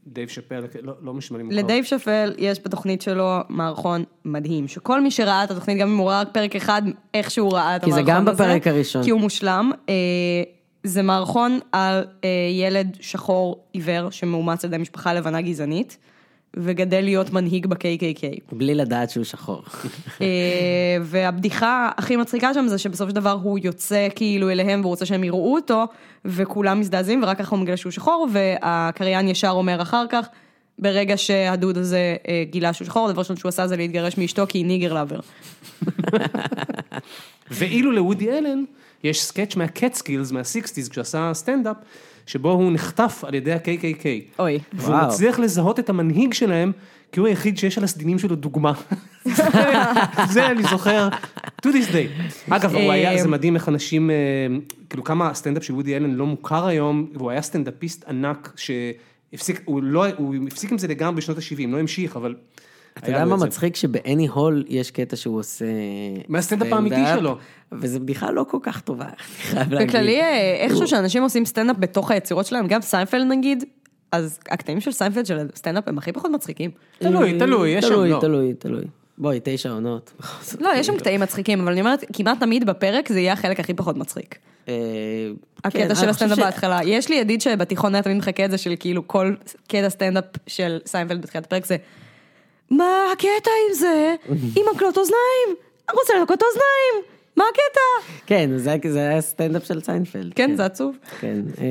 B: דייב שאפל, לא, לא משמע לי מוכר.
C: לדייב שפל יש בתוכנית שלו מערכון מדהים, שכל מי שראה את התוכנית, גם אם הוא ראה רק פרק אחד, איך שהוא ראה את
D: כי זה
C: המערכון הזה.
D: גם בפרק הראשון.
C: כי הוא מושלם. אה, זה מערכון על אה, ילד שחור עיוור שמאומץ על ידי משפחה לבנה גזענית, וגדל להיות מנהיג ב-KKK.
D: בלי לדעת שהוא שחור.
C: אה, והבדיחה הכי מצחיקה שם זה שבסופו של דבר הוא יוצא כאילו אליהם והוא רוצה שהם יראו אותו, וכולם מזדעזעים ורק ככה הוא מגלה שהוא שחור, והקריין ישר אומר אחר כך, ברגע שהדוד הזה אה, גילה שהוא שחור, הדבר ראשון שהוא עשה זה להתגרש מאשתו כי היא ניגר לאבר.
B: ואילו לוודי אלן יש סקאץ' מהקטסקילס, מהסיקסטיז, כשעשה סטנדאפ, שבו הוא נחטף על ידי ה-KKK.
C: אוי.
B: והוא
D: וואו.
B: מצליח לזהות את המנהיג שלהם, כי הוא היחיד שיש על הסדינים שלו דוגמה. זה אני זוכר, to this day. אגב, הוא היה,
D: אמ.
B: זה מדהים איך אנשים, אה, כאילו כמה הסטנדאפ של וודי אלן לא מוכר היום, והוא היה סטנדאפיסט ענק שהפסיק, הוא לא, הוא הפסיק עם זה לגמרי בשנות ה-70, לא המשיך, אבל...
D: אתה
B: היה
D: יודע
B: לו
D: מה
B: את זה.
D: מצחיק? שבאני הול יש קטע שהוא עושה...
B: מהסטנדאפ האמיתי
D: סטנדאפ,
B: שלו.
D: וזו בדיחה לא כל כך טובה, אני חייב להגיד.
C: בכללי, אה, איכשהו שאנשים עושים סטנדאפ בתוך היצירות שלהם, גם סיינפלד נגיד, אז הקטעים של סיינפלד של הסטנדאפ הם הכי פחות מצחיקים.
B: תלוי, תלוי, יש שם,
D: אה, תלוי,
B: לא.
D: תלוי, תלוי. בואי, תשע עונות. כאילו, בכל זאת.
C: לא, יש שם קטעים מצחיקים, אבל אני אומרת, כמעט תמיד בפרק זה יהיה החלק הכי פחות מצחיק.
D: אה, כן,
C: הקטע
D: אני
C: של
D: חושב
C: הסטנדאפ
D: ש-
C: בהתחלה. יש לי ידיד שבתיכון היה תמיד מחכה את זה של כאילו כל קטע סטנדאפ של סיינפלד בתחילת הפרק זה, מה הקטע עם זה? עם מקלות אוזניים? אני רוצה לנקות אוזניים? מה הקטע?
D: כן, זה היה- זה היה סטנדאפ של סיינפלד.
C: כן, זה עצוב.
D: כן, אה,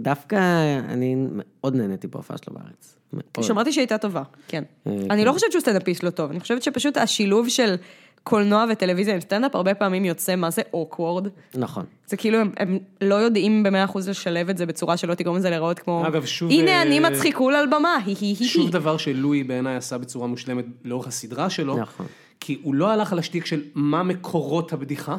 D: דווקא אני מאוד נהניתי בהופעה שלו בארץ. מאוד.
C: שמעתי שהייתה טובה, כן.
D: אה,
C: אני לא חושבת שהוא סטנדאפיסט לא טוב, אני חושבת שפשוט השילוב של קולנוע וטלוויזיה עם סטנדאפ הרבה פעמים יוצא מה זה אוקוורד.
D: נכון.
C: זה כאילו הם, הם לא יודעים במאה אחוז לשלב את זה בצורה שלא תגרום לזה להיראות כמו,
B: אגב, שוב,
C: הנה אני
B: אה,
C: מצחיק כול על במה, הי הי הי
B: שוב
C: הי.
B: דבר שלואי בעיניי עשה בצורה מושלמת לאורך הסדרה שלו.
D: נכון.
B: כי הוא לא הלך על השטיק של מה מקורות הבדיחה,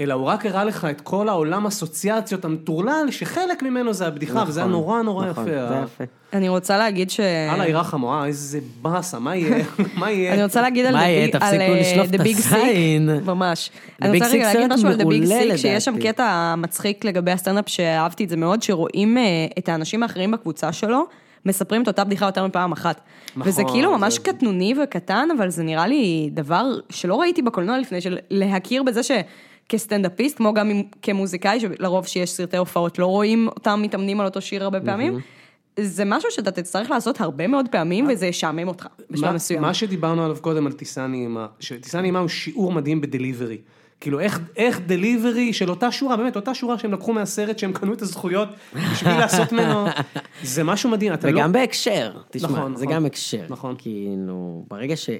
B: אלא הוא רק הראה לך את כל העולם אסוציאציות המטורלל, שחלק ממנו זה הבדיחה, וזה היה
D: נכון,
B: נורא נורא
D: נכון,
B: יפה. אה.
D: זה יפה.
C: אני רוצה להגיד ש...
B: הלאה, ירחם, אה, איזה באסה, מה יהיה? מה יהיה?
C: אני רוצה להגיד על
D: מה
C: The
D: יהיה?
C: Big-
D: תפסיקו
C: על, אה,
D: לשלוף
C: The
D: את
C: Big Sick,
D: הזין.
C: ממש.
D: The
C: אני
D: Big
C: רוצה רגע
D: Sick
C: להגיד
D: סרט
C: משהו על The Big
D: מעולה
C: Sick, שיש שם
D: לדעתי.
C: קטע מצחיק לגבי הסטנדאפ שאהבתי את זה מאוד, שרואים אה, את האנשים האחרים בקבוצה שלו. מספרים את אותה בדיחה יותר מפעם אחת.
B: נכון,
C: וזה כאילו ממש
B: זה-
C: קטנוני וקטן, אבל זה נראה לי דבר שלא ראיתי בקולנוע לפני, של להכיר בזה שכסטנדאפיסט, כמו גם אם- כמוזיקאי, שלרוב שיש סרטי הופעות, לא רואים אותם מתאמנים על אותו שיר הרבה פעמים, זה משהו שאתה תצטרך לעשות הרבה מאוד פעמים, וזה ישעמם אותך בשלב
B: מה-
C: מסוים.
B: מה שדיברנו עליו קודם, על טיסה נעימה, שטיסה נעימה הוא שיעור מדהים בדליברי. כאילו, איך, איך דליברי של אותה שורה, באמת, אותה שורה שהם לקחו מהסרט, שהם קנו את הזכויות בשביל לעשות ממנו, זה משהו מדהים, אתה לא...
D: וגם בהקשר, תשמע,
B: נכון,
D: זה
B: נכון.
D: גם הקשר.
B: נכון.
D: כאילו, ברגע ש...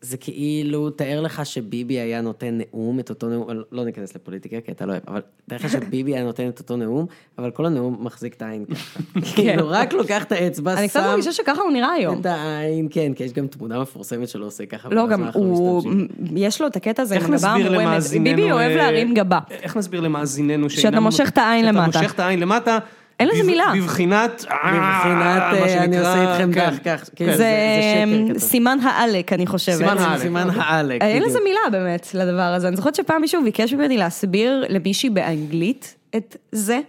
D: זה כאילו, תאר לך שביבי היה נותן נאום, את אותו נאום, לא ניכנס לפוליטיקה, כי אתה לא אוהב, אבל תאר לך שביבי היה נותן את אותו נאום, אבל כל הנאום מחזיק את העין ככה. כאילו, רק לוקח את האצבע, שם...
C: כן. אני קצת מרגישה שככה הוא נראה היום.
D: את העין, כן, כי יש גם תמונה מפורסמת שלו עושה ככה.
C: לא,
D: ואז
C: גם
D: אנחנו
C: הוא,
D: משתמשים.
C: יש לו את הקטע הזה עם
B: איך
C: הגבה
B: נסביר
C: המורמת.
B: למאזיננו...
C: ביבי אוהב
B: אה,
C: להרים גבה.
B: איך נסביר למאזיננו
C: שאתה מושך את העין למטה.
B: שאתה מושך את העין למטה.
C: אין לזה
B: בב-
C: מילה.
B: בבחינת...
D: מבחינת,
B: אה, מה
D: אה, אני
B: שנקרא,
D: עושה איתכם
B: כן.
D: כך, כך. כן,
C: זה אה, אמ,
D: שקר כתוב.
C: סימן העלק, אני חושבת. אה,
B: סימן העלק.
D: סימן כאילו. העלק.
C: אין
D: בדיוק.
C: לזה מילה באמת לדבר הזה. אני זוכרת שפעם מישהו ביקש ממני להסביר למישהי באנגלית את זה,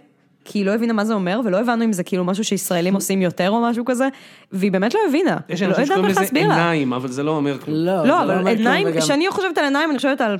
C: כי היא לא הבינה מה זה אומר, ולא הבנו אם זה כאילו משהו שישראלים עושים יותר או משהו כזה, והיא באמת לא הבינה.
B: יש אנשים
C: לא יודעת
B: שקוראים
C: איך
B: לזה
C: להסביר לה.
B: עיניים, אבל זה לא אומר כלום.
D: לא,
C: לא,
D: זה
C: אבל
D: אומר כלום,
C: עיניים,
D: וגם-
C: כשאני חושבת על עיניים, אני חושבת על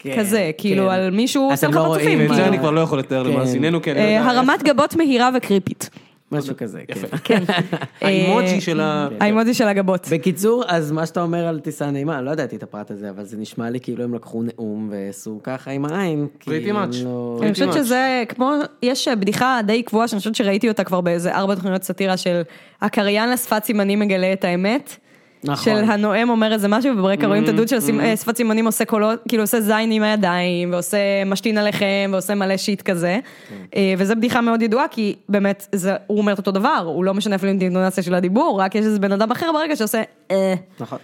D: כן,
C: כזה, כאילו, על מישהו
D: אתם
C: עושה לך
D: לא רואים
C: פרצופים,
B: ואת
D: מה-
B: זה
C: כאילו.
B: אני כבר לא יכול לתאר
D: כן.
B: למאזיננו, כי אני לא
C: אה,
B: יודע איך.
C: הרמת גבות מהירה וקריפית. אה,
D: משהו כזה, כן.
B: יפה.
C: כן.
B: האימוג'י של ה...
C: האימוג'י של הגבות.
D: בקיצור, אז מה שאתה אומר על טיסה נעימה, לא ידעתי את הפרט הזה, אבל זה נשמע לי כאילו הם לקחו נאום ועשו ככה עם העין. כי
B: Pretty
D: הם
B: much.
D: לא-
B: Pretty
C: אני חושבת
B: much.
C: שזה כמו, יש בדיחה די קבועה שאני חושבת שראיתי אותה כבר באיזה ארבע תוכניות סאטירה של הקריין לשפת סימנים מגלה את האמת.
D: נכון. Mm-hmm.
C: של הנואם אומר איזה משהו וברקע רואים את הדוד של הסימ- אה, שפת סימנים עושה קולות, כאילו עושה זין עם הידיים ועושה משתין עליכם ועושה מלא שיט כזה.
D: Mm-hmm.
C: אה, וזו בדיחה מאוד ידועה כי באמת זה- הוא אומר את אותו דבר, הוא לא משנה אפילו את האינטונציה של הדיבור, רק יש איזה בן אדם אחר ברגע שעושה אה.
D: נכון,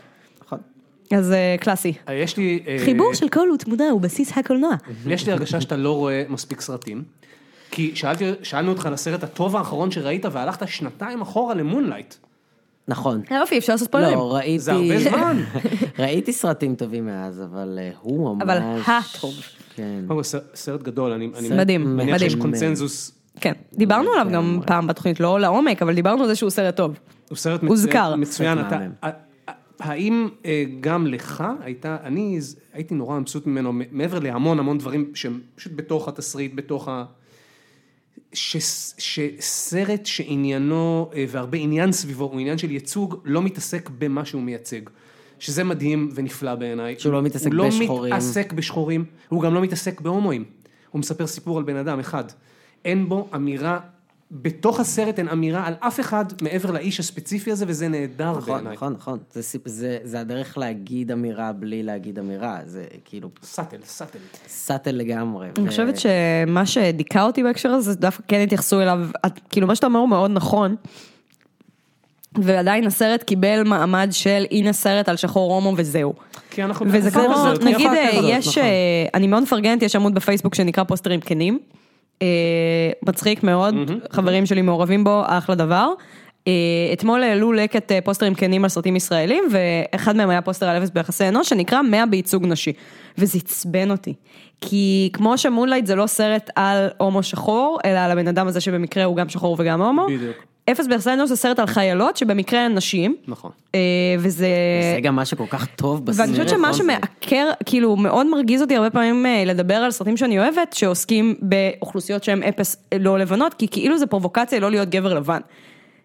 D: נכון.
C: אז אה, קלאסי.
B: יש לי... אה,
E: חיבור של קול ותמונה הוא בסיס הקולנוע.
B: יש לי הרגשה שאתה לא רואה מספיק סרטים. כי שאלתי, שאלנו אותך על הסרט הטוב האחרון שראית, והלכת שנתיים אחורה למונלייט.
D: נכון.
C: יופי, אפשר לעשות ספוילרים.
D: לא, ראיתי...
B: זה הרבה זמן.
D: ראיתי סרטים טובים מאז, אבל אה, הוא ממש...
C: אבל הטוב.
D: כן.
B: קודם כל, ס- סרט גדול, אני... אני
C: מדהים,
B: מניח שיש
C: מדהים.
B: קונצנזוס.
C: כן, דיברנו עליו גם פעם בתוכנית, לא לעומק, אבל דיברנו על זה שהוא סרט טוב.
B: הוא סרט
C: הוזכר.
B: מצוין.
D: סרט
B: אתה-
D: מהמם.
B: ה- ה- האם אה, גם לך הייתה, אני ז- הייתי נורא מבסוט ממנו, מ- מעבר להמון המון דברים שהם פשוט בתוך התסריט, בתוך ה... ש- שסרט שעניינו, אה, והרבה עניין סביבו, הוא עניין של ייצוג, לא מתעסק במה שהוא מייצג. שזה מדהים ונפלא בעיניי.
D: שהוא לא מתעסק
B: הוא
D: בשחורים.
B: לא מתעסק בשחורים, הוא גם לא מתעסק בהומואים. הוא מספר סיפור על בן אדם אחד. אין בו אמירה, בתוך הסרט אין אמירה על אף אחד מעבר לאיש הספציפי הזה, וזה נהדר
D: נכון,
B: בעיניי.
D: נכון, נכון. זה סיפ- זה- זה הדרך להגיד אמירה בלי להגיד אמירה. זה כאילו
B: סאטל, סאטל.
D: סאטל לגמרי.
C: אני
D: ו-
C: חושבת שמה שדיכא אותי בהקשר הזה, זה דווקא כן התייחסו אליו, את- כאילו מה שאתה אומר הוא מאוד נכון, ועדיין הסרט קיבל מעמד של הנה סרט על שחור הומו וזהו.
B: כי אנחנו
C: וזה
B: בתקופה
C: כמו,
B: כזאת,
C: נגיד,
B: יפה
C: אה,
B: כזאת,
C: יש,
B: נכון.
C: אה, אני מאוד מפרגנת, יש עמוד בפייסבוק שנקרא פוסטרים כנים, אה, מצחיק מאוד, חברים שלי מעורבים בו, אחלה דבר. אה, אתמול העלו לקט אה, פוסטרים כנים על סרטים ישראלים, ואחד מהם היה פוסטר על אפס ביחסי אנוש, שנקרא 100 בייצוג נשי. וזה עצבן אותי. כי כמו שמונלייט זה לא סרט על הומו שחור, אלא על הבן אדם הזה שבמקרה הוא גם שחור וגם הומו.
B: בדיוק.
C: אפס ביחסי אנוש זה סרט על חיילות שבמקרה הן נשים.
B: נכון.
C: אה, וזה...
D: זה גם מה שכל כך טוב בסרט.
C: ואני חושבת שמה
D: נכון? זה-
C: שמעקר, כאילו מאוד מרגיז אותי הרבה פעמים אה, לדבר על סרטים שאני אוהבת, שעוסקים באוכלוסיות שהן אפס אה, לא לבנות, כי כאילו זה פרובוקציה לא להיות גבר לבן.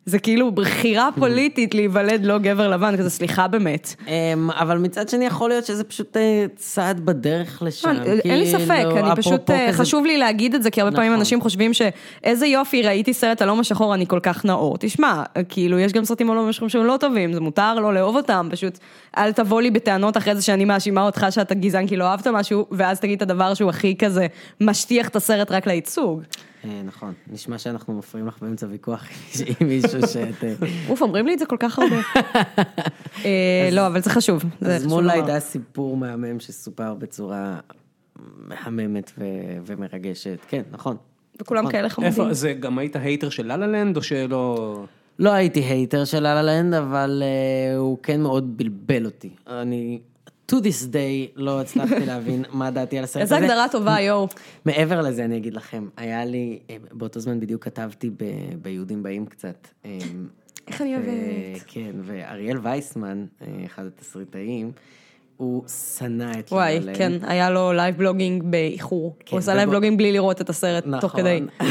C: זה כאילו בחירה פוליטית להיוולד לא גבר לבן, כזה סליחה באמת.
D: אמ, אבל מצד שני יכול להיות שזה פשוט אה, צעד בדרך לשם.
C: לא, אה, אין אין לי
D: כאילו,
C: ספק, אני פשוט,
D: אפרופו
C: אה,
D: כזה-
C: חשוב לי להגיד את זה, כי הרבה פעמים
D: נכון.
C: אנשים חושבים שאיזה יופי, ראיתי סרט על הום השחור, אני כל כך נאור. תשמע, כאילו, יש גם סרטים על הום השחור שהם לא טובים, זה מותר לא לאהוב אותם, פשוט אל תבוא לי בטענות אחרי זה שאני מאשימה אותך שאתה גזען כי לא אהבת משהו, ואז תגיד את הדבר שהוא הכי כזה משטיח את הסרט רק לייצוג.
D: אה, נכון, נשמע שאנחנו מפריעים לך באמצע ויכוח עם מישהו שאת... אה,
C: אוף, אומרים לי את זה כל כך הרבה. אה, לא, אבל זה חשוב. זה
D: אז
C: חשוב
D: מולייט
C: לומר.
D: היה סיפור מהמם שסופר בצורה מהממת ו- ומרגשת. כן, נכון.
C: וכולם
D: נכון.
C: כאלה חמודים.
B: איפה, זה גם היית הייטר של ללה לנד, או שלא...
D: לא הייתי הייטר של לה לה לנד, אבל אה, הוא כן מאוד בלבל אותי. אני, to this day, לא הצלחתי להבין מה דעתי על הסרט הזה.
C: איזה הגדרה טובה, יואו.
D: מעבר לזה, אני אגיד לכם, היה לי, אה, באותו זמן בדיוק כתבתי ב, ביהודים באים קצת. אה,
C: איך אני
D: ו-
C: אוהבת.
D: כן, ואריאל וייסמן, אה, אחד התסריטאים, הוא שנא את לה לה
B: כאילו,
C: וואי,
B: אה,
D: לנד.
C: כן, היה לו לייב בלוגינג באיחור.
D: כן,
C: הוא עשה
D: ובא-
C: לייב בלוגינג בלי לראות את הסרט תוך
B: נכון.
C: כדי.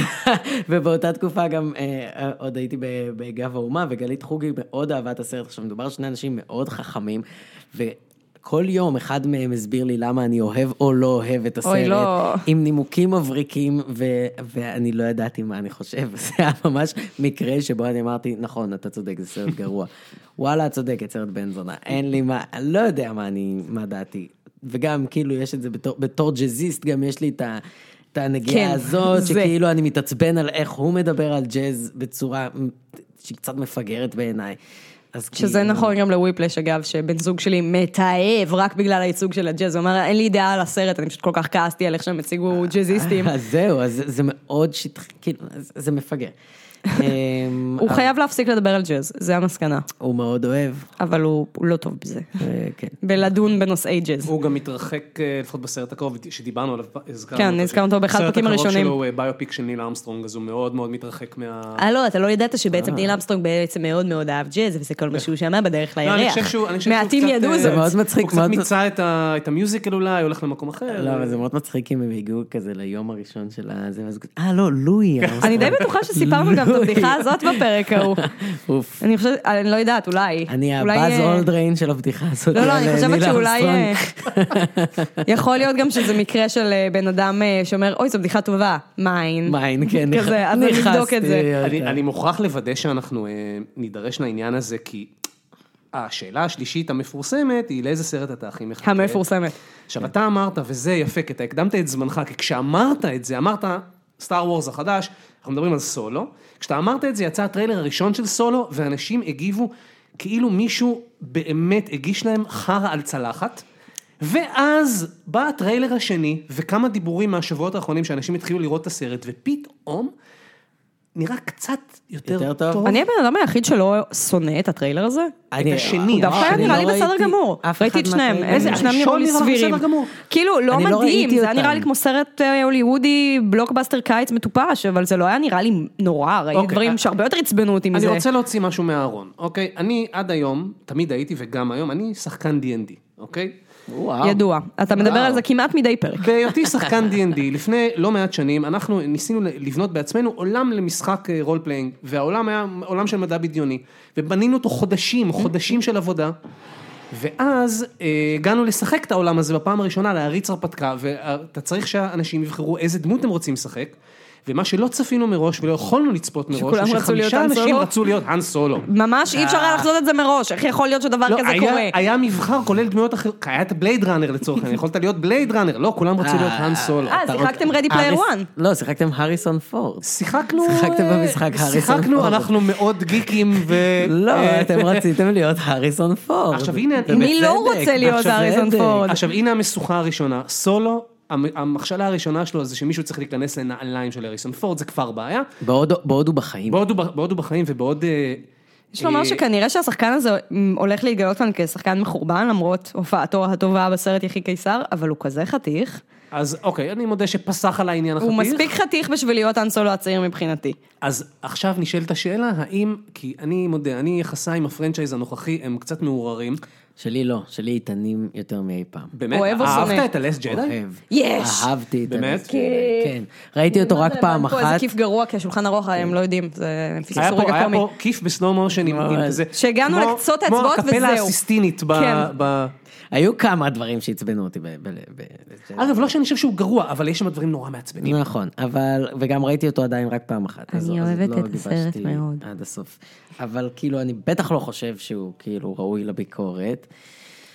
D: ובאותה תקופה גם אה, אה, עוד הייתי ב- בגב האומה, וגלית חוגי מאוד אהבה את הסרט. עכשיו, מדובר על שני אנשים מאוד חכמים, וכל יום אחד מהם הסביר לי למה אני אוהב או לא אוהב את הסרט.
C: אוי, לא.
D: עם נימוקים מבריקים, ו- ואני לא ידעתי מה אני חושב. זה היה ממש מקרה שבו אני אמרתי, נכון, אתה צודק, זה סרט גרוע. וואלה, את צודקת, סרט בן זונה. אין לי מה, אני לא יודע מה אני, מה דעתי. וגם, כאילו, יש את זה בתור, בתור ג'אזיסט, גם יש לי את ה... את הנגיעה
C: כן,
D: הזאת,
C: זה.
D: שכאילו כאילו אני מתעצבן על איך הוא מדבר על ג'אז בצורה שהיא קצת מפגרת בעיניי. אז
C: שזה
D: כאילו-
C: נכון גם לוויפלש, אגב, שבן זוג שלי מתעב רק בגלל הייצוג של הג'אז. הוא אמר, אין לי דעה על הסרט, אני פשוט כל כך כעסתי על איך שהם הציגו
B: אה,
C: ג'אזיסטים.
D: אה, אז זהו, אז זה- זה מאוד שטחי, כאילו, זה- זה מפגר. אמ,
C: הוא
B: אה.
D: אבל
C: חייב להפסיק לדבר על ג'אז, זה המסקנה.
D: הוא מאוד אוהב,
C: אבל הוא הוא לא טוב בזה.
D: אה, כן.
C: בלדון בנושאי ג'אז.
B: הוא גם מתרחק, אה, לפחות בסרט הקרוב, שדיברנו עליו, הזכרנו
C: כן,
B: אותו.
C: הזכרנו אותו באחד הפרקים
B: הסרט
C: הראשונים.
B: הקרוב שלו הוא אה, ביופיק של ניל ארמסטרונג, אז הוא מאוד מאוד מתרחק מה...
C: אה לא, אתה לא ידעת שבעצם ניל אמסטרונג בעצם מאוד מאוד אהב ג'אז, וזה כל מה שהוא שמע בדרך
B: לא,
C: לירח.
B: אני חושב שהוא, אני חושב שהוא
C: מעטים
B: קצת,
C: ידעו
B: אה,
D: זה
C: זאת.
D: מאוד מצחיק,
B: הוא קצת
D: מאוד-
B: מיצה את ה- את המיוזיקל אולי, הולך למקום אחר.
D: לא, אבל זה מאוד מצחיק אם הם הגיעו כזה ליום הראשון של הזה, ואז כזה, אה, לא, לואי.
C: אני די בטוחה שסיפרנו גם את הבדיחה הזאת בפרק ההוא.
D: אוף.
C: אני חושבת, אני לא יודעת, אולי.
D: אני
C: אולי,
D: הבאז
C: אה,
D: אולדריין של הבדיחה הזאת.
C: לא, לא,
D: על,
C: אני
D: אה,
C: חושבת
D: ניל
C: שאולי... אה,
D: ארמסטרונג.
C: יכול להיות גם שזה מקרה של אה, בן אדם אה, שאומר, אוי, זו בדיחה טובה, מיין.
D: מיין, כן,
C: אה, כזה, אז אני אבדוק את זה.
D: נכנסתי, אה,
B: אני,
D: אתה-
B: אני מוכרח לוודא שאנחנו אה, נידרש לעניין הזה, כי השאלה השלישית המפורסמת היא לאיזה סרט אתה הכי מחכה.
C: המפורסמת.
D: אוקיי.
B: עכשיו, אתה אמרת, וזה יפה, כי אתה הקדמת את זמנך, כי כשאמרת את זה, אמרת, סטאר וורס החדש, אנחנו מדברים על סולו, כשאתה אמרת את זה, יצא הטריילר הראשון של סולו, ואנשים הגיבו כאילו מישהו באמת הגיש להם חרא על צלחת. ואז בא הטריילר השני, וכמה דיבורים מהשבועות האחרונים שאנשים התחילו לראות את הסרט, ופתאום נראה קצת יותר,
D: יותר טוב.
B: טוב.
C: אני הבן אדם היחיד שלא שונא את הטריילר הזה.
D: אני-
B: השני,
D: לא, אני
C: דווקא היה
D: לא
C: נראה לי בסדר
D: ראיתי
C: גמור.
D: אף
C: ראיתי את
D: אחד
C: שניהם,
D: מהטריילרים.
B: איזה-
C: הם שניים נראו לי
B: הראשון נראה לך
C: סבירים.
B: בסדר גמור.
C: כאילו, לא
D: לא אני לא
C: מדהים,
D: ראיתי
C: זה היה נראה לי
D: אותם.
C: כמו סרט אה, הוליוודי, בלוקבאסטר קיץ מטופש, אבל זה לא היה נראה לי נורא, ראיתי
B: אוקיי, אה,
C: דברים שהרבה יותר עצבנו אותי מזה.
B: אני רוצה להוציא משהו מהארון, אוקיי? אני עד היום, תמיד הייתי וגם היום, אני שחקן D&D, אוקיי?
D: וואו.
C: ידוע. אתה מדבר
B: וואו.
C: על זה כמעט מדי פרק.
B: בהיותי שחקן D&D, לפני לא מעט שנים, אנחנו ניסינו לבנות בעצמנו עולם למשחק רול פליינג, והעולם היה עולם של מדע בדיוני, ובנינו אותו חודשים, חודשים של עבודה. ואז אה, הגענו לשחק את העולם הזה בפעם הראשונה, להריץ הרפתקה, ואתה צריך שאנשים יבחרו איזה דמות הם רוצים לשחק, ומה שלא צפינו מראש ולא יכולנו לצפות מראש,
C: שכולם
B: הוא
C: רצו להיות
B: שחמישה
C: האן
B: אנשים
C: סולו?
B: רצו להיות האן סולו.
C: ממש אי אפשר היה לחזות את זה מראש, איך יכול להיות שדבר כזה
B: לא, היה,
C: קורה?
B: היה מבחר כולל דמויות אחרות, היה את בלייד ראנר לצורך העניין, יכולת להיות בלייד ראנר, לא, כולם רצו להיות האן סולו.
C: אה,
D: אתה
C: שיחקתם
D: רוצה-
C: Ready Player
D: האריס-
C: One.
D: לא, שיחקתם הריסון פורד.
B: שיחקנו...
D: שיחקתם
B: אה,
D: במשחק האריסון
B: שיחקנו,
D: פורד.
B: אנחנו מאוד גיקים ו...
D: לא,
B: אה,
D: אתם רציתם להיות הריסון פורד.
B: עכשיו, הנה,
D: ובצדק,
C: מי לא רוצה להיות
D: עכשיו
C: הריסון
D: בצדק.
C: פורד?
B: עכשיו, הנה המשוכה הראשונה, סולו. המ- המכשלה הראשונה שלו זה שמישהו צריך להיכנס לנעליים של אריסון פורד, זה כבר בעיה.
D: בעוד בעוד הוא בחיים.
B: בעוד הוא ב- בעוד הוא בחיים ובעוד... אה,
C: יש לומר
B: אה,
C: שכנראה שהשחקן הזה מ, הולך להתגלות כאן כשחקן מחורבן, למרות הופעתו הטובה בסרט יחי קיסר, אבל הוא כזה חתיך.
B: אז אוקיי, אני מודה שפסח על העניין החתיך.
C: הוא מספיק חתיך בשביל להיות אן סולו הצעיר מבחינתי.
B: אז עכשיו נשאלת השאלה, האם... כי אני מודה, אני יחסיי עם הפרנצ'ייז הנוכחי, הם קצת מעורערים.
D: שלי לא, שלי איתנים יותר מאי פעם.
B: באמת, אה,
C: אוהב או שונא?
B: אהבת את הלס ג'די?
D: אוהב.
C: יש!
D: אהבתי את
B: באמת?
D: הריסון פורד, כן. ראיתי אותו רק פעם
C: פה איזה
D: אחת.
C: כיף גרוע, כי השולחן ארוך, הם לא יודעים, זה
B: היה
C: פספסו
B: פה,
C: רגע
B: היה
C: קומי.
B: פה כיף בסלואו מושן עם עם
D: ממש.
B: כזה.
C: שהגענו
B: כמו-
C: לקצות האצבעות
B: כמו הקפלה
C: וזהו.
B: הסיסטינית ב...
C: כן.
B: ב-
D: היו כמה דברים שעצבנו אותי. ב- ב- ב-
B: אגב, לא שאני חושב שהוא גרוע, אבל יש שם דברים נורא מעצבנים.
D: נכון, אבל, וגם ראיתי אותו עדיין רק פעם אחת. אז-
C: אני
D: אז
C: אוהבת
D: לא
C: את הסרט
D: גיבשתי
C: מאוד.
D: עד הסוף. אבל כאילו, אני בטח לא חושב שהוא כאילו ראוי לביקורת.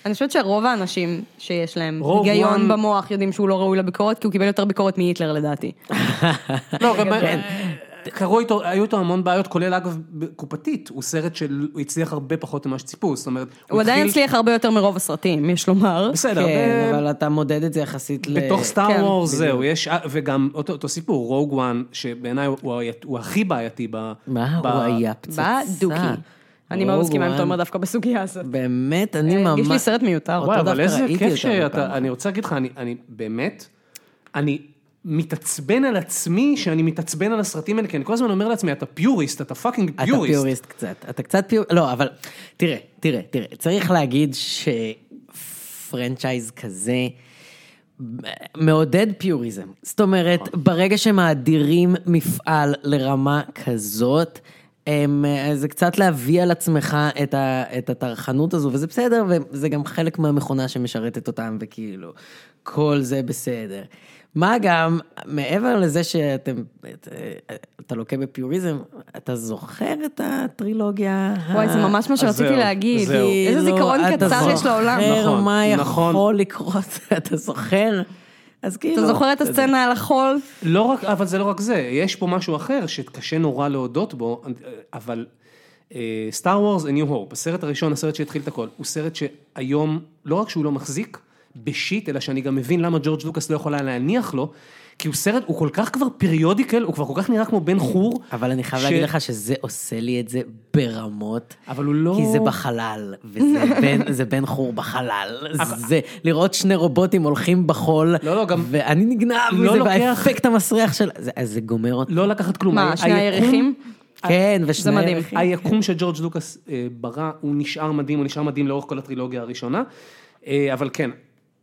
C: אני חושבת שרוב האנשים שיש להם
B: רוב
C: היגיון
B: one-
C: במוח יודעים שהוא לא ראוי לביקורת, כי הוא קיבל יותר ביקורת מהיטלר לדעתי.
B: לא, גם...
C: כן.
B: קראו איתו, היו איתו המון בעיות, כולל אגב ב- קופתית, הוא סרט שהוא הצליח הרבה פחות ממה שציפו, זאת אומרת,
C: הוא עדיין
B: התחיל-
C: הצליח הרבה יותר מרוב הסרטים, יש לומר.
B: בסדר,
D: כן,
B: ב-
D: אבל אתה מודד את זה יחסית ל...
B: בתוך
C: כן,
B: סטאר וורס זהו, יש, אה, וגם אותו אותו סיפור, רוג וואן, שבעיניי הוא- הוא היית- הוא הכי בעייתי ב...
D: מה,
B: ב-
D: הוא היה פצצה.
C: בדוקי. אני מאוד
D: רוג
C: מסכימה עם
D: וואן.
C: תומר דווקא בסוגיה הזאת.
D: באמת, אני
C: אה,
D: ממש...
C: הרגיש לי סרט מיותר.
D: אותו
B: וואי,
D: דווקא
B: אבל איזה
D: ראיתי
B: כיף
D: יותר מפעם
B: שאתה,
D: אחת.
B: אני רוצה להגיד לך, אני- אני באמת, אני מתעצבן על עצמי שאני מתעצבן על הסרטים האלה, כי אני כל הזמן אומר לעצמי, אתה פיוריסט, אתה פאקינג
D: אתה
B: פיוריסט.
D: פיוריסט קצת. אתה קצת פיוריסט, לא, אבל תראה, תראה, תראה, צריך להגיד שפרנצ'ייז כזה מעודד פיוריזם. זאת אומרת,
C: נכון.
D: ברגע שמאדירים מפעל לרמה כזאת, הם, אה, זה קצת להביא על עצמך את, ה, את הטרחנות הזו, וזה בסדר, וזה גם חלק מהמכונה שמשרתת אותם, וכאילו, כל זה בסדר. מה גם, מעבר לזה שאתם, את- אה, אתה לוקה בפיוריזם, אתה זוכר את הטרילוגיה?
C: וואי,
D: ה-
C: זה ממש מה
B: אה, אז
C: שרציתי
B: זהו,
C: להגיד.
B: זהו.
C: איזה
D: כאילו, אה,
C: זיכרון
D: אתה
C: קצר יש לעולם.
D: זוכר
B: נכון,
D: מה
B: נכון.
D: יכול לקרות, אתה זוכר? אז כאילו...
C: אתה זוכר את הסצנה על החול?
B: לא רק, אבל זה לא רק זה, יש פה משהו אחר שקשה נורא להודות בו, אבל סטאר וורס A New Hope, הסרט הראשון, הסרט שהתחיל את הכל, הוא סרט שהיום, לא רק שהוא לא מחזיק בשיט, אלא שאני גם מבין למה ג'ורג' לוקאס לא יכול היה להניח לו, כי הוא סרט, הוא כל כך כבר פריודיקל, הוא כבר כל כך נראה כמו בן חור.
D: אבל אני חייב
B: ש-
D: להגיד לך שזה עושה לי את זה ברמות.
B: אבל הוא לא-
D: כי זה בחלל, וזה בן, זה בן חור בחלל. זה לראות שני רובוטים הולכים בחול.
B: לא, לא, גם-
D: ואני נגנב
B: לא
D: מזה,
B: לוקח-
D: והאפקט המסריח של... זה, אז זה גומר אותי.
B: לא לקחת כלום.
C: מה,
B: ה-
C: שני
B: היקום-
C: הירחים?
D: כן, ושני...
C: מדהים.
D: הירחים.
B: היקום שג'ורג' לוקאס אה, ברא, הוא נשאר מדהים, הוא נשאר מדהים לאורך כל הטרילוגיה הראשונה. אה, אבל כן,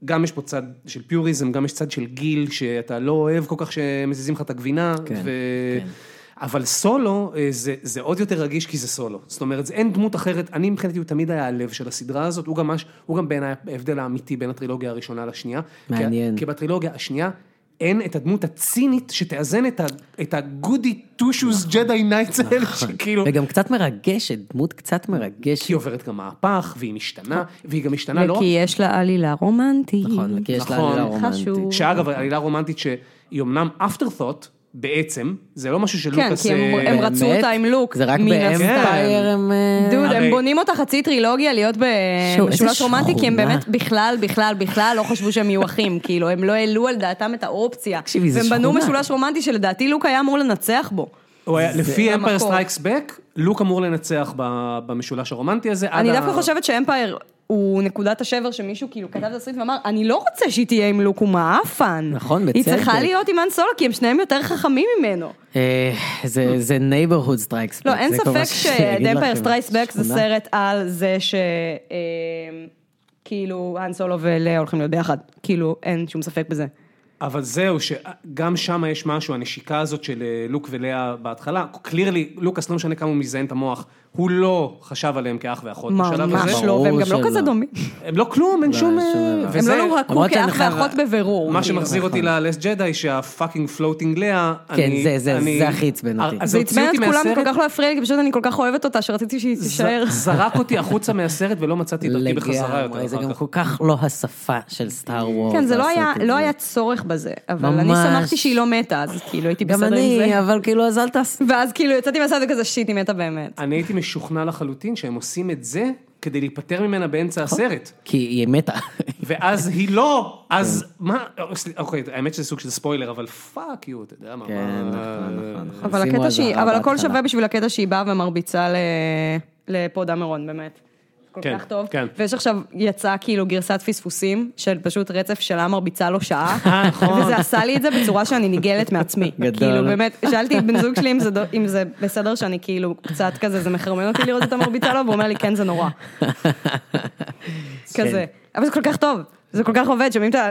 B: גם יש פה צד של פיוריזם, גם יש צד של גיל, שאתה לא אוהב כל כך שמזיזים לך את הגבינה.
D: כן,
B: ו...
D: כן.
B: אבל סולו אה, זה, זה עוד יותר רגיש כי זה סולו. זאת אומרת, זה אין דמות אחרת, אני מבחינתי הוא תמיד היה הלב של הסדרה הזאת, הוא גם, מש, הוא גם בעיניי ההבדל האמיתי בין הטרילוגיה הראשונה לשנייה.
D: מעניין.
B: כי, כי בטרילוגיה השנייה אין את הדמות הצינית שתאזן את, ה, את הגודי טושוס
D: נכון.
B: ג'די נייטס האלה, שכאילו...
D: וגם קצת מרגשת, דמות קצת מרגשת.
B: כי היא עוברת גם מהפך, והיא משתנה, והיא גם משתנה לא רק...
C: וכי יש לה עלילה רומנטית.
D: נכון, וכי יש לה
B: נכון.
D: עלילה רומנטית.
C: חשוב.
B: שאגב, עלילה רומנטית שהיא אמנם afterthought, בעצם, זה לא משהו
C: כן,
B: שלוקאס...
C: כי הם-
B: אה,
C: הם רצו
D: באמת?
C: אותה עם לוק.
D: זה רק
C: מן
D: באמפייר הם... אה,
C: הסתם. דוד,
B: הרי-
C: הם בונים אותה חצי טרילוגיה להיות
D: שואו, איזה
C: במשולש רומנטי, כי הם
D: שכונה.
C: באמת בכלל, בכלל, בכלל לא חשבו שהם יהיו אחים, כאילו, הם לא העלו על דעתם את האופציה.
D: תקשיבי, זה
C: והם בנו
D: שכונה.
C: משולש רומנטי שלדעתי לוק היה אמור לנצח בו.
B: הוא היה- לפי אמפייר
C: המקור.
B: סטרייקס בק, לוק אמור לנצח ב- במשולש הרומנטי הזה. עד
C: אני
B: ה-
C: דווקא חושבת שאמפייר הוא נקודת השבר שמישהו כאילו כתב תסריט ואמר, אני לא רוצה שהיא תהיה עם לוק, הוא מעפן. היא
D: נכון, בצדק.
C: צריכה להיות עם אן סולו, כי הם שניהם יותר חכמים ממנו.
D: אה, זה- זה neighborhood strikes. back,
C: לא, אין
D: זה כל מה
C: ספק
D: שאני אגיד
C: שדמפייר
D: לכם.
C: סטרייסבק זה
D: שכונה.
C: סרט על זה ש... אה, כאילו, האן סולו ולאה הולכים להיות ביחד. כאילו, אין שום ספק בזה.
B: אבל זהו, שגם שם יש משהו, הנשיקה הזאת של אה, לוק ולאה בהתחלה, קלירלי, לוקאס, לא משנה כמה הוא מזיין את המוח, הוא לא חשב עליהם כאח ואחות בשלב
C: ממש
B: הזה.
C: לא,
D: ברור
C: והם גם לא
D: שלא.
C: כזה דומים.
B: הם לא כלום, אין שום... אה,
D: שום דבר.
C: הם
B: וזה-
C: לא נורקו
D: למרות שאני
C: כאח
D: חייב-
C: ואחות בבירור.
B: מה
C: כאילו.
B: שמחזיר אותי ללס ג'די, שהפאקינג פלוטינג לאה,
D: כן,
B: אני-
D: זה- זה-
B: אני-
D: זה הכי עצבן אותי.
B: אז
C: זה
B: הוציא
C: עצבן את
B: אותי
C: כולם,
B: מהסרט,
C: כל כך לא הפריע לי, כי פשוט אני כל כך אוהבת אותה, שרציתי שהיא
B: ז-
C: תישאר.
B: זרק אותי החוצה מהסרט ולא מצאתי את דרכי בחזרה יותר
D: לגמרי, זה
B: אחר
D: גם
B: כך.
D: כל כך לא השפה של סטאר וורס.
C: כן, זה לא
D: לעשות
C: היה-
D: את
C: לא
D: זה.
C: היה צורך בזה, אבל אני
D: ממש.
C: שמחתי שהיא לא מתה, אז כאילו הייתי
D: גם
C: בסדר עם זה.
D: אני, אבל כאילו, אז אל תעשו.
C: ואז כאילו יצאתי מהסרט וכזה שיט, היא מתה באמת.
B: אני הייתי משוכנע לחלוטין שהם עושים את זה כדי להיפטר ממנה באמצע הסרט.
D: כי היא מתה.
B: אה, ואז היא לא, אז
D: כן.
B: מה, אוקיי, האמת שזה סוג של ספוילר, אבל פאק יו, אתה יודע מה,
D: כן,
B: מה-
D: נכון, נכון,
B: אה,
D: נכון.
C: אבל
D: שימו
C: הקטע שהיא,
D: אזהרה
C: אבל הכל
D: בהתחלה.
C: שווה בשביל הקטע שהיא באה ומרביצה ל- לפוד המרון, באמת. כל
B: כן,
C: כך טוב.
B: כן.
C: ויש עכשיו, יצא כאילו גרסת פספוסים, של פשוט רצף שלה מרביצה לו שעה.
B: אה, נכון.
C: וזה עשה לי את זה בצורה שאני נגעלת מעצמי.
D: גדול.
C: כאילו באמת, שאלתי את בן זוג שלי אם זה, דו- אם זה בסדר שאני כאילו קצת כזה, זה מחרמן אותי לראות אותה מרביצה לו, והוא אומר לי, כן, זה נורא. כזה.
D: כן.
C: אבל זה כל כך טוב, זה כל כך עובד, שומעים את ה...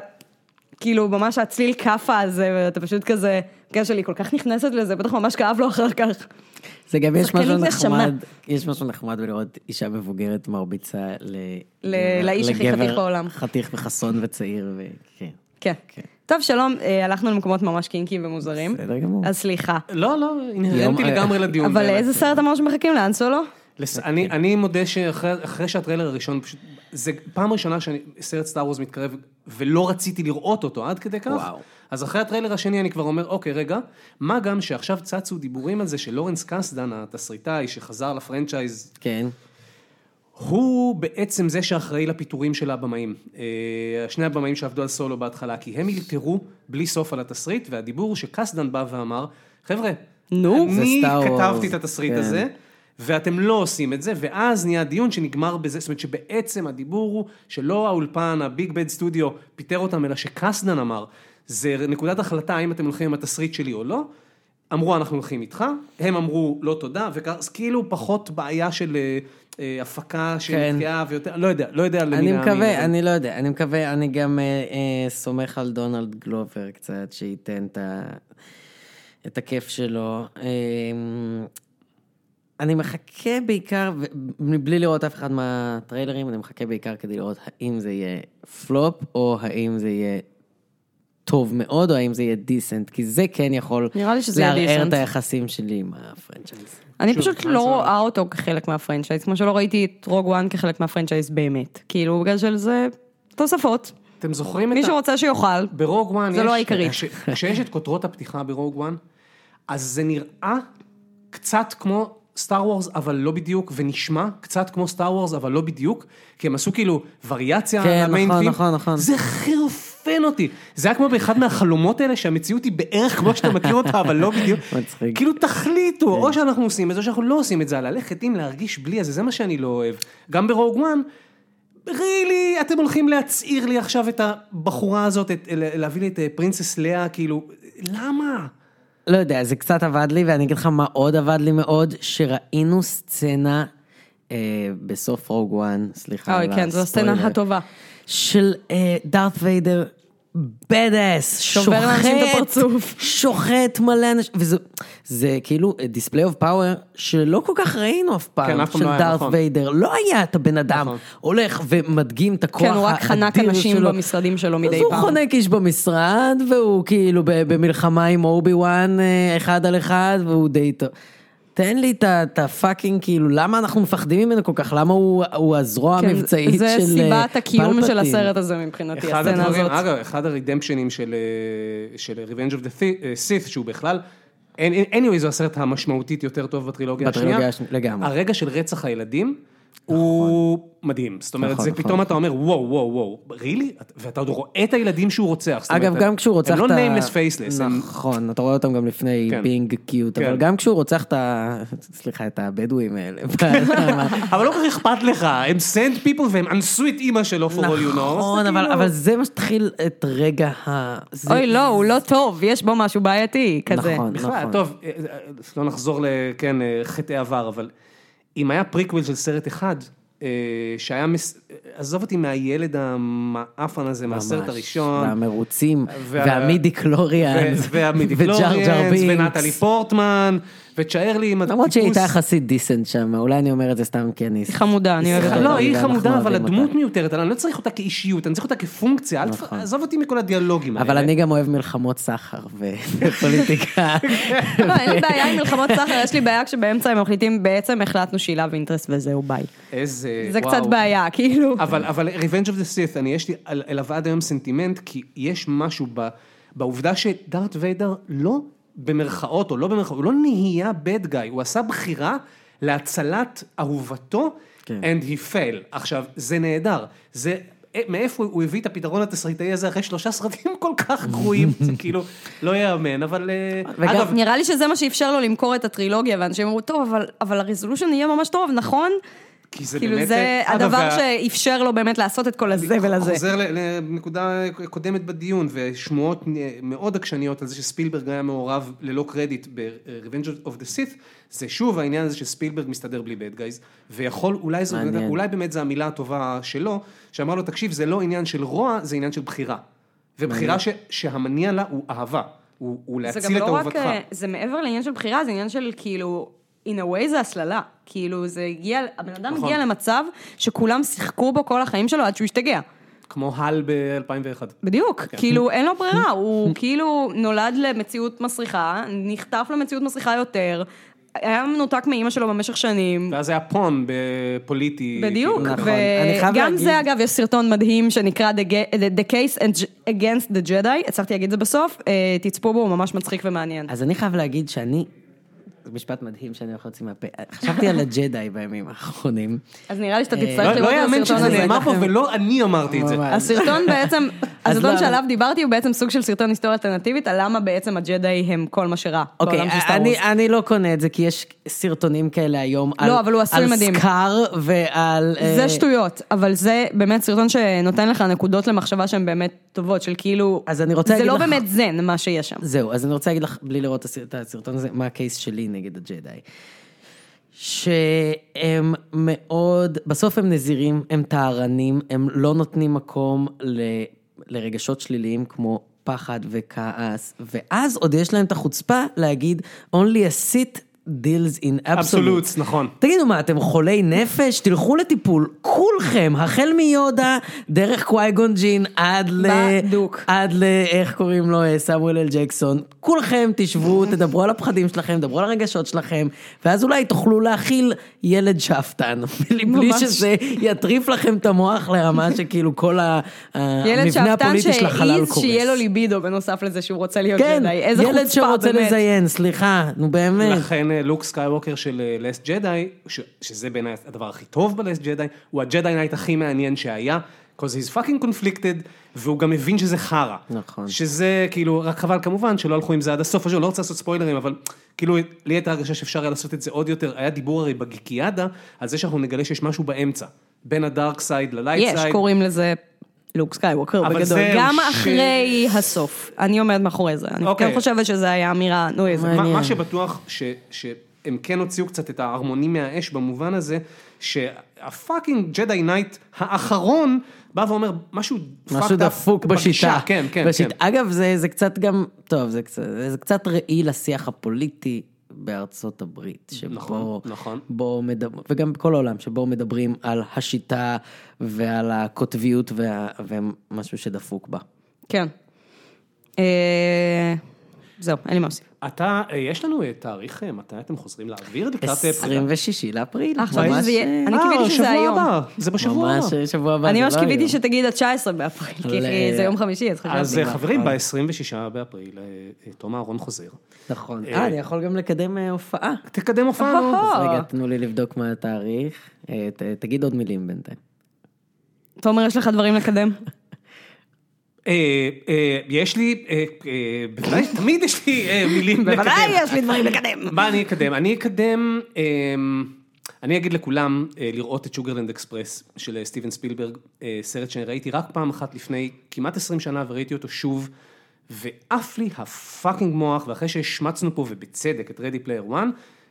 C: כאילו, ממש הצליל כאפה הזה, ואתה פשוט כזה, הקשר שלי כל כך נכנסת לזה, בטח ממש כאב לו אחר כך.
D: זה גם יש משהו
C: שחקנית נשמה.
D: נחמד, יש משהו נחמד בלראות אישה מבוגרת מרביצה ל...
C: ל- לאיש הכי
D: לגבר
C: חתיך בעולם.
D: חתיך וחסון וצעיר, וכן.
C: כן.
D: כן.
C: טוב, שלום, אה, הלכנו למקומות ממש קינקים ומוזרים.
D: בסדר גמור. אה,
C: אז סליחה.
B: לא, לא, אינהרנטי
D: יום-
B: לגמרי לדיון.
C: אבל
B: באמת.
C: לאיזה סרט אמרנו שמחכים? לאן סולו?
B: לס-
D: כן.
B: אני אני מודה שאחרי אחרי שהטריילר הראשון, פשוט, זה פעם ראשונה שסרט סטאר וורז מתקרב, ולא רציתי לראות אותו עד כדי כך.
D: וואו.
B: אז אחרי הטריילר השני אני כבר אומר, אוקיי, רגע, מה גם שעכשיו צצו דיבורים על זה שלורנס קסדן, התסריטאי שחזר לפרנצ'ייז
D: כן.
B: הוא בעצם זה שאחראי לפיטורים של הבמאים. אה, שני הבמאים שעבדו על סולו בהתחלה, כי הם אלתרו בלי סוף על התסריט, והדיבור שקסדן בא ואמר, חבר'ה,
C: נו.
D: זה
B: אני
D: Star Wars,
B: כתבתי את התסריט
D: כן.
B: הזה, ואתם לא עושים את זה, ואז נהיה דיון שנגמר בזה, זאת אומרת שבעצם הדיבור הוא שלא האולפן, הביג בד סטודיו, פיטר אותם, אלא שקסדן אמר, זה נקודת החלטה האם אתם הולכים עם התסריט שלי או לא. אמרו אנחנו הולכים איתך, הם אמרו לא תודה, וכאילו פחות בעיה של אה, אה, הפקה
D: כן.
B: שנתקעה ויותר, לא יודע, לא יודע למי
D: אני
B: להאמין, אבל-
D: מקווה, אני לא יודע, אני מקווה, אני גם אה, אה, סומך על דונלד גלובר קצת, שייתן את ה... את הכיף שלו. אה, אני מחכה בעיקר, ו- מבלי לראות אף אחד מהטריילרים, אני מחכה בעיקר כדי לראות האם זה יהיה פלופ, או האם זה יהיה טוב מאוד, או האם זה יהיה דיסנט, כי זה כן יכול
C: נראה לי שזה יהיה
D: לערער את
C: decent.
D: היחסים שלי עם הפרנצ'ייז.
C: אני
B: שוב,
C: פשוט
B: לאן
C: לא
B: סולו?
C: רואה אותו כחלק מהפרנצ'ייז, כמו שלא ראיתי את רוג וואן כחלק מהפרנצ'ייז באמת. כאילו, בגלל של זה תוספות.
B: אתם זוכרים את
C: מי
D: אה,
B: ה...
C: שרוצה שיאכל.
B: ברוג וואן
C: זה
B: יש-
C: לא העיקרי.
B: כש- כשיש את כותרות הפתיחה ברוג וואן, אז זה נראה קצת כמו סטאר וורס, אבל לא בדיוק, ונשמע קצת כמו סטאר וורס, אבל לא בדיוק, כי הם עשו כאילו וריאציה
D: כן,
B: על המיין
D: נכון,
B: תים.
D: נכון, נכון.
B: זה חירפן אותי. זה היה כמו באחד מהחלומות האלה, שהמציאות היא בערך כמו שאתה מכיר אותה, אבל לא בדיוק.
D: מצחיק.
B: כאילו תחליטו, או שאנחנו עושים את זה, או שאנחנו לא עושים את זה, הללכת עם להרגיש בלי הזה, זה מה שאני לא אוהב. גם ברוג וואן, רילי, אתם הולכים להצעיר לי עכשיו את הבחורה הזאת, את, להביא לי את אה, פרינסס לאה, כאילו, למה?
D: לא יודע, זה קצת עבד לי, ואני אגיד לך מה עוד עבד לי מאוד, שראינו סצנה אה, בסוף רוג וואן, סליחה
C: אוי,
D: על
C: כן, זו הסצנה
D: הספוילר,
C: הטובה.
D: של אה, דארת ויידר בדאס,
C: שובר
D: שוחט,
C: לאנשים את הפרצוף.
D: שוחט מלא אנשים, וזה זה כאילו דיספליי אוף פאוור שלא כל כך ראינו אף פעם,
B: כן, אף פעם
D: של
B: לא היה,
D: דארת
B: נכון.
D: ויידר, לא היה את הבן אדם
B: נכון.
D: הולך ומדגים את הכוח
C: כן,
D: האדיר
C: הוא
D: שלו.
C: רק חנק אנשים במשרדים שלו לא מדי
D: אז הוא
C: פעם.
D: חונק איש במשרד, והוא כאילו ב- במלחמה עם אובי וואן אה, אחד על אחד, והוא די טוב. תן לי את ה- את הפאקינג, כאילו, למה אנחנו מפחדים ממנו כל כך? למה הוא הוא הזרוע
C: כן,
D: המבצעית של
C: זה
D: אה,
C: סיבת הקיום של
D: פלפטין?
C: הסרט הזה מבחינתי,
B: אחד
C: הסצנה
B: הדברים,
C: הזאת.
B: אגב, אחד הרידמפשנים של, אה, של Revenge of the Thi- אה, Sith, שהוא בכלל, anyway, זה הסרט המשמעותית יותר טוב בטרילוגיה השנייה.
D: בטרילוגיה השנייה, לגמרי.
B: הרגע של רצח הילדים. הוא מדהים, זאת אומרת,
D: נכון,
B: זה
D: נכון,
B: פתאום אתה אומר, וואו, וואו, וואו, רילי? ואתה עוד רואה את הילדים שהוא רוצח. זאת
D: אגב,
B: אומרת,
D: גם כשהוא רוצח
B: הם
D: את
B: לא
D: ה...
B: nameless faceless, הם
D: נכון, אתה רואה אותם גם לפני
B: כן.
D: being cute,
B: כן.
D: אבל גם כשהוא רוצח את ה... סליחה, את הבדואים האלה.
B: אבל לא כל כך אכפת לך, הם send people והם אנסו את אימא שלו for all you know.
D: נכון,
B: זה
D: אבל-
B: כאילו-
D: אבל זה מה שתתחיל את רגע ה... זה-
C: אוי, לא, הוא לא טוב, יש בו משהו בעייתי כזה.
D: נכון,
B: בכלל,
D: נכון.
B: טוב, אה, אה, לא נחזור לכן, אה, חטאי עבר, אבל אם היה פריקוויל של סרט אחד, אה, שהיה, מס- אה, עזוב אותי מהילד המאפן הזה, מהסרט
D: ממש.
B: הראשון.
D: והמרוצים,
B: וה-
D: והמידי קלוריאנס,
B: והמידיקלוריאנס, ונטלי פורטמן, ותשאר לי עם
D: למרות שהיא
B: הטיפוס-
D: הייתה יחסית דיסנט שם, אולי אני אומר את זה סתם כי אני...
C: היא חמודה, אני אוהבת
D: ישראלי,
B: לא, היא
D: ואנחנו
B: חמודה, אבל
D: אוהבים
B: הדמות
D: אותה.
B: מיותרת, אני לא צריך אותה כאישיות, אני צריך אותה כפונקציה, אל תפ- עזוב אותי מכל הדיאלוגים האלה.
D: נכון. אבל אני גם אוהב מלחמות סחר ופוליטיקה.
C: לא, אין לי בעיה עם מלחמות סחר, יש לי בעיה כשבאמצע הם מחליטים, בעצם החלטנו שילה ואינטרס וזהו ביי.
B: איזה...
C: זה
B: וואו.
C: קצת בעיה, כאילו.
B: אבל, אבל Revenge of the Sith, אני יש לי על- אליו עד היום סנטימנט, כי יש משהו ב, בעובדה שדארט ויידר לא במרכאות או לא במרכאות, הוא לא נהיה bad guy, הוא עשה בחירה להצלת אהובתו,
D: כן.
B: and he fail. עכשיו, זה נהדר. זה... אה, מאיפה הוא הביא את הפתרון התסריטאי הזה אחרי שלושה סרטים כל כך גרועים, זה כאילו לא ייאמן, אבל אה,
D: וגם-
B: אגב,
C: נראה לי שזה מה שאפשר לו למכור את הטרילוגיה, ואנשים אמרו, טוב, אבל- אבל הרזולושן יהיה ממש טוב, נכון?
B: כי זה
C: כאילו
B: באמת...
C: זה
B: אה, אגב,
C: הדבר
B: וה-
C: שאפשר לו באמת לעשות את כל הזבל הזה.
B: חוזר ל- לנקודה קודמת בדיון, ושמועות מאוד עקשניות על זה שספילברג היה מעורב ללא קרדיט ב-Revenge of the Sith, זה שוב העניין הזה שספילברג מסתדר בלי bad guys, ויכול, אולי, זו,
D: מעניין.
B: אולי באמת זו המילה הטובה שלו, שאמר לו, תקשיב, זה לא עניין של רוע, זה עניין של בחירה. ובחירה ש, שהמניע לה הוא אהבה, הוא, הוא
C: זה
B: להציל
C: גם
B: את
C: לא רק,
B: אהובתך.
C: אה, זה מעבר לעניין של בחירה, זה עניין של כאילו, in a way זה הסללה. כאילו זה הגיע, הבן אדם
B: נכון.
C: הגיע למצב שכולם שיחקו בו כל החיים שלו עד שהוא השתגע.
B: כמו הל ב-2001.
C: בדיוק,
B: כן.
C: כאילו אין לו ברירה, הוא כאילו נולד למציאות מסריחה, נחטף למציאות מסריחה יותר, היה מנותק מאימא שלו במשך שנים.
B: ואז היה פון בפוליטי.
C: בדיוק,
B: כאילו,
D: נכון. אני חייב
C: וגם
D: להגיד-
C: זה אגב, יש סרטון מדהים שנקרא The Ga- The- The Case Against the Jedi, הצלחתי להגיד את זה בסוף, אה, תצפו בו, הוא ממש מצחיק ומעניין.
D: אז אני חייב להגיד שאני, זה משפט מדהים שאני הולך להוציא מהפה, חשבתי על הג'די בימים האחרונים.
C: אז נראה לי שאתה
D: אה,
C: תצטרך
B: לא לא
C: לראות את
B: יאמן
C: הסרטון
B: שזה
C: הזה. נכון.
B: נאמר פה
D: לכם-
B: ולא אני אמרתי את זה.
D: ממש.
C: הסרטון בעצם, הסרטון
D: לא,
C: שעליו
D: אבל-
C: דיברתי הוא בעצם סוג של סרטון היסטוריה אלטרנטיבית, על למה בעצם הג'די הם כל מה שרע
D: אוקיי,
C: בעולם של סטאר
D: אני-
C: וורס. לא,
D: אני לא קונה את זה, כי יש סרטונים כאלה היום על
C: אבל הוא עשוי
D: על
C: מדהים.
D: סקאר ועל... אה,
C: זה שטויות, אבל זה באמת סרטון שנותן לך נקודות למחשבה שהן באמת טובות, של כאילו,
D: אז אני רוצה
C: זה
D: להגיד
C: לא
D: לך-
C: באמת זן מה שיש שם.
D: זהו, אז אני רוצה להגיד לך, בלי לראות את הסרט- את הסרטון הזה, מה הקייס שלי נגד הג'די. שהם מאוד, בסוף הם נזירים, הם טהרנים, הם לא נותנים מקום ל, לרגשות שליליים כמו פחד וכעס, ואז עוד יש להם את החוצפה להגיד, only a sit deals in absolutes.
B: אבסולוטס, נכון.
D: תגידו מה, אתם חולי נפש? תלכו לטיפול, כולכם, החל מיודה, דרך קווייגון ג'ין, עד ל...
C: בדוק.
D: עד ל... איך קוראים לו? אה, סמואל אל ג'קסון. כולכם תשבו, תדברו על הפחדים שלכם, תדברו על הרגשות שלכם, ואז אולי תוכלו להכיל ילד שאפתן. בלי- בלי
C: ממש.
D: שזה יטריף לכם את המוח לרמה שכאילו כל ה-
C: ילד
D: המבנה
C: שאפתן
D: הפוליטי של החלל
C: שהעז
D: קורס.
C: שיהיה לו ליבידו בנוסף לזה שהוא רוצה להיות
D: כן,
C: ג'די, איזה חוצפה באמת. נכון.
D: ילד שרוצה לזיין, סליחה, נו באמת.
B: לכן אה, לוק סקייווקר של אה, לסט ג'די, שזה בעיניי הדבר הכי טוב בלסט ג'די, הוא הג'די נייט הכי מעניין שהיה, because he's fucking conflicted, והוא גם מבין שזה חרא.
D: נכון.
B: שזה כאילו, רק חבל כמובן שלא הלכו עם זה עד הסוף, אני לא רוצה לעשות ספוילרים, אבל כאילו, לי הייתה הרגשה שאפשר היה לעשות את זה עוד יותר, היה דיבור הרי בגיקיאדה, על זה שאנחנו נגלה שיש משהו באמצע, בין הדארק סייד ללייט סייד.
C: יש, קוראים לזה לוק סקייווקר
B: אבל
C: בגדול.
B: זהו,
C: גם
B: ש-
C: אחרי הסוף. אני עומדת מאחורי זה. אני
B: אוקיי.
C: כן חושבת שזו הייתה אמירה נועזת.
B: מה,
D: מעניין.
B: מה שבטוח ש, ש, הם כן הוציאו קצת את הערמונים מהאש במובן הזה, שהפאקינג ג'די נייט האחרון בא ואומר משהו
D: משהו
B: fucked up
D: דפוק בשיטה.
B: כן, כן,
D: בשיט-
B: כן.
D: אגב, זה, זה קצת גם, טוב, זה קצת, זה קצת ראי לשיח הפוליטי בארצות הברית, שבו,
B: נכון, נכון.
D: בו מדבר, וגם בכל העולם, שבו מדברים על השיטה ועל הקוטביות וה, ומשהו שדפוק בה.
C: כן. אה, זהו, אין לי מה להוסיף.
B: אתה, אה, יש לנו אה, תאריך אה, מתי אתם חוזרים לאוויר לקראת אה, פרידה?
D: 26 לאפריל,
C: אה, חשבתי שזה יהיה- אני
B: אה,
C: קיוויתי שזה
B: שבוע
C: היום.
B: הבא, זה בשבוע הבא.
D: ממש שבוע הבא,
C: אני
D: זה
C: ממש
D: לא
C: קיוויתי
D: היום.
C: שתגיד ה-19 באפריל,
D: לא,
C: כי
D: לא.
C: זה יום חמישי, אז
B: אז
C: חשבתי.
B: אה, חברים, ב-26 באפריל, אה, אה, תום אהרון חוזר.
D: נכון.
B: אה,
D: אה, אני יכול גם לקדם אה, הופעה.
B: תקדם הופעה, נו.
D: אז רגע, תנו לי לבדוק מה התאריך. אה, ת- תגיד עוד מילים בינתיים.
C: תומר, יש לך דברים לקדם?
B: אה, אה, יש לי, אה, אה, בוודאי, תמיד יש לי אה, מילים לקדם.
C: בוודאי יש לי דברים לקדם.
B: מה אני אקדם? אני אקדם, אה, אני אגיד לכולם אה, לראות את שוגרלנד אקספרס של אה, סטיבן ספילברג, אה, סרט שראיתי רק פעם אחת לפני כמעט 20 שנה וראיתי אותו שוב, ועף לי הפאקינג מוח, ואחרי שהשמצנו פה, ובצדק, את רדי פלייר 1,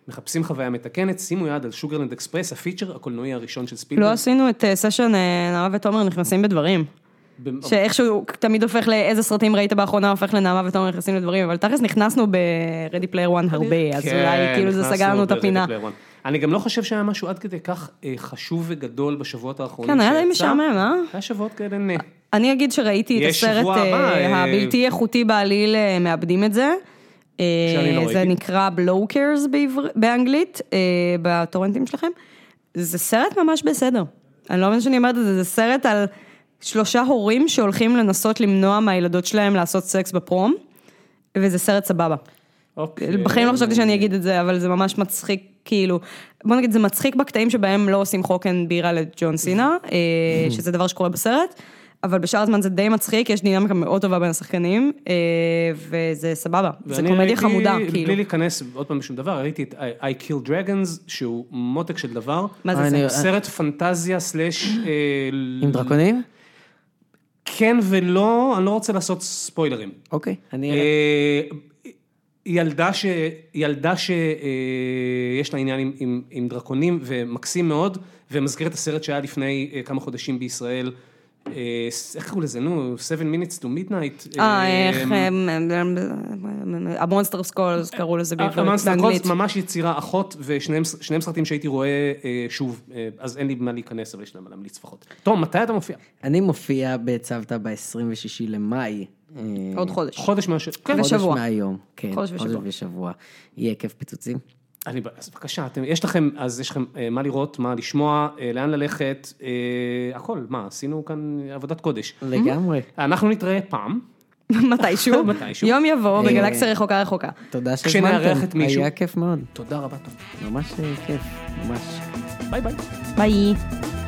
B: מחפשים חוויה מתקנת, שימו יד על שוגרלנד אקספרס, הפיצ'ר הקולנועי הראשון של ספילברג.
C: לא עשינו את אה, סשן אה, נעמה ותומר נכנסים בדברים.
B: במ-
C: שאיכשהו תמיד הופך לאיזה סרטים ראית באחרונה, הופך לנעמה ותומר נכנסים לדברים, אבל תכלס נכנסנו ב-Ready Player One הרבה, אז אולי כאילו זה
B: כן, נכנסנו
C: סגרנו את
B: ב-Ready
C: הפינה.
B: Player One. אני גם לא חושב שהיה משהו עד כדי כך אה, חשוב וגדול בשבועות האחרונים
C: כן, היה די
B: שיצא.
C: משעמם, אה?
B: היה שבועות כאלה, נה.
C: אני אגיד שראיתי את
B: יש שבוע
C: הסרט אה,
B: הבא, אה,
C: הבלתי איכותי בעליל, אה, מאבדים את זה. אה,
B: שאני לא
C: זה
B: ראיתי.
C: נקרא בלוקרס באנגלית, אה, בטורנטים שלכם. זה סרט ממש בסדר. אני לא מבינה שאני אומרת את זה, זה סרט על שלושה הורים שהולכים לנסות למנוע מהילדות שלהם לעשות סקס בפרום, וזה סרט סבבה.
B: אוקיי.
C: בחיים לא חשבתי שאני אגיד את זה, אבל זה ממש מצחיק, כאילו, בוא נגיד, זה מצחיק בקטעים שבהם לא עושים חוקן בירה לג'ון סינה, אה, שזה דבר שקורה בסרט, אבל בשאר הזמן זה די מצחיק, יש דינמיקה מאוד טובה בין השחקנים, אה, וזה סבבה, זה
B: ואני
C: קומדיה
B: ראיתי,
C: חמודה,
B: בלי
C: כאילו.
B: להיכנס עוד פעם לשום דבר, ראיתי את I- I Kill Dragons, שהוא מותק של דבר.
C: מה זה
D: אה,
C: זה?
D: אני-
B: סרט פנטזיה סלאש... אה,
D: עם דרקונים?
B: כן ולא, אני לא רוצה לעשות ספוילרים.
D: אוקיי. אני...
B: אה, ילדה ש... ילדה שיש לה עניין עם, עם, עם דרקונים ומקסים מאוד, ומזכיר את הסרט שהיה לפני אה, כמה חודשים בישראל. אה, ס- איך קראו לזה, נו? 7 minutes to midnight.
C: אה,
B: אמ-
C: איך, הם- הם- הם- הם- אמ- המונסטר סקולס קראו לזה בעברית,
B: המאנסטר
C: באנגלית.
B: קולס אה, ממש יצירה אחות, ושניהם שניהם סרטים שהייתי רואה אה, שוב, אה, אז אין לי מה להיכנס, אבל יש להם מה להמליץ לפחות. תום, מתי אתה מופיע?
D: אני מופיע בצוותא ב-26 למאי. אה,
C: עוד חודש.
B: חודש מהשבוע. כן,
D: חודש
C: בשבוע.
D: מהיום, כן.
C: חודש ושבוע.
D: ושבוע. יהיה כיף פיצוצים.
B: אני, אז בבקשה, אתם, יש לכם, אז יש לכם אה, מה לראות, מה לשמוע, אה, לאן ללכת, אה, הכל, מה, עשינו כאן עבודת קודש. אה,
D: לגמרי.
B: אנחנו נתראה פעם,
C: מתישהו,
B: מתישהו.
C: יום יבוא
D: אה,
C: בגלקסיה רחוקה רחוקה.
D: תודה
B: כשנארח את
D: שהזמנתם,
B: מישהו.
D: היה כיף מאוד.
B: תודה רבה, טוב.
D: ממש אה, כיף, ממש.
B: ביי ביי.
C: ביי.